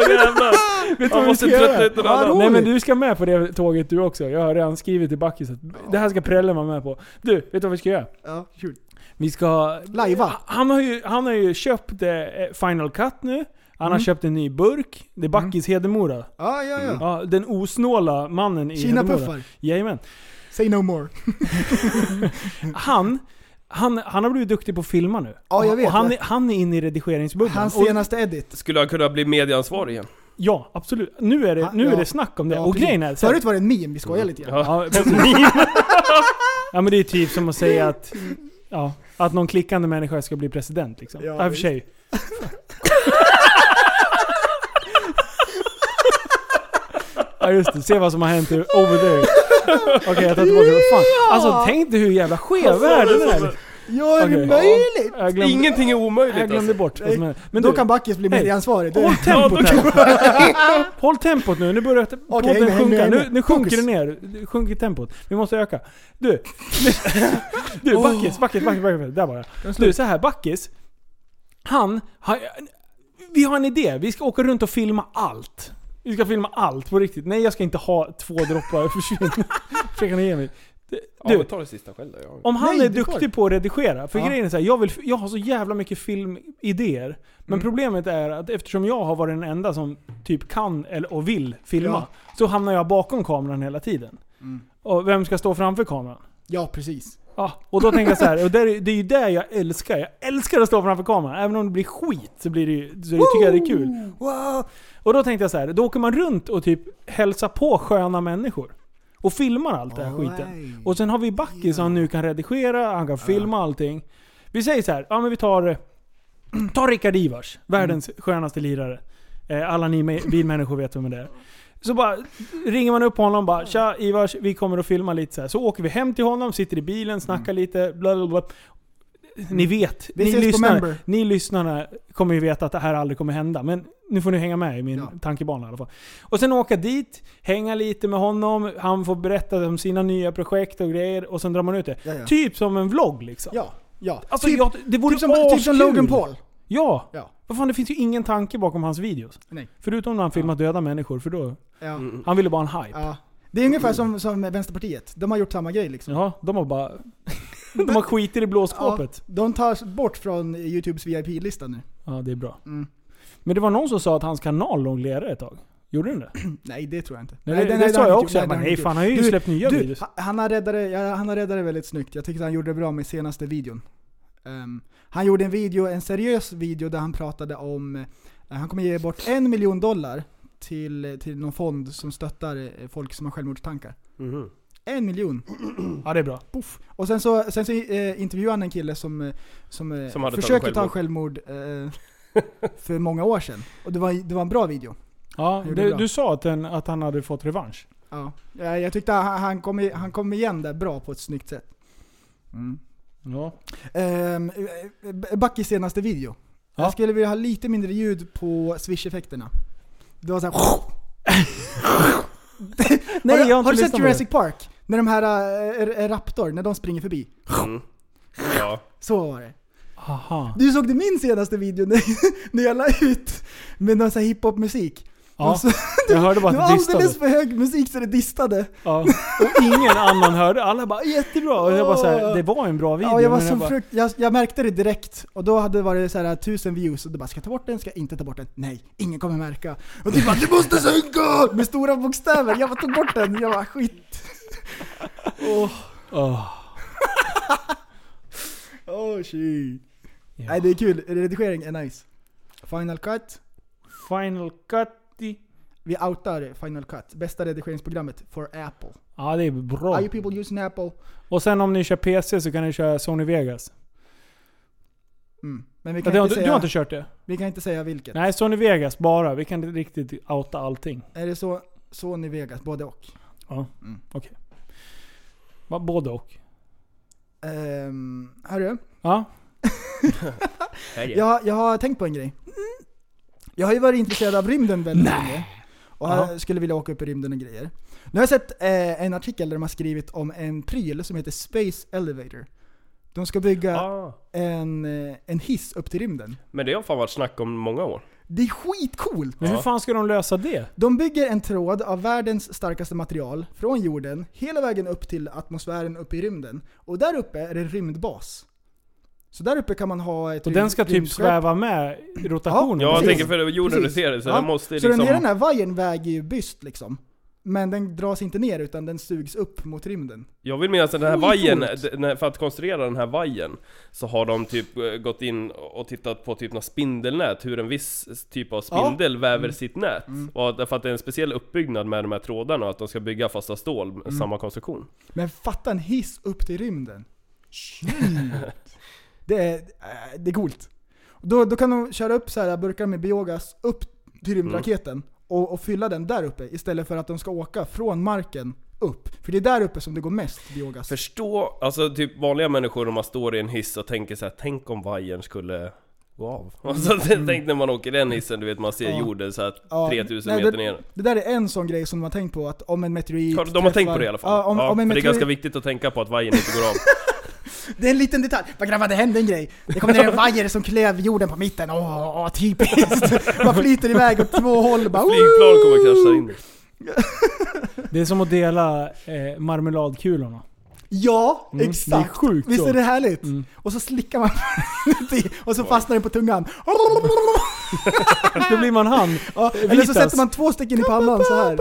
Vet jävlar. du Man vad vi måste ska göra? trötta ut någon Ja, annan. roligt. Nej men du ska med på det tåget du också. Jag har redan skrivit till Backis att det här ska prällen vara med på. Du, vet du vad vi ska göra? Ja, kul. Vi ska... Lajva. Han har ju, han har ju köpt eh, Final Cut nu. Han har Mm. köpt en ny burk. Det är Backis Hedemora. Ja, ja, ja. Ja, den osnåla mannen i Kina Hedemora. puffar. Jajamän. Say no more. Han, han, han har blivit duktig på att filma nu. Ja, jag vet. Och han, är- Jag- han är inne i redigeringsbubblan. Hans Och- senaste edit. Skulle jag kunna bli medieansvarig igen? Ja, absolut. Nu är det, Ja, nu är ja. det snack om det. Ja, och precis. grejen är... så här- Förut var det en meme, vi skojar lite grann. Ja. Ja, precis. <laughs> ja men det är typ som att säga att, ja, att någon klickande människa ska bli president liksom. Ja, Ja, i och för visst. sig. Ja just det, se vad som har hänt over there. Okej jag tar tillbaka det. Fan. Alltså tänk dig hur jävla skev världen är. Ja, Alltså, är det Okej. möjligt? Jag glömde, Ingenting är omöjligt jag alltså. glömde bort vad som hände. Men Då du, kan Backis bli Hej. medieansvarig. Du, håll tempot här. Håll tempot nu, nu börjar te- podden men häng sjunka. med, Nu, häng nu med. sjunker det Fokus. ner. Det Sjunker tempot. Vi måste öka. Du, du Backis, Backis, Backis, Backis. Där var jag. Du, så här Backis. Han, har, vi har en idé. Vi ska åka runt och filma allt. Vi ska filma allt på riktigt. Nej jag ska inte ha två droppar. <laughs> Försvinn. Försöker ni ge mig? Ja, Du. men ta det sista själv då. Ja. Om han Nej, är det är kvar. duktig på att redigera, för Ja. grejen är så här, jag, vill, jag har så jävla mycket filmidéer. Men Mm. problemet är att eftersom jag har varit den enda som typ kan eller, och vill filma, så hamnar jag bakom kameran hela tiden. Mm. Och vem ska stå framför kameran? <laughs> ja, precis. Ja, och då tänker jag så här, och det är, det är ju det jag älskar. Jag älskar att stå framför kameran. Även om det blir skit så, blir det, ju- så tycker jag det är kul. Wow. Och då tänkte jag så här, då åker man runt och typ hälsar på sköna människor. Och filmar allt det här skiten. Alright. Och sen har vi Backi som nu kan redigera, han kan filma allting. Vi säger så här, ja men vi tar, <clears throat> eh, tar Rickard Ivars, världens Mm. skönaste lirare. Eh, Alla ni med- bilmänniskor vet vem det är. Så bara ringer man upp honom och bara “Tja Ivars, vi kommer att filma lite” så, här. så åker vi hem till honom, sitter i bilen, snackar Mm. lite, bla bla bla. Ni vet, Vi ni ses på lyssnare, Member. ni lyssnarna kommer ju veta att det här aldrig kommer hända. Men nu får ni hänga med i min Ja. tankebana i alla fall. Och sen åka dit, hänga lite med honom, han får berätta om sina nya projekt och grejer och sen drar man ut det. Ja, ja. Typ som en vlogg liksom. Ja, ja. Alltså, typ, jag, det vore typ, som, typ som askul. Logan Paul. Ja. Ja. Vad fan, det finns ju ingen tanke bakom hans videos. Nej. Förutom när han filmar döda människor, för då... Ja. Han ville bara ha en hype. Ja. Det är ungefär som, som Vänsterpartiet. De har gjort samma grej liksom. Ja, de har bara... <laughs> de har skiter i blåskåpet. de tas bort från Youtubes VIP-lista nu. Ja, det är bra. Mm. Men det var någon som sa att hans kanal låg nere ett tag. Gjorde den det? Nej, det tror jag inte. Nej, det, det, har sa han jag inte också. gjort. Jag bara, det har nej inte fan, han har ju gjort. släppt nya Du, videos. ha- han har räddat det- ja, han har räddat det väldigt snyggt. Jag tyckte han gjorde det bra med senaste videon. Ehm, han gjorde en video, en seriös video där han pratade om, eh, han kommer ge bort en miljon dollar till, till någon fond som stöttar eh, folk som har självmordstankar. Mhm. En miljon! Ja, det är bra. Och sen så, sen så eh, intervjuade han en kille som, eh, som, eh, Som hade försökte tagit ta självmord eh, <laughs> för många år sedan. Och det var, det var en bra video. Ja, gjorde det, bra. du sa att, den, att han hade fått revansch. Ja. Eh, Jag tyckte han, han, kom, i- han kom igen där bra på ett snyggt sätt. Ja. Ehm, eh, Backis senaste video. Ja. Jag skulle vilja ha lite mindre ljud på swish-effekterna. Det var såhär... Nej, har du, jag har inte har du lyssnat sett på Jurassic Park? När de här äh, Raptor, när de springer förbi. Mm. Ja. Så var det. Aha. <laughs> Du såg det min senaste video när, när jag la ut med någon sån här hiphop-musik. Ja, Och så- <laughs> jag hörde bara Det var att det distade. alldeles för hög musik så det distade. Ja. Och ingen annan hörde. Alla bara 'Jättebra' och jag bara såhär, det var en bra video. Ja, jag, var men så bara, frukt, jag, jag märkte det direkt och då hade det varit så här, tusen views och du bara ska jag ta bort den, ska jag inte ta bort den? Nej, ingen kommer märka. Och du bara du måste sänka! Med stora bokstäver. Jag bara tog bort den, jag bara skit. Åh, "Åh, oh, shit. ja. Nej det är kul, redigering är nice. Final Cut, Final Cut. vi outar Final Cut. Bästa redigeringsprogrammet for Apple. Ja, det är bra. Are you people using Apple? Och sen om ni kör PC så kan ni köra Sony Vegas. Mm. Men vi Ja, kan, det har, du, inte säga, du har inte kört det? vi kan inte säga vilket. Nej, Sony Vegas bara. Vi kan inte riktigt outa allting. Är det så Sony Vegas, både och? Ja, Mm. okej. Va, Både och. Um, hörru, Ja, jag, jag har tänkt på en grej. Mm. Jag har ju varit intresserad av rymden väldigt länge. Och Ja. jag skulle vilja åka upp i rymden och grejer. Nu har jag sett eh, en artikel där de har skrivit om en pryl som heter Space Elevator. De ska bygga Ah. en, eh, en hiss upp till rymden. Men det har fan varit snack om många år. Det är skitcoolt! men hur fan ska de lösa det? De bygger en tråd av världens starkaste material från jorden hela vägen upp till atmosfären uppe i rymden. Och där uppe är det en rymdbas. Så där uppe kan man ha ett Och den ska rymd- typ rymdskepp. sväva med i rotationen? Ja, jag Precis. tänker för det var jorden Precis. ser det, så Ja, den måste Så liksom... den, hela den här vajern väger ju byst liksom. Men den dras inte ner utan den sugs upp mot rymden. Jag vill minnas att den här Coolt. vajern, d- när- för att konstruera den här vajern Så har de typ eh, gått in och tittat på typ något spindelnät Hur en viss typ av spindel Mm. väver sitt nät och att- För att det är en speciell uppbyggnad med de här trådarna Att de ska bygga fasta stål, med Mm. samma konstruktion Men fatta en hiss upp till rymden. det, är, äh, det är coolt. Då, då kan de köra upp så här burkar med biogas upp till rymdraketen Mm. och, och fylla den där uppe istället för att de ska åka från marken upp. För det är där uppe som det går mest biogas. Förstå, alltså typ vanliga människor om man står i en hiss och tänker så här: Tänk om vajern skulle gå av <laughs> alltså, Tänk när man åker i den hissen, du vet man ser Mm. Ja. jorden så här Ja, 3000 nej, meter det- ner Det där är en sån grej som de har tänkt på, att om en meteorit de har tänkt på träffar- det i alla fall. Ja, om, ja, om en för det är meteorit ganska viktigt att tänka på att vajern inte <laughs> går av. Det är en liten detalj. Vad grabbar, det hände en grej. Det kom <laughs> ner en vajer som klev jorden på mitten. Åh, åh, typiskt. Man flyter iväg åt två håll. Bara, Flygplan kommer krascha in. Det är som att dela eh, marmeladkulorna. Ja, Mm, exakt. det är sjukt Visst är det dock. härligt? Mm. Och så slickar man <laughs> inuti, och så fastnar den <laughs> på tungan. Då blir man <laughs> han. Ja, Eller så Vitas. sätter man två stycken i pannan så här.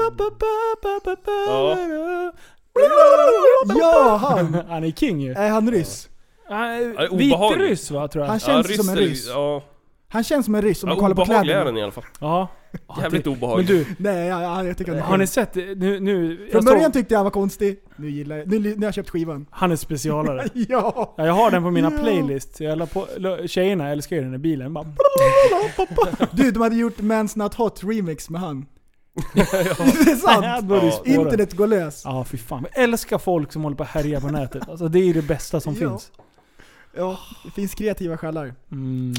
Ja, han! <laughs> Han är king ju. Är han ryss? Äh, obehaglig. Vitryss va, tror jag. Han känns ryss som en eller- ryss. Ja, Han känns som en ryss om ja man kollar på obehaglig är kläderna. den i alla fall. Ja. Jävligt det- obehaglig. Men du, Nej, ja, ja, jag tycker han är har ni sett? det? Nu, nu, jag Från såg- början tyckte jag han var konstig. Nu gillar jag, nu, nu har jag köpt skivan. han är specialare. <laughs> Ja! Ja, jag har den på mina Ja. playlists. Jag la på, la- tjejerna älskar ju den i bilen. Bara, Du, de hade gjort Man's Not Hot remix <laughs> med han. Det är sant! Då är det ju Ja. spåren. Internet går lös. Ja, fy fan. Jag älskar folk som håller på att härja på nätet. Alltså, det är ju det bästa som Ja. finns. Ja, det finns kreativa skallar. Mm.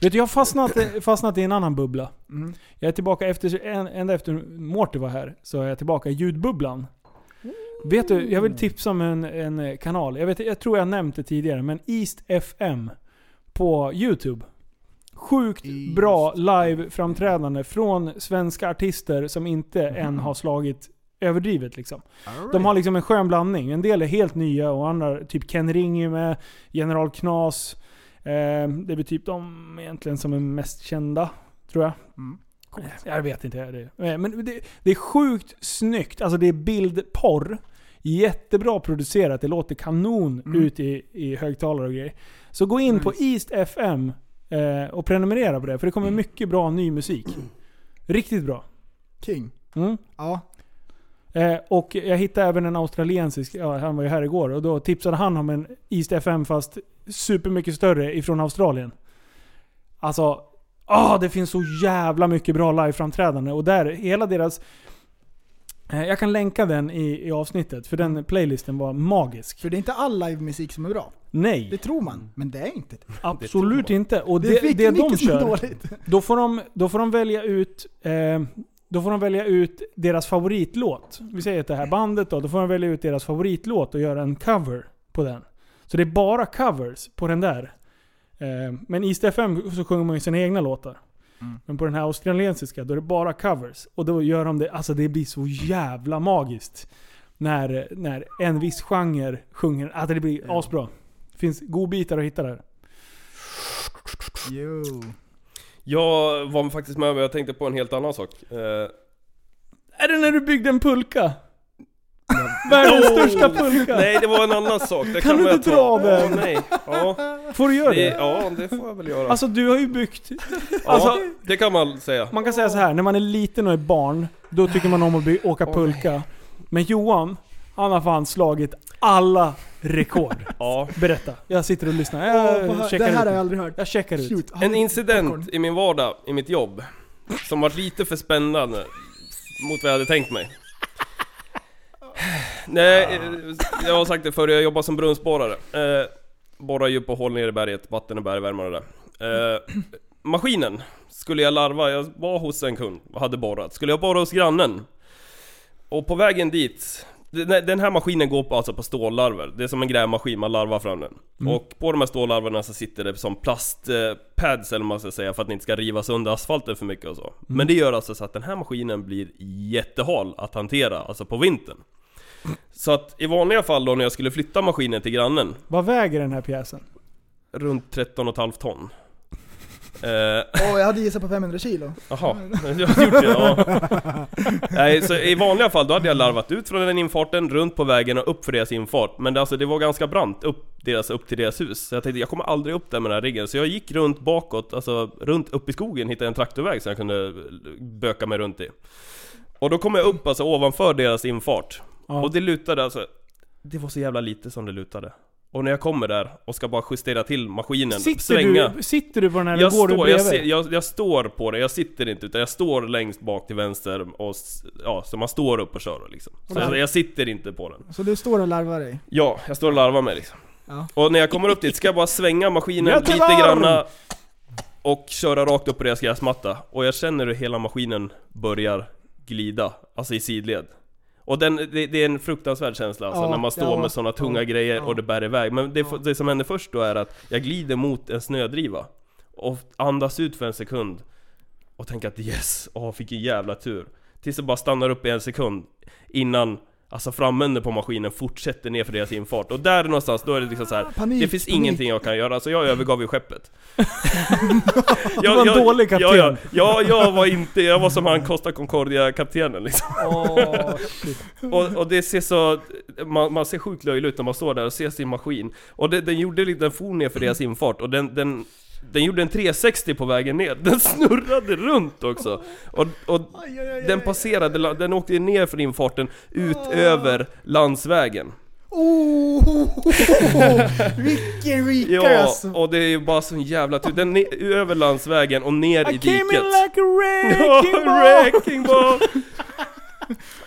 Vet du, jag har fastnat, fastnat i en annan bubbla. Mm. Jag är tillbaka efter, en- ända efter Mårty var här, så är jag tillbaka i ljudbubblan. Vet du, jag vill tipsa om en, en eh, kanal. Jag, vet, jag tror jag har nämnt det tidigare, men East FM på YouTube. Sjukt East. bra live-framträdande från svenska artister som inte än har slagit överdrivet liksom. De har liksom en skön blandning. En del är helt nya och andra, typ Ken Ring är med, General Knas. Eh, det är typ de egentligen som är mest kända, tror jag. Eh, Mm. Jag vet inte. Det är. Men det, det är sjukt snyggt. Alltså det är bildporr. Jättebra producerat. Det låter kanon Mm. ut i, i högtalare och grejer. Så gå in på Nice. Mm. East FM eh, och prenumerera på det. För det kommer mycket bra ny musik. Riktigt bra. King. Mm. Ja. Eh, och jag hittade även en australiensisk, ja, han var ju här igår, och då tipsade han om en East FM fast supermycket större ifrån Australien. Alltså, ah, det finns så jävla mycket bra liveframträdande och där, hela deras... Eh, jag kan länka den i, i avsnittet, för Mm. den playlisten var magisk. För det är inte all livemusik som är bra. Det Nej, tror man, men det är inte det. absolut inte. Och Det, det, det, fick de mycket som är kör, dåligt. då får de, då får de välja ut... Eh, då får de välja ut deras favoritlåt. Vi säger att det här bandet då, då får de välja ut deras favoritlåt och göra en cover på den. Så det är bara covers på den där. Eh, men i East FM så sjunger man ju sina egna låtar. Men på den här australiensiska, då är det bara covers. Och då gör de det, alltså det blir så jävla magiskt. När, när en viss genre sjunger, att det blir asbra. Finns godbitar att hitta där. Jo. Jag var faktiskt med men jag tänkte på en helt annan sak. Eh, Är det när du byggde en <laughs> pulka? Världens Oh! största pulka! nej, det var en annan sak. <laughs> Det Kan kan, du jag inte ta. dra den? Ja, nej. Ja, Får du göra det, det? ja, det får jag väl göra. Alltså du har ju byggt... ja, alltså- det kan man säga. Man kan säga så här, när man är liten och är barn, då tycker man om att by- åka pulka. Men Johan, han har fan slagit alla rekord. Ja. Berätta. Jag sitter och lyssnar. Åh, Jag vad hö- det checkar här har ut. jag aldrig hört. Jag checkar ut. Shoot. Har En du- incident popcorn? i min vardag, i mitt jobb, som var lite för spännande mot vad jag hade tänkt mig. <sighs> Nej, eh, jag har sagt det förr, jag jobbar som brunnsborrare. Eh, borrar djup och hål nere i berget, vatten och bergvärme och det där. Eh, maskinen skulle jag larva, jag var hos en kund och hade borrat. Skulle jag borra hos grannen? Och på vägen dit, den den här maskinen går på, alltså på stållarver. Det är som en grävmaskin, man larvar fram den. Och på de här stållarverna så sitter det som plastpads eller vad man ska säga för att det inte ska rivas under asfalten för mycket och så. Men det gör alltså så att den här maskinen blir jättehal att hantera, alltså på vintern. Så att i vanliga fall då när jag skulle flytta maskinen till grannen, Vad väger den här pjäsen? runt 13,5 ton. Eh, Åh, jag hade gissat på 500 kilo. Jaha, <laughs> jag har gjort det, ja. Nej, så i vanliga fall då hade jag larvat ut från den infarten, runt på vägen och upp för deras infart. Men det, alltså, det var ganska brant upp, deras, upp till deras hus. Så jag tänkte, jag kommer aldrig upp där med den här riggen. Så jag gick runt bakåt, alltså runt upp i skogen, hittade en traktorväg som jag kunde böka mig runt i. Och då kom jag upp alltså ovanför deras infart. Ja. Och det lutade alltså, det var så jävla lite som det lutade. Och när jag kommer där och ska bara justera till maskinen, Sitter svänga du, sitter du på den här eller jag går du står, jag, ser, bredvid? jag, jag står på det, jag sitter inte utan jag står längst bak till vänster och s- ja, så man står upp och kör då, liksom. Så där- jag, jag sitter inte på den. Så du står och larvar dig? Ja, jag står och larvar mig liksom. Ja. Och när jag kommer upp dit ska jag bara svänga maskinen Jag tar lite varm! granna och köra rakt upp på deras gräsmatta. Och jag känner hur hela maskinen börjar glida, alltså i sidled. Och den, det, det är en fruktansvärd känsla alltså, Ja, när man står ja, med sådana tunga ja, grejer ja. och det bär iväg. Men det, det som händer först då är att jag glider mot en snödriva och andas ut för en sekund och tänker att yes, åh fick en jävla tur. Tills jag bara stannar upp i en sekund innan Alltså framänden på maskinen fortsätter ner för deras infart och där någonstans då är det liksom så här. Panik, det finns panik. ingenting jag kan göra så jag övergav <laughs> ju skeppet. jag, var en dålig kapten. Ja, ja, jag var inte, jag var som han Costa Concordia-kaptenen liksom. Åh, shit. Och, och det ser så, man, man ser sjukt löjlig ut när man står där och ser sin maskin. Och det, den gjorde, lite- den for ner för deras infart och den, den, den gjorde en 360 på vägen ner. Den snurrade runt också. Och, och den passerade, la- den åkte ner för infarten ut över landsvägen. Oh, <laughs> vilken rikare Ja, alltså! och det är ju bara sån jävla tur. Den är över landsvägen och ner i I diket. came in <laughs> like a wrecking Ja, ball! wrecking ball!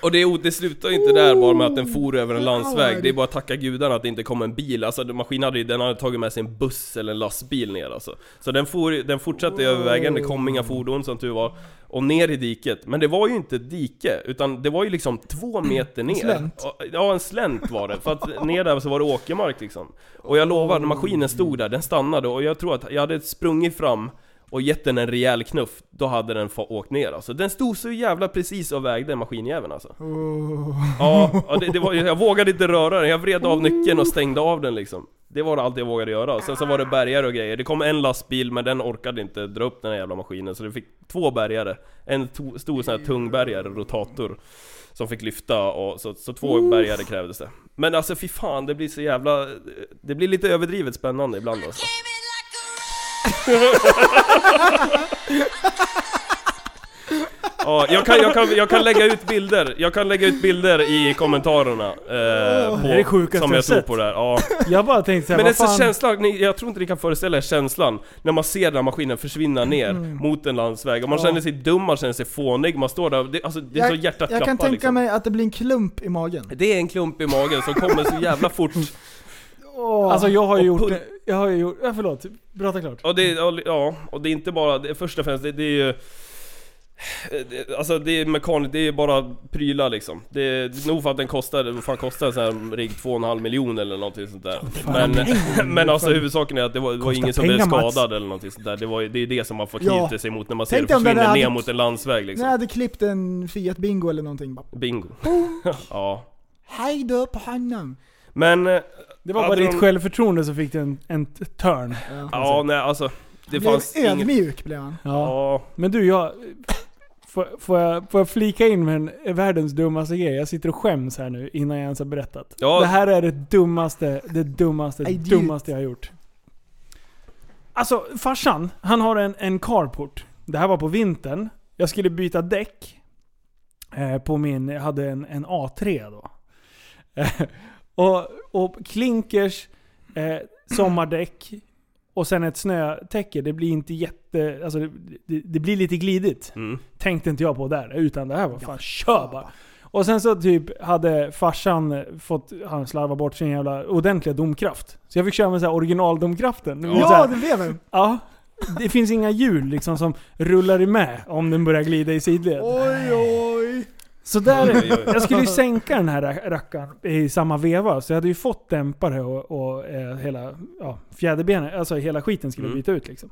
Och det, är- det slutar ju inte där bara med att den for över en landsväg. Det är bara att tacka gudarna att det inte kom en bil. Alltså den- maskinen hade ju, den hade tagit med sig en buss eller en lastbil ner alltså. Så den, for, den fortsatte över vägen, det kom inga fordon som tur var. Och ner i diket. Men det var ju inte ett dike, utan det var ju liksom två meter ner. slänt. Och- Ja, en slänt var det. För att ner där så var det åkermark liksom. Och jag lovar, när maskinen stod där, den stannade och jag tror att jag hade sprungit fram och gett den en rejäl knuff, då hade den fa- åkt ner alltså. Den stod så jävla precis och vägde maskinjäveln alltså. Ja, ja, det, det var, jag vågade inte röra den, jag vred av nyckeln och stängde av den liksom. Det var allt jag vågade göra. Och sen så var det bärgare och grejer. Det kom en lastbil men den orkade inte dra upp den här jävla maskinen så det fick två bärgare. En to- stor sån här tung bärgare, rotator. Som fick lyfta och så, så två bärgare krävdes det. Men alltså fy fan, det blir så jävla... Det blir lite överdrivet spännande ibland alltså. Ja, jag kan, jag, kan, jag kan lägga ut bilder, jag kan lägga ut bilder i kommentarerna eh, på, är det sjukaste som jag jag tror sett. på där. Ja. Jag bara tänkte såhär, Men vad det är fan... känslan, ni, jag tror inte ni kan föreställa er känslan när man ser den här maskinen försvinna ner Mm. mot en landsväg och man känner sig dum, man känner sig fånig, man står där, det, alltså, det är så hjärtat jag klappar kan tänka liksom. mig att det blir en klump i magen. Det är en klump i magen som kommer så jävla fort. Alltså jag har ju Och gjort... pul- Jag har ju gjort... Ja, förlåt. Prata klart. Och det, och, ja, och det är inte bara, det, först och främst, det, det är ju det- Alltså det är mekaniskt, det är bara prylar liksom. Det är nog för att den kostar, vad fan kostar en sån här rigg? 2,5 miljoner eller någonting sånt där. Men, <laughs> men alltså huvudsaken är att det var, det var Mm, Kostar ingen som blev pengar, Mats. skadad eller någonting sånt där. Det, var, ju- det är det som man får Ja. knyta sig mot när man ser Tänk det dig om den försvinna hade- ner mot en landsväg När jag liksom. hade klippt en Fiat Bingo eller någonting. Bara, Bingo. <laughs> ja. Hej då på honom. Men... eh, Det var bara hade ditt de- självförtroende som fick dig en, en t- turn. Ja, nej alltså. Det blev fanns inget... ödmjuk blev han. Ja. Ja. Men du, jag... Får, får, jag, får jag flika in med en, världens dummaste grej? Jag sitter och skäms här nu innan jag ens har berättat. Ja. Det här är det dummaste, det dummaste, I did. dummaste jag har gjort. Alltså farsan, han har en, en carport. Det här var på vintern. Jag skulle byta däck. Eh, på min, jag hade en, en A3 då. Eh, och, och klinkers, eh, sommardäck och sen ett snötäcke. Det blir inte jätte... Alltså det, det, det blir lite glidigt Mm. tänkte inte jag på där. Utan det här var fan, kör bara. Och sen så typ hade farsan fått, han slarvat bort sin jävla ordentliga domkraft. Så jag fick köra med så här originaldomkraften. Det var så Ja, här, det blev han. ja, det finns inga hjul liksom som rullar i med om den börjar glida i sidled. Oj, oj. Så där, Oj, <laughs> oj, oj. jag skulle ju sänka den här ra- rackaren i samma veva, så jag hade ju fått dämpare och, och eh, hela ja, fjäderbenet, alltså hela skiten skulle Mm. byta ut liksom.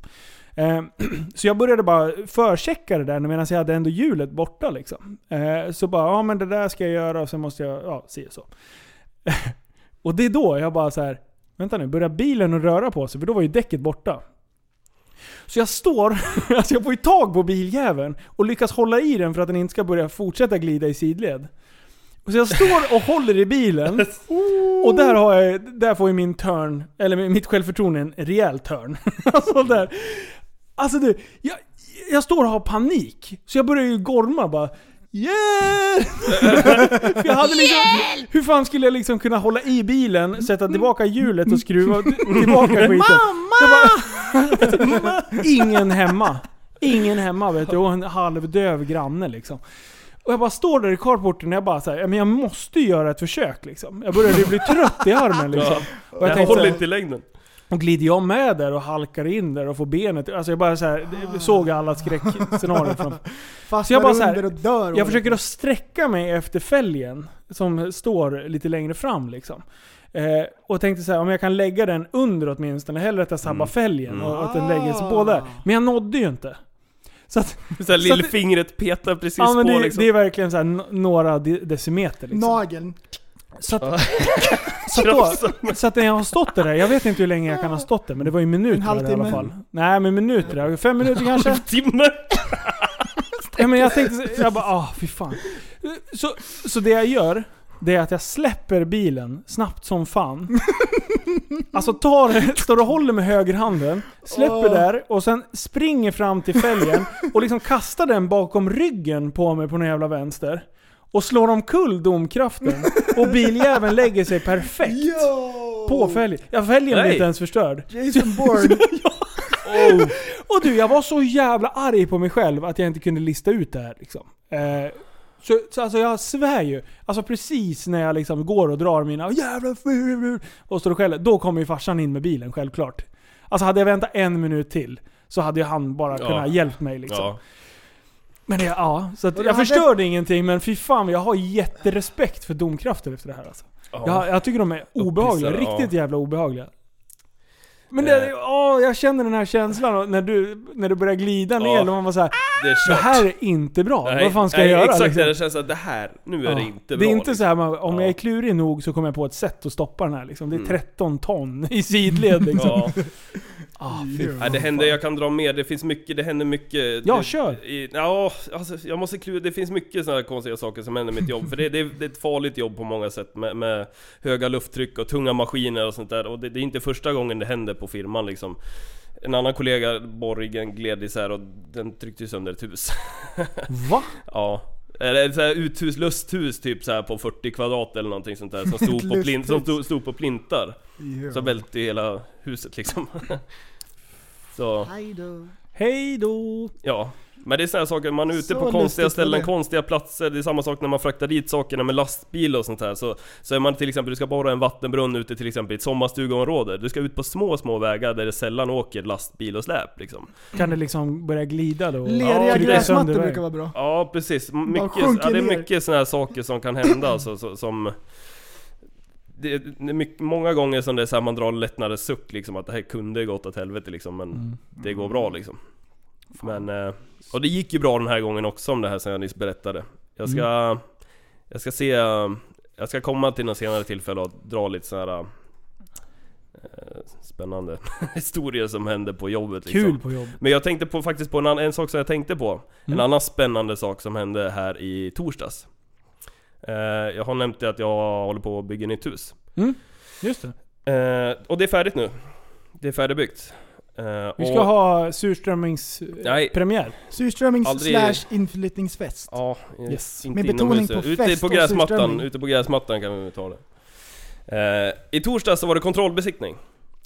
Eh, <clears throat> så jag började bara förchecka det där medan jag hade ändå hjulet borta liksom. Eh, så bara, ja men det där ska jag göra och sen måste jag, ja, se så. <laughs> och det är då jag bara så här, vänta nu, börjar bilen att röra på sig? För då var ju däcket borta. Så jag står, <laughs> alltså jag får ju tag på biljäveln och lyckas hålla i den för att den inte ska börja fortsätta glida i sidled. Och så jag står och håller i bilen och där, har jag, där får ju min turn, eller mitt självförtroende en rejäl turn. <laughs> Alltså där. Alltså du, jag, jag står och har panik. Så jag börjar ju gorma bara Yeah! <laughs> För jag hade liksom, hur fan skulle jag liksom kunna hålla i bilen, sätta tillbaka hjulet och skruva t- tillbaka skiten? Mamma! Ingen hemma. Ingen hemma vet du. Och en halvdöv granne liksom. Och jag bara står där i carporten och jag bara såhär, men jag måste ju göra ett försök liksom. Jag började ju bli trött i armen liksom. Ja. Och Jag jag tänkte så håller här, inte i längden. och glider jag med där och halkar in där och får benet... Alltså jag bara så här, det- såg alla skräckscenarion <laughs> framför Så Fastnar jag bara så här, under och dör. jag försöker att sträcka mig efter fälgen som står lite längre fram liksom. Eh, och tänkte så här, om jag kan lägga den under åtminstone, hellre att jag Mm. sabbar fälgen och att den lägger sig Ah. på där. Men jag nådde ju inte. Så att, Så här, Så att- lillfingret petar precis ja, men på det, liksom. det är verkligen så här, n- några de- decimeter liksom. Nageln. Så att, så, att då, så att när jag har stått där, jag vet inte hur länge jag kan ha stått där, men det var ju En minuter i halvtimme. alla fall. Nej men minuter, där. fem <laughs> minuter kanske? Timme! Ja, men jag tänkte, så- jag bara ah fy fan. Så, så det jag gör, det är att jag släpper bilen snabbt som fan. Alltså tar, står och håller med högerhanden, släpper Åh. där och sen springer fram till fälgen och liksom kastar den bakom ryggen på mig på någon jävla vänster. Och slår omkull domkraften och biljäveln lägger sig perfekt Yo! på fälgen. Ja, fälgen blev Nej. Oh. inte ens förstörd. <laughs> Jason Bourne. Och du, jag var så jävla arg på mig själv att jag inte kunde lista ut det här liksom. Eh, så, så alltså jag svär ju. Alltså precis när jag liksom går och drar mina jävla ful och står och skäller, då kommer ju farsan in med bilen självklart. Alltså hade jag väntat en minut till så hade ju han bara Ja. kunnat hjälpt mig liksom. Ja. Men det, ja, så att Men jag du hade- förstörde ingenting men fy fan jag har jätterespekt för domkrafter efter det här alltså. Ja. Jag, jag tycker de är obehagliga. Upphissade, ja. riktigt jävla obehagliga. Men Eh. det, åh, jag känner den här känslan och när du, när du börjar glida ner Ja. och man bara såhär Det är Det kört. här är inte bra. Nej, Vad fan ska nej, jag göra? Exakt liksom? det, det känns att det här, nu är Ja. det inte bra. Det är inte liksom. så här, man, om Ja. Mm. jag är klurig nog så kommer jag på ett sätt att stoppa den här liksom. Det är 13 <laughs> ton i sidled liksom. <laughs> Ja. Ah, fy Nej, det händer, jag kan dra med, det finns mycket, det händer mycket. Ja, det, kör. I, ja, alltså, jag måste klura, det finns mycket sådana här konstiga saker som händer i mitt jobb. För det, det, det är ett farligt jobb på många sätt med, med höga lufttryck och tunga maskiner och sånt där. Och det, det är inte första gången det händer på firman liksom. En annan kollega, borgen, gled isär och den tryckte ju sönder ett hus. <laughs> Va? Ja. Eller ett så här uthus, lusthus typ så här på 40 kvadrat eller någonting sånt där som stod, på, plin, som stod, stod på plintar. <laughs> Så välte hela huset liksom. så, Hej då. Hej då! Ja. Men det är sådana saker, man är ute Så på konstiga lustigt var ställen, det. konstiga platser. Det är samma sak när man fraktar dit sakerna med lastbil och sånt här. Så, så är man till exempel, du ska borra en vattenbrunn ute till exempel i ett sommarstugeområde. Du ska ut på små, små vägar där det sällan åker lastbil och släp liksom. Kan det liksom börja glida då? Leriga Ja, det är gräsmattor sönderväg. brukar vara bra. Ja precis, M- Bara mycket, sjunker ja, det är ner. mycket sådana här saker som kan hända alltså, så, som... Det är, det är mycket, många gånger som det är så här man drar en lättnadens suck liksom att det här kunde gått åt helvete liksom men Mm. det går bra liksom. Men, eh, och det gick ju bra den här gången också om det här som jag nyss berättade. Jag ska, Mm. jag ska se, eh, jag ska komma till något senare tillfälle och dra lite sådana här eh, spännande <laughs> historier som hände på jobbet liksom. Kul på jobb. Men jag tänkte på, faktiskt på en, annan, en sak som jag tänkte på. Mm. En annan spännande sak som hände här i torsdags. Eh, jag har nämnt det att jag håller på att bygga nytt hus. Mm. Just det. Eh, och det är färdigt nu. Det är färdigbyggt. Eh, Vi och- ska ha surströmmingspremiär. Nej. premiär. Surströmmings Aldrig- slash inflyttningsfest. Ja, Yes. inte Med betoning inomhus. på ute fest på och gräsmattan, surströmming. ute på gräsmattan kan vi väl ta det. Eh, I torsdags så var det kontrollbesiktning.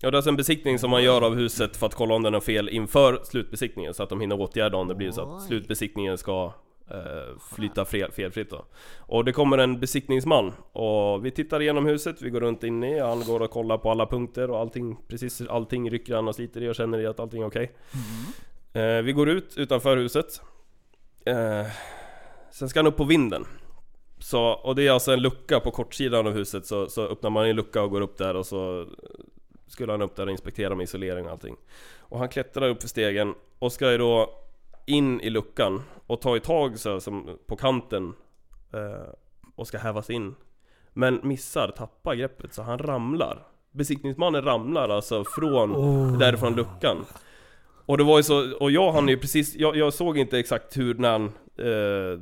Ja, det är alltså en besiktning som man gör av huset för att kolla om den har fel inför slutbesiktningen så att de hinner åtgärda om det blir så att slutbesiktningen ska eh, flyta fel, felfritt då. Och det kommer en besiktningsman och vi tittar igenom huset, vi går runt inne, han går och kollar på alla punkter och allting, precis allting rycker han och sliter i och känner i att allting är okej. Eh, vi går ut utanför huset. Eh, sen ska han upp på vinden. Så, och det är alltså en lucka på kortsidan av huset så, så öppnar man en lucka och går upp där och så skulle han upp där och inspektera med isolering och allting. Och han klättrar upp för stegen och ska ju då in i luckan och ta i tag så här, som på kanten eh, och ska hävas in. Men missar, tappar greppet så han ramlar. Besiktningsmannen ramlar alltså från Oh. därifrån luckan. Och det var ju så, och jag hann ju precis, jag, jag såg inte exakt hur när han eh,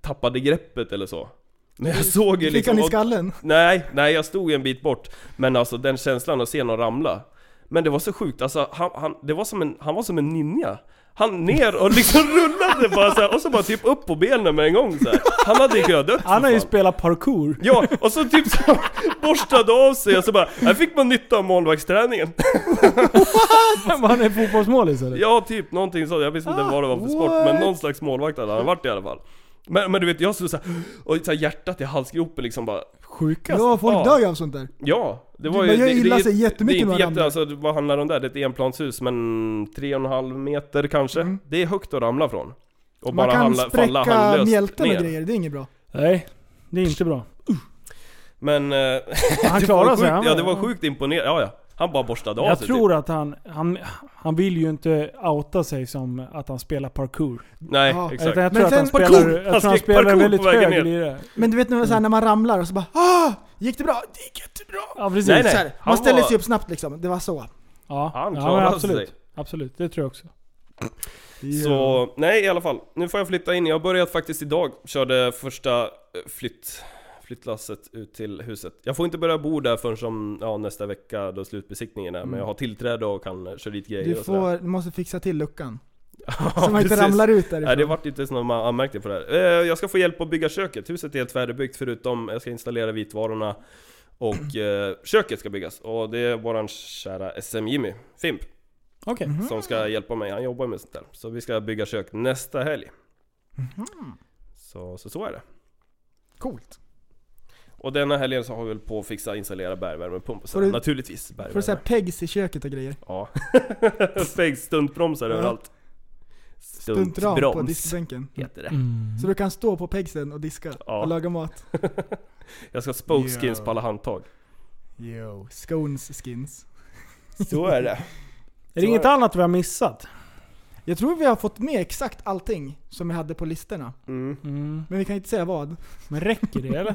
tappade greppet eller så. Men jag såg ju Fick liksom... han i och- skallen? Nej, nej jag stod en bit bort Men alltså den känslan att se någon ramla Men det var så sjukt, alltså han, han, det var som en, han var som en ninja Han ner och liksom <laughs> rullade bara så här, och så bara typ upp på benen med en gång så här. Han hade ju kunnat dött för Han har ju fan. spelat parkour. <laughs> Ja, och så typ så <laughs> borstade av sig och så bara, här fick man nytta av målvaktsträningen Han är fotbollsmålis eller? Ja, typ någonting sånt. Jag visste inte vad det var för sport, Ah, men någon slags målvakt hade han varit i alla fall men, men du vet, jag stod såhär, och så här hjärtat i halsgropen liksom bara Sjukast. Ja, folk Ja. dör ju av sånt där. Ja, det var Det- ju... man gör det- illa det- sig jättemycket Det är när man inte jätte, ramlar. alltså, vad handlar det om där? Det är ett enplanshus, men tre och en halv meter kanske? Det är högt att ramla från. Och Mm. Man bara kan handla, falla spräcka handlöst mjälten och ner. grejer, det är inget bra. Nej, det är <laughs> inte bra. Men... eh, Han <laughs> det klarade sig, var sjukt- han- Ja, det var sjukt imponerande. Ja, ja. Han bara borstade av Jag sig tror typ. att han, han... Han vill ju inte outa sig som att han spelar parkour. typ. Nej, Ja. exakt. Utan jag Men tror att han sen- spelar... Parkour! Jag Han tror han skrek spelar en parkour väldigt på vägen hög ner. lirare. Men du vet när, Mm. så här, när man ramlar och så bara ah, Gick det bra? Det gick jättebra! Ja precis. Nej, nej. Så här, man Han ställer var- sig upp snabbt liksom, det var så. Ja, Han ja men klarade absolut. sig. Absolut, det tror jag också. Så, nej i alla fall. Nu får jag flytta in. Jag har börjat faktiskt idag. Körde första eh, flytt, flyttlasset ut till huset. Jag får inte börja bo där förrän som, ja, nästa vecka då slutbesiktningen är. Men jag har tillträde och kan eh, köra dit grejer Mm. Du, och sådär. <laughs> får, du måste fixa till luckan. Ja, Så man inte precis. ramlar ut därifrån. Nej det vart inte som man anmärkte på det här. Eh, Jag ska få hjälp att bygga köket. Huset är helt färdigbyggt förutom jag ska installera vitvarorna <clears throat> och eh, köket ska byggas. Och det är våran kära SM Jimmy, Fimp, Okej. Mhm. som ska Mm. hjälpa mig. Han jobbar med sånt där. Så vi ska bygga kök nästa helg. Så, så så är det. Mhm. Coolt. Och denna helgen så har vi väl på att fixa installera bergvärmepump och så. Får du- Naturligtvis Får du bergvärme. såhär pegs i köket och grejer? Ja. <laughs> Fägg stuntbromsar Ja. överallt. Stuntram på Stuntbroms diskbänken. heter det. Mm. Så du kan stå på pegsen och diska Ja. och laga mat. <laughs> Jag ska spokeskins Ja. på alla handtag. Yo, scones skins. Så <laughs> är det. Är det inget annat vi har missat? Jag tror vi har fått med exakt allting som vi hade på listorna. Mm. Men vi kan inte säga vad. Men räcker det eller?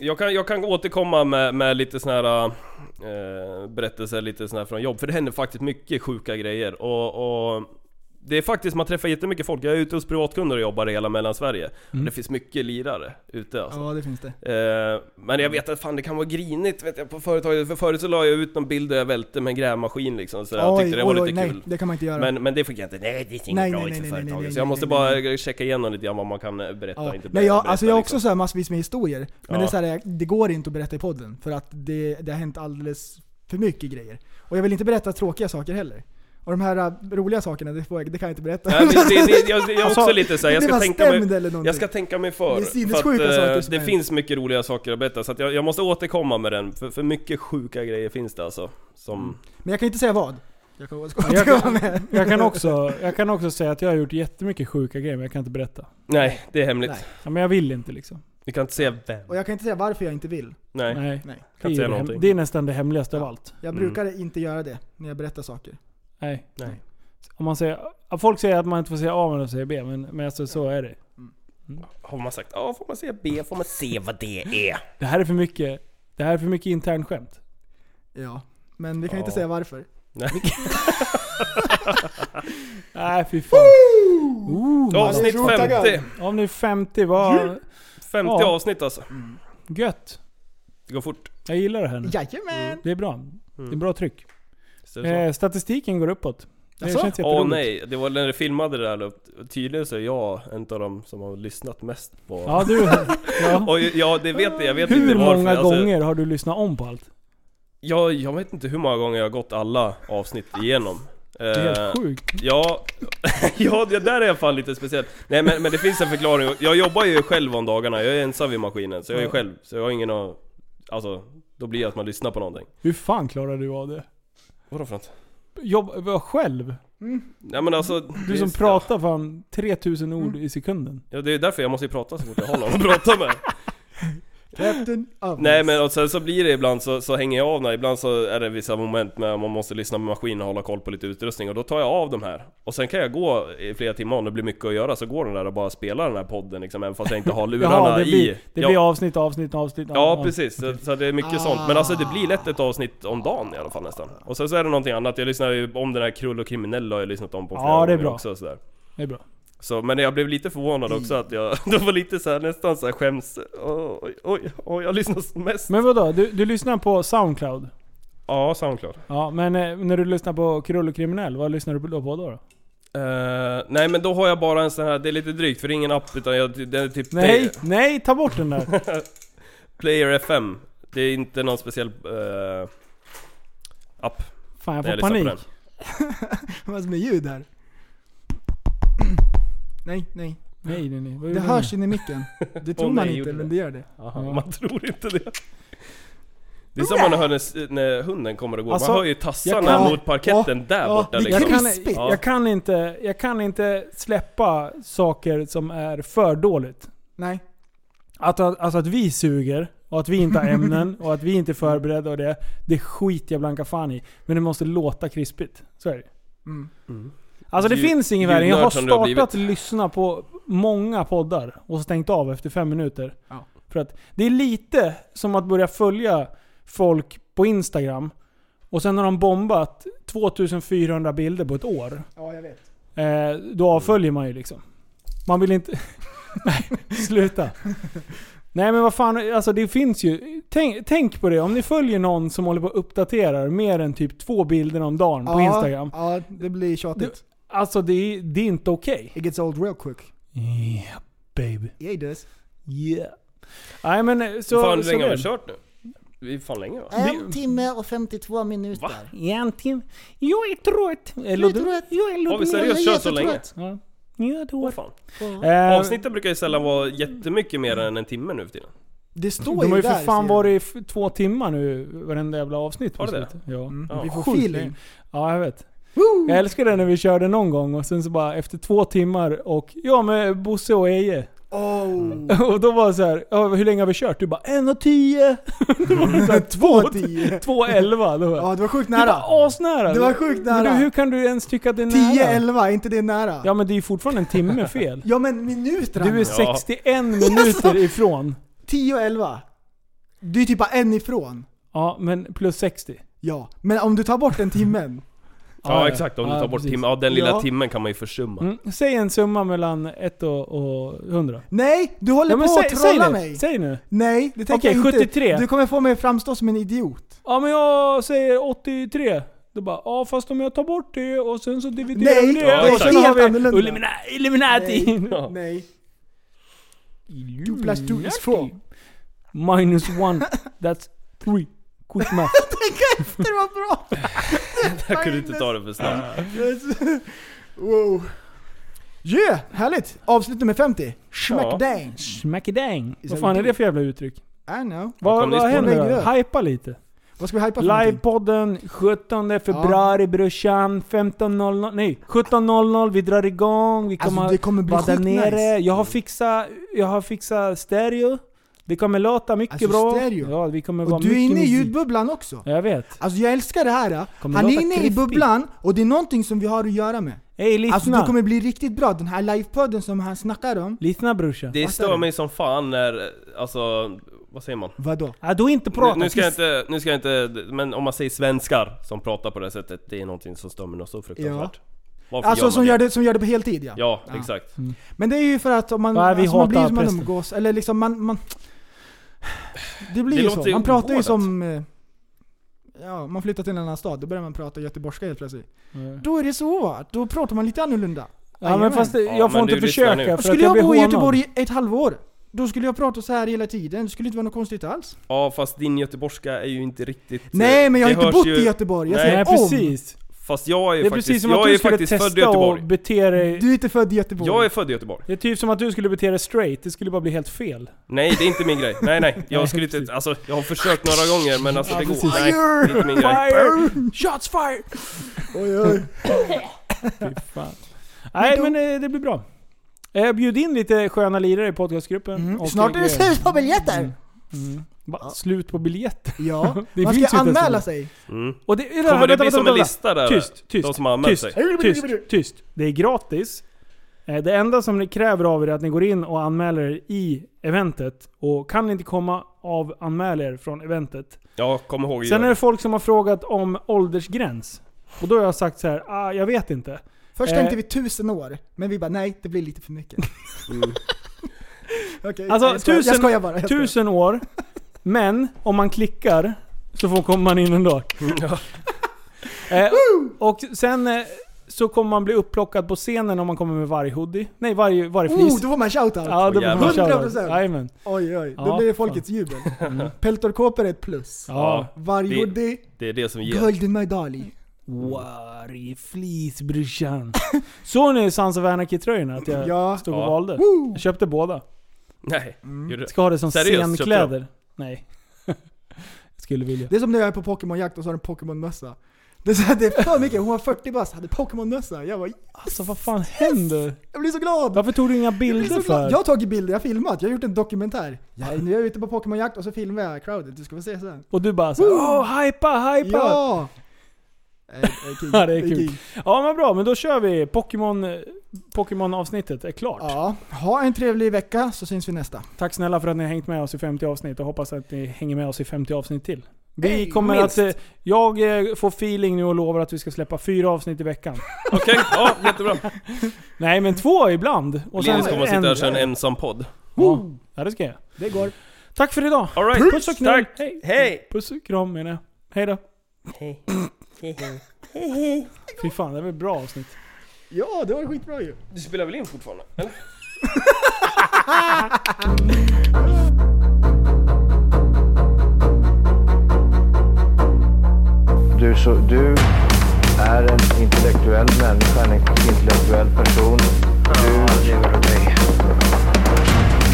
Jag, kan, jag kan återkomma med, med lite såna här eh, berättelser lite såna här från jobb. För det händer faktiskt mycket sjuka grejer. Och, och det är faktiskt, man träffar jättemycket folk. Jag är ute hos privatkunder och jobbar i hela mellansverige. Mm. Och det finns mycket lirare ute alltså. Ja, det finns det. Eh, men jag vet att fan det kan vara grinigt vet jag, på företaget. För förut så la jag ut någon bild där jag välte med en grävmaskin liksom. Så jag tyckte det var lite nej, kul. det kan man inte göra. Men, men det fick jag inte, nej det är inget Nej, bra nej, ut nej, för nej, nej, företaget. nej, så jag nej, måste nej, bara nej, checka igenom lite grann vad man kan eh, berätta och ja. inte nej, jag, berätta, alltså jag har liksom. också så här massvis med historier. Men Ja. det, är så här, det går inte att berätta i podden. För att det, det har hänt alldeles för mycket grejer. Och jag vill inte berätta tråkiga saker heller. Och de här äh, roliga sakerna, det, får jag, det kan jag inte berätta. Nej, <laughs> det, det, det, jag, jag är också lite såhär, jag det ska var tänka mig... stämd eller någonting. Jag ska tänka mig för. Det är för sinnessjuka att, eh, saker som det händer. finns mycket roliga saker att berätta, så att jag, jag måste återkomma med den. För, för mycket sjuka grejer finns det alltså. Som... Men jag kan inte säga vad. <laughs> Jag kan Jag återkomma kan- med. Jag kan, också, jag kan också säga att jag har gjort jättemycket sjuka grejer, men jag kan inte berätta. Nej, det är hemligt. Nej. Ja, men jag vill inte liksom. Vi kan inte säga vem. Och jag kan inte säga varför jag inte vill. Nej. Nej. Nej. Det, Kan är inte säga ju någonting. hem, det är nästan det hemligaste av allt. Jag Mm. brukar inte göra det när jag berättar saker. Nej. Nej. Om man säger, folk säger att man inte får säga A men de säger B, men, men alltså, så är det. Har man sagt A får man säga B, får man se vad det är. Det här är för mycket, det här är för mycket internt skämt. Ja. Men vi kan inte Ja. säga varför. Nej. Nej fy fan. Ooh, alltså, Avsnitt det är så 50. taggad. Om ni är 50, vad 50 Ja. avsnitt alltså. gött. Det går fort. Jag gillar det här Mm. nu. Jajamän! Det är bra. Det är bra tryck. Visst är Mm. det så? Eh, statistiken går uppåt. Det Jaså? känns Åh jätteroligt. nej, det var när du filmade det där då. Tydligen så är jag en av de som har lyssnat mest på... Ja <laughs> du. Ja. Och ja, det vet jag. Jag vet Hur inte varför. många Alltså, gånger har du lyssnat om på allt? Jag, jag vet inte hur många gånger jag har gått alla avsnitt igenom. Det Eh, är helt sjukt. Ja, <laughs> ja, det där är fan lite speciellt. Nej men, men det finns en förklaring. Jag jobbar ju själv om dagarna, jag är ensam vid maskinen. Så jag är själv, så jag har ingen att... Alltså, då blir det att man lyssnar på någonting. Hur fan klarar du av det? Vadå för något? Jobb, var själv? Nej men alltså... Du som pratar fan 3000 ord Mm. i sekunden. Ja, det är därför jag måste ju prata så fort jag har någon att <laughs> prata med. Captain Obvious. Mm. Nej men och sen så blir det ibland så, så hänger jag av när ibland så är det vissa moment när man måste lyssna på maskinen och hålla koll på lite utrustning och då tar jag av de här. Och sen kan jag gå i flera timmar om det blir mycket att göra så går den där och bara spelar den här podden liksom även fast <laughs> jag inte har lurarna det i. blir, det ja, blir avsnitt, avsnitt, avsnitt. ja avsnitt. precis, så, så det är Ah. mycket sånt. Men alltså det blir lätt ett avsnitt om dagen i alla fall nästan. Och sen så är det någonting annat, jag lyssnar ju om den här Krull och Kriminell har jag lyssnat om på flera Ja, det är gånger bra. Mm. också. Så där. Det är bra. Så, men jag blev lite förvånad också att jag, <laughs> det var lite så här, nästan så här skäms... Oj, oj, oj, oj jag lyssnar mest. Men vadå? Du, du lyssnar på Soundcloud? Ja, Soundcloud. Ja, men eh, när du lyssnar på Krull och Kriminell, vad lyssnar du på då? På då? Eh, nej men då har jag bara en sån här, det är lite drygt för det är ingen app utan jag, det är typ Nej, Play, nej, ta bort den där. Player FM. Det är inte någon speciell eh, app. Fan jag när får lyssnar på panik. den. Vad som är ljud här. <clears throat> Nej, nej. Nej, nej, nej. Vad Det gjorde hörs du in i micken. <laughs> Det tror Åh, man nej, inte, gjorde men det. det gör det. Jaha, Ja. Man tror inte det. Det är som man hör när, s- när hunden kommer och går. Alltså, man hör ju tassarna jag kan- mot parketten där ja, borta det nu? jag liksom. kan, Krispigt. jag, kan inte, jag kan inte släppa saker som är för dåligt. Nej. Att, att- alltså att vi suger, och att vi inte har ämnen, och att vi inte är förberedda och det. Det skiter jag blanka fan i. Men det måste låta krispigt. Så är det. Mm. Alltså det Ljud- finns ingen värre. Jag har ljudnörd som du har startat lyssna på många poddar och stängt av efter fem minuter. Ja. För att det är lite som att börja följa folk på Instagram och sen har de bombat 2400 bilder på ett år. Ja, jag vet. Eh, då avföljer man ju liksom. Man vill inte... <laughs> Nej, sluta. Nej men vad fan, alltså det finns ju... Tänk, tänk på det, om ni följer någon som håller på och uppdaterar mer än typ två bilder om dagen på ja, Instagram. Ja, det blir tjatigt. Alltså det, är- det är inte okej. It gets old real quick. Yeah, baby. Yeah, it does. Yeah. Nej men eh, så... fan hur så länge har det. vi kört nu? Vi är fan länge va? En timme och 52 minuter. Va? Egentligen... Jag är trött. Eller är du- trött. Jag är Har vi lugn. seriöst Jag är kört så länge? jättetrött. Ja. Ja, det Åh var... fan. Eh, Avsnitten brukar ju sällan vara jättemycket mer än en timme nu för tiden. Det står De har ju där, för fan ser du. varit i f- två timmar nu, varenda jävla avsnitt. Har det det? slutet. Ja. Mm. Ja. Vi får Sjukt feeling. länge. Ja, jag vet. Jag älskar det när vi körde någon gång och sen så bara efter två timmar och ja med Bosse och Eje. <laughs> Oh. Och då var det så här, ja, hur länge har vi kört? Du bara en och tio, <laughs> <laughs> Två tio. två elva. Då bara, Ja, det var sjukt Det nära. var asnära. Det var sjukt Men du, hur nära. kan du ens tycka att det är nära? 10, 11, inte det nära? Ja men det är ju fortfarande en timme <laughs> fel. Ja, men minuterna. Du är 61 <laughs> minuter ifrån. 10 och 11. Du är typ bara en ifrån. Ja, men plus 60. Ja, men om du tar bort den timmen. Ja, exakt, om du Ja, tar bort precis. timmen. Ja den lilla Ja. timmen kan man ju försumma. <laughs> Mm. Säg en summa mellan 1 och, och 100. Nej, du håller Ja, men på att säg, säg trolla nu. mig. Säg nu. Nej, det tänker Okej, jag inte. 73. Du kommer få mig att framstå som en idiot. Ja men jag säger 83. Då bara, ja fast om jag tar bort det och sen så dividerar Nej, vi det det. är och sen helt har vi annorlunda. Illumina- Illuminati. Ja. Nej. <laughs> Two plus two is four. Minus one, that's three. Skitmaff. Det var bra! Jag kunde inte ta det för snabbt. wow. Yeah! Härligt! Avslut nummer 50. Schmackdang. Schmackidang. Vad fan är det för jävla uttryck? I know. Vad, kom det vad ifrån? händer Lägg då? det. Hypa lite. Vad ska vi hypa för någonting? Livepodden 17 februari brorsan. 15.00. Nej, 17.00. Vi drar igång. Vi Alltså kommer, det kommer bli vara där sjukt nere. nice. Jag har fixat, jag har fixat stereo. Det kommer låta mycket Alltså, bra. stereo. Ja, vi kommer vara Och du är mycket inne i musik. ljudbubblan också. Jag vet. Alltså jag älskar det här. Kommer Han är låta inne i krispigt. bubblan och det är någonting som vi har att göra med. Ey, lyssna. Alltså det kommer bli riktigt bra. Den här livepodden som han snackar om. Lyssna brorsan. Det är det? stör mig som fan när, alltså, vad säger man? Vadå? Ja, du har inte pratat. Nu, nu ska jag inte, nu ska jag inte, men om man säger svenskar som pratar på det här sättet, det är någonting som stör mig något så fruktansvärt. Varför Alltså gör man som gör, det, som gör det på heltid ja. Ja, exakt. Men det är ju för att om man, Nej, vi alltså, man hatar blir som man prästen. umgås, eller liksom man... man det blir Det ju låter så. ju Man pratar ju ovårdat. som... eh, Ja, man flyttar till en annan stad, då börjar man prata göteborgska helt plötsligt. Då är det så va? Då pratar man lite annorlunda. Ja, men Jajamän. fast det- Ja, jag får men inte du lyssnar försöka nu. för att Skulle jag jag blir bo i hånad. Göteborg i ett halvår, då skulle jag prata så här hela tiden. Det skulle inte vara något konstigt alls. Ja fast din göteborgska är ju inte riktigt... Nej, men jag det har inte hörs bott ju- i Göteborg. Jag Nej. Nej säger om. precis. Fast jag är ju Det är faktiskt, precis som att jag är du ju skulle faktiskt född i testa och Göteborg. bete dig... Du är inte född i Göteborg. Jag är född i Göteborg. Det är typ som att du skulle bete dig straight. Det skulle bara bli helt fel. Nej det är inte min grej. Nej nej, Nej, <laughs> jag skulle precis. inte, alltså jag har försökt några gånger men alltså det går... precis. Nej, det är inte min grej. Fire! Shots <laughs> fired! Oj, oj. Fy fan. Nej då- men eh, det blir bra. Eh, Bjud in lite sköna lirare i podcastgruppen. Mm. och, Snart är eh, det slut på biljetter! Mm. Va? Slut på biljetter? Ja, <laughs> Det man finns ju inte ska ens anmäla en- sig. Mm. Och det, vänta, Kommer vänta, det bli vänta, som en vänta. lista där? Tyst, tyst, De som har anmält tyst, sig. tyst, tyst. Det är gratis. Eh, Det enda som ni kräver av er är att ni går in och anmäler er i eventet. Och kan ni inte komma, av anmäl er från eventet. Ja, kom ihåg Sen är ju. det folk som har frågat om åldersgräns. Och då har jag sagt så här, ah, jag vet inte. Först Eh. tänkte vi tusen år, men vi bara nej, det blir lite för mycket. Mm. <laughs> Okej, Alltså, jag, skojar, tusen- jag skojar bara. Jag skojar. Tusen år, men om man klickar så får, kommer man in ändå. <laughs> eh, och sen eh, så kommer man bli upplockad på scenen om man kommer med varje hoodie. Nej, varje, varje flis. Oh, då får man shoutout! Ja, det Åh, får man köra. 100%. Jajamän. Oj oj, då Ja, Mm. blir det <laughs> folkets jubel. Peltorkåpor är ett plus. Ja. Varje Det- hoodie, Det är det som ger. guldmedalj. Varje flis brorsan. <laughs> Såg ni Sons of Anarchy-tröjorna? Att jag Ja. stod Ja. och valde. Jag köpte båda. Nej, gjorde det. Ska ha det som Seriöst, köpte du dem? scenkläder. Nej. <laughs> Skulle vilja. Det är som när jag är på Pokémonjakt och så har en Pokémon-mössa. Det är, så här, det är för mycket, hon var 40 bast, hade Pokémon-mössa. Jag bara, Alltså vad fan händer? jag blir så glad! Varför tog du inga Jag blir bilder så glad. för? Jag har tagit bilder, jag har filmat, jag har gjort en dokumentär. Jag, nu är jag ute på Pokémonjakt och så filmar jag crowdet, du ska få se sen. Och du bara såhär åh, hypa, hypa! Ja, Ja! <laughs> Eh, eh, kul. <laughs> Ja, det är kul. kul. men bra. Men då kör vi. Pokémon, eh, Pokémon-avsnittet är klart. Ja, ha en trevlig vecka så syns vi nästa. Tack snälla för att ni har hängt med oss i 50 avsnitt och hoppas att ni hänger med oss i 50 avsnitt till. Vi Hey, kommer minst. att... eh, Jag eh, får feeling nu och lovar att vi ska släppa fyra avsnitt i <laughs> veckan. Okej, ja jättebra. Nej men två ibland. Och Linus kommer att sitta här och köra en ensam podd. Ja, Ja, det ska jag. Det går. Tack för idag. All right. Puss och knull. Tack. Hej. Hej! Puss och kram menar jag. Hej då. Fy fan, det var ett bra avsnitt. Ja, det var skitbra ju. Du spelar väl in fortfarande? Eller? Du, så, du är en intellektuell människa, en intellektuell person. Du lever av dig.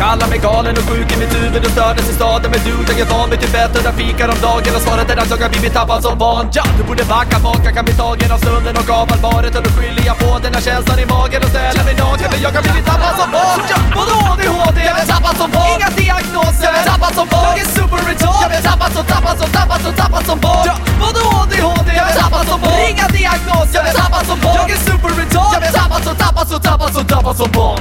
Kallar mig galen och sjuk i mitt huvud och stördes i staden Men du, jag är van vid typ bättre trafikar om dagen Och svaret är att jag har blivit tappad som van ja! Du borde backa bak, jag kan bli tagen av stunden och av allvaret Och då skyller jag på den här känslan i magen och ställer mig naken För jag har blivit tappad som barn ja! Vadå ADHD? Jag är tappad som barn Inga diagnoser Jag är tappad som barn Jag är super retard Jag är tappad som tappad som tappad som tappad som barn ja! Vadå ADHD? Jag är tappad som barn Inga diagnoser Jag är tappad som barn Jag är super retard Jag är tappad som tappad som tappad som tappad som barn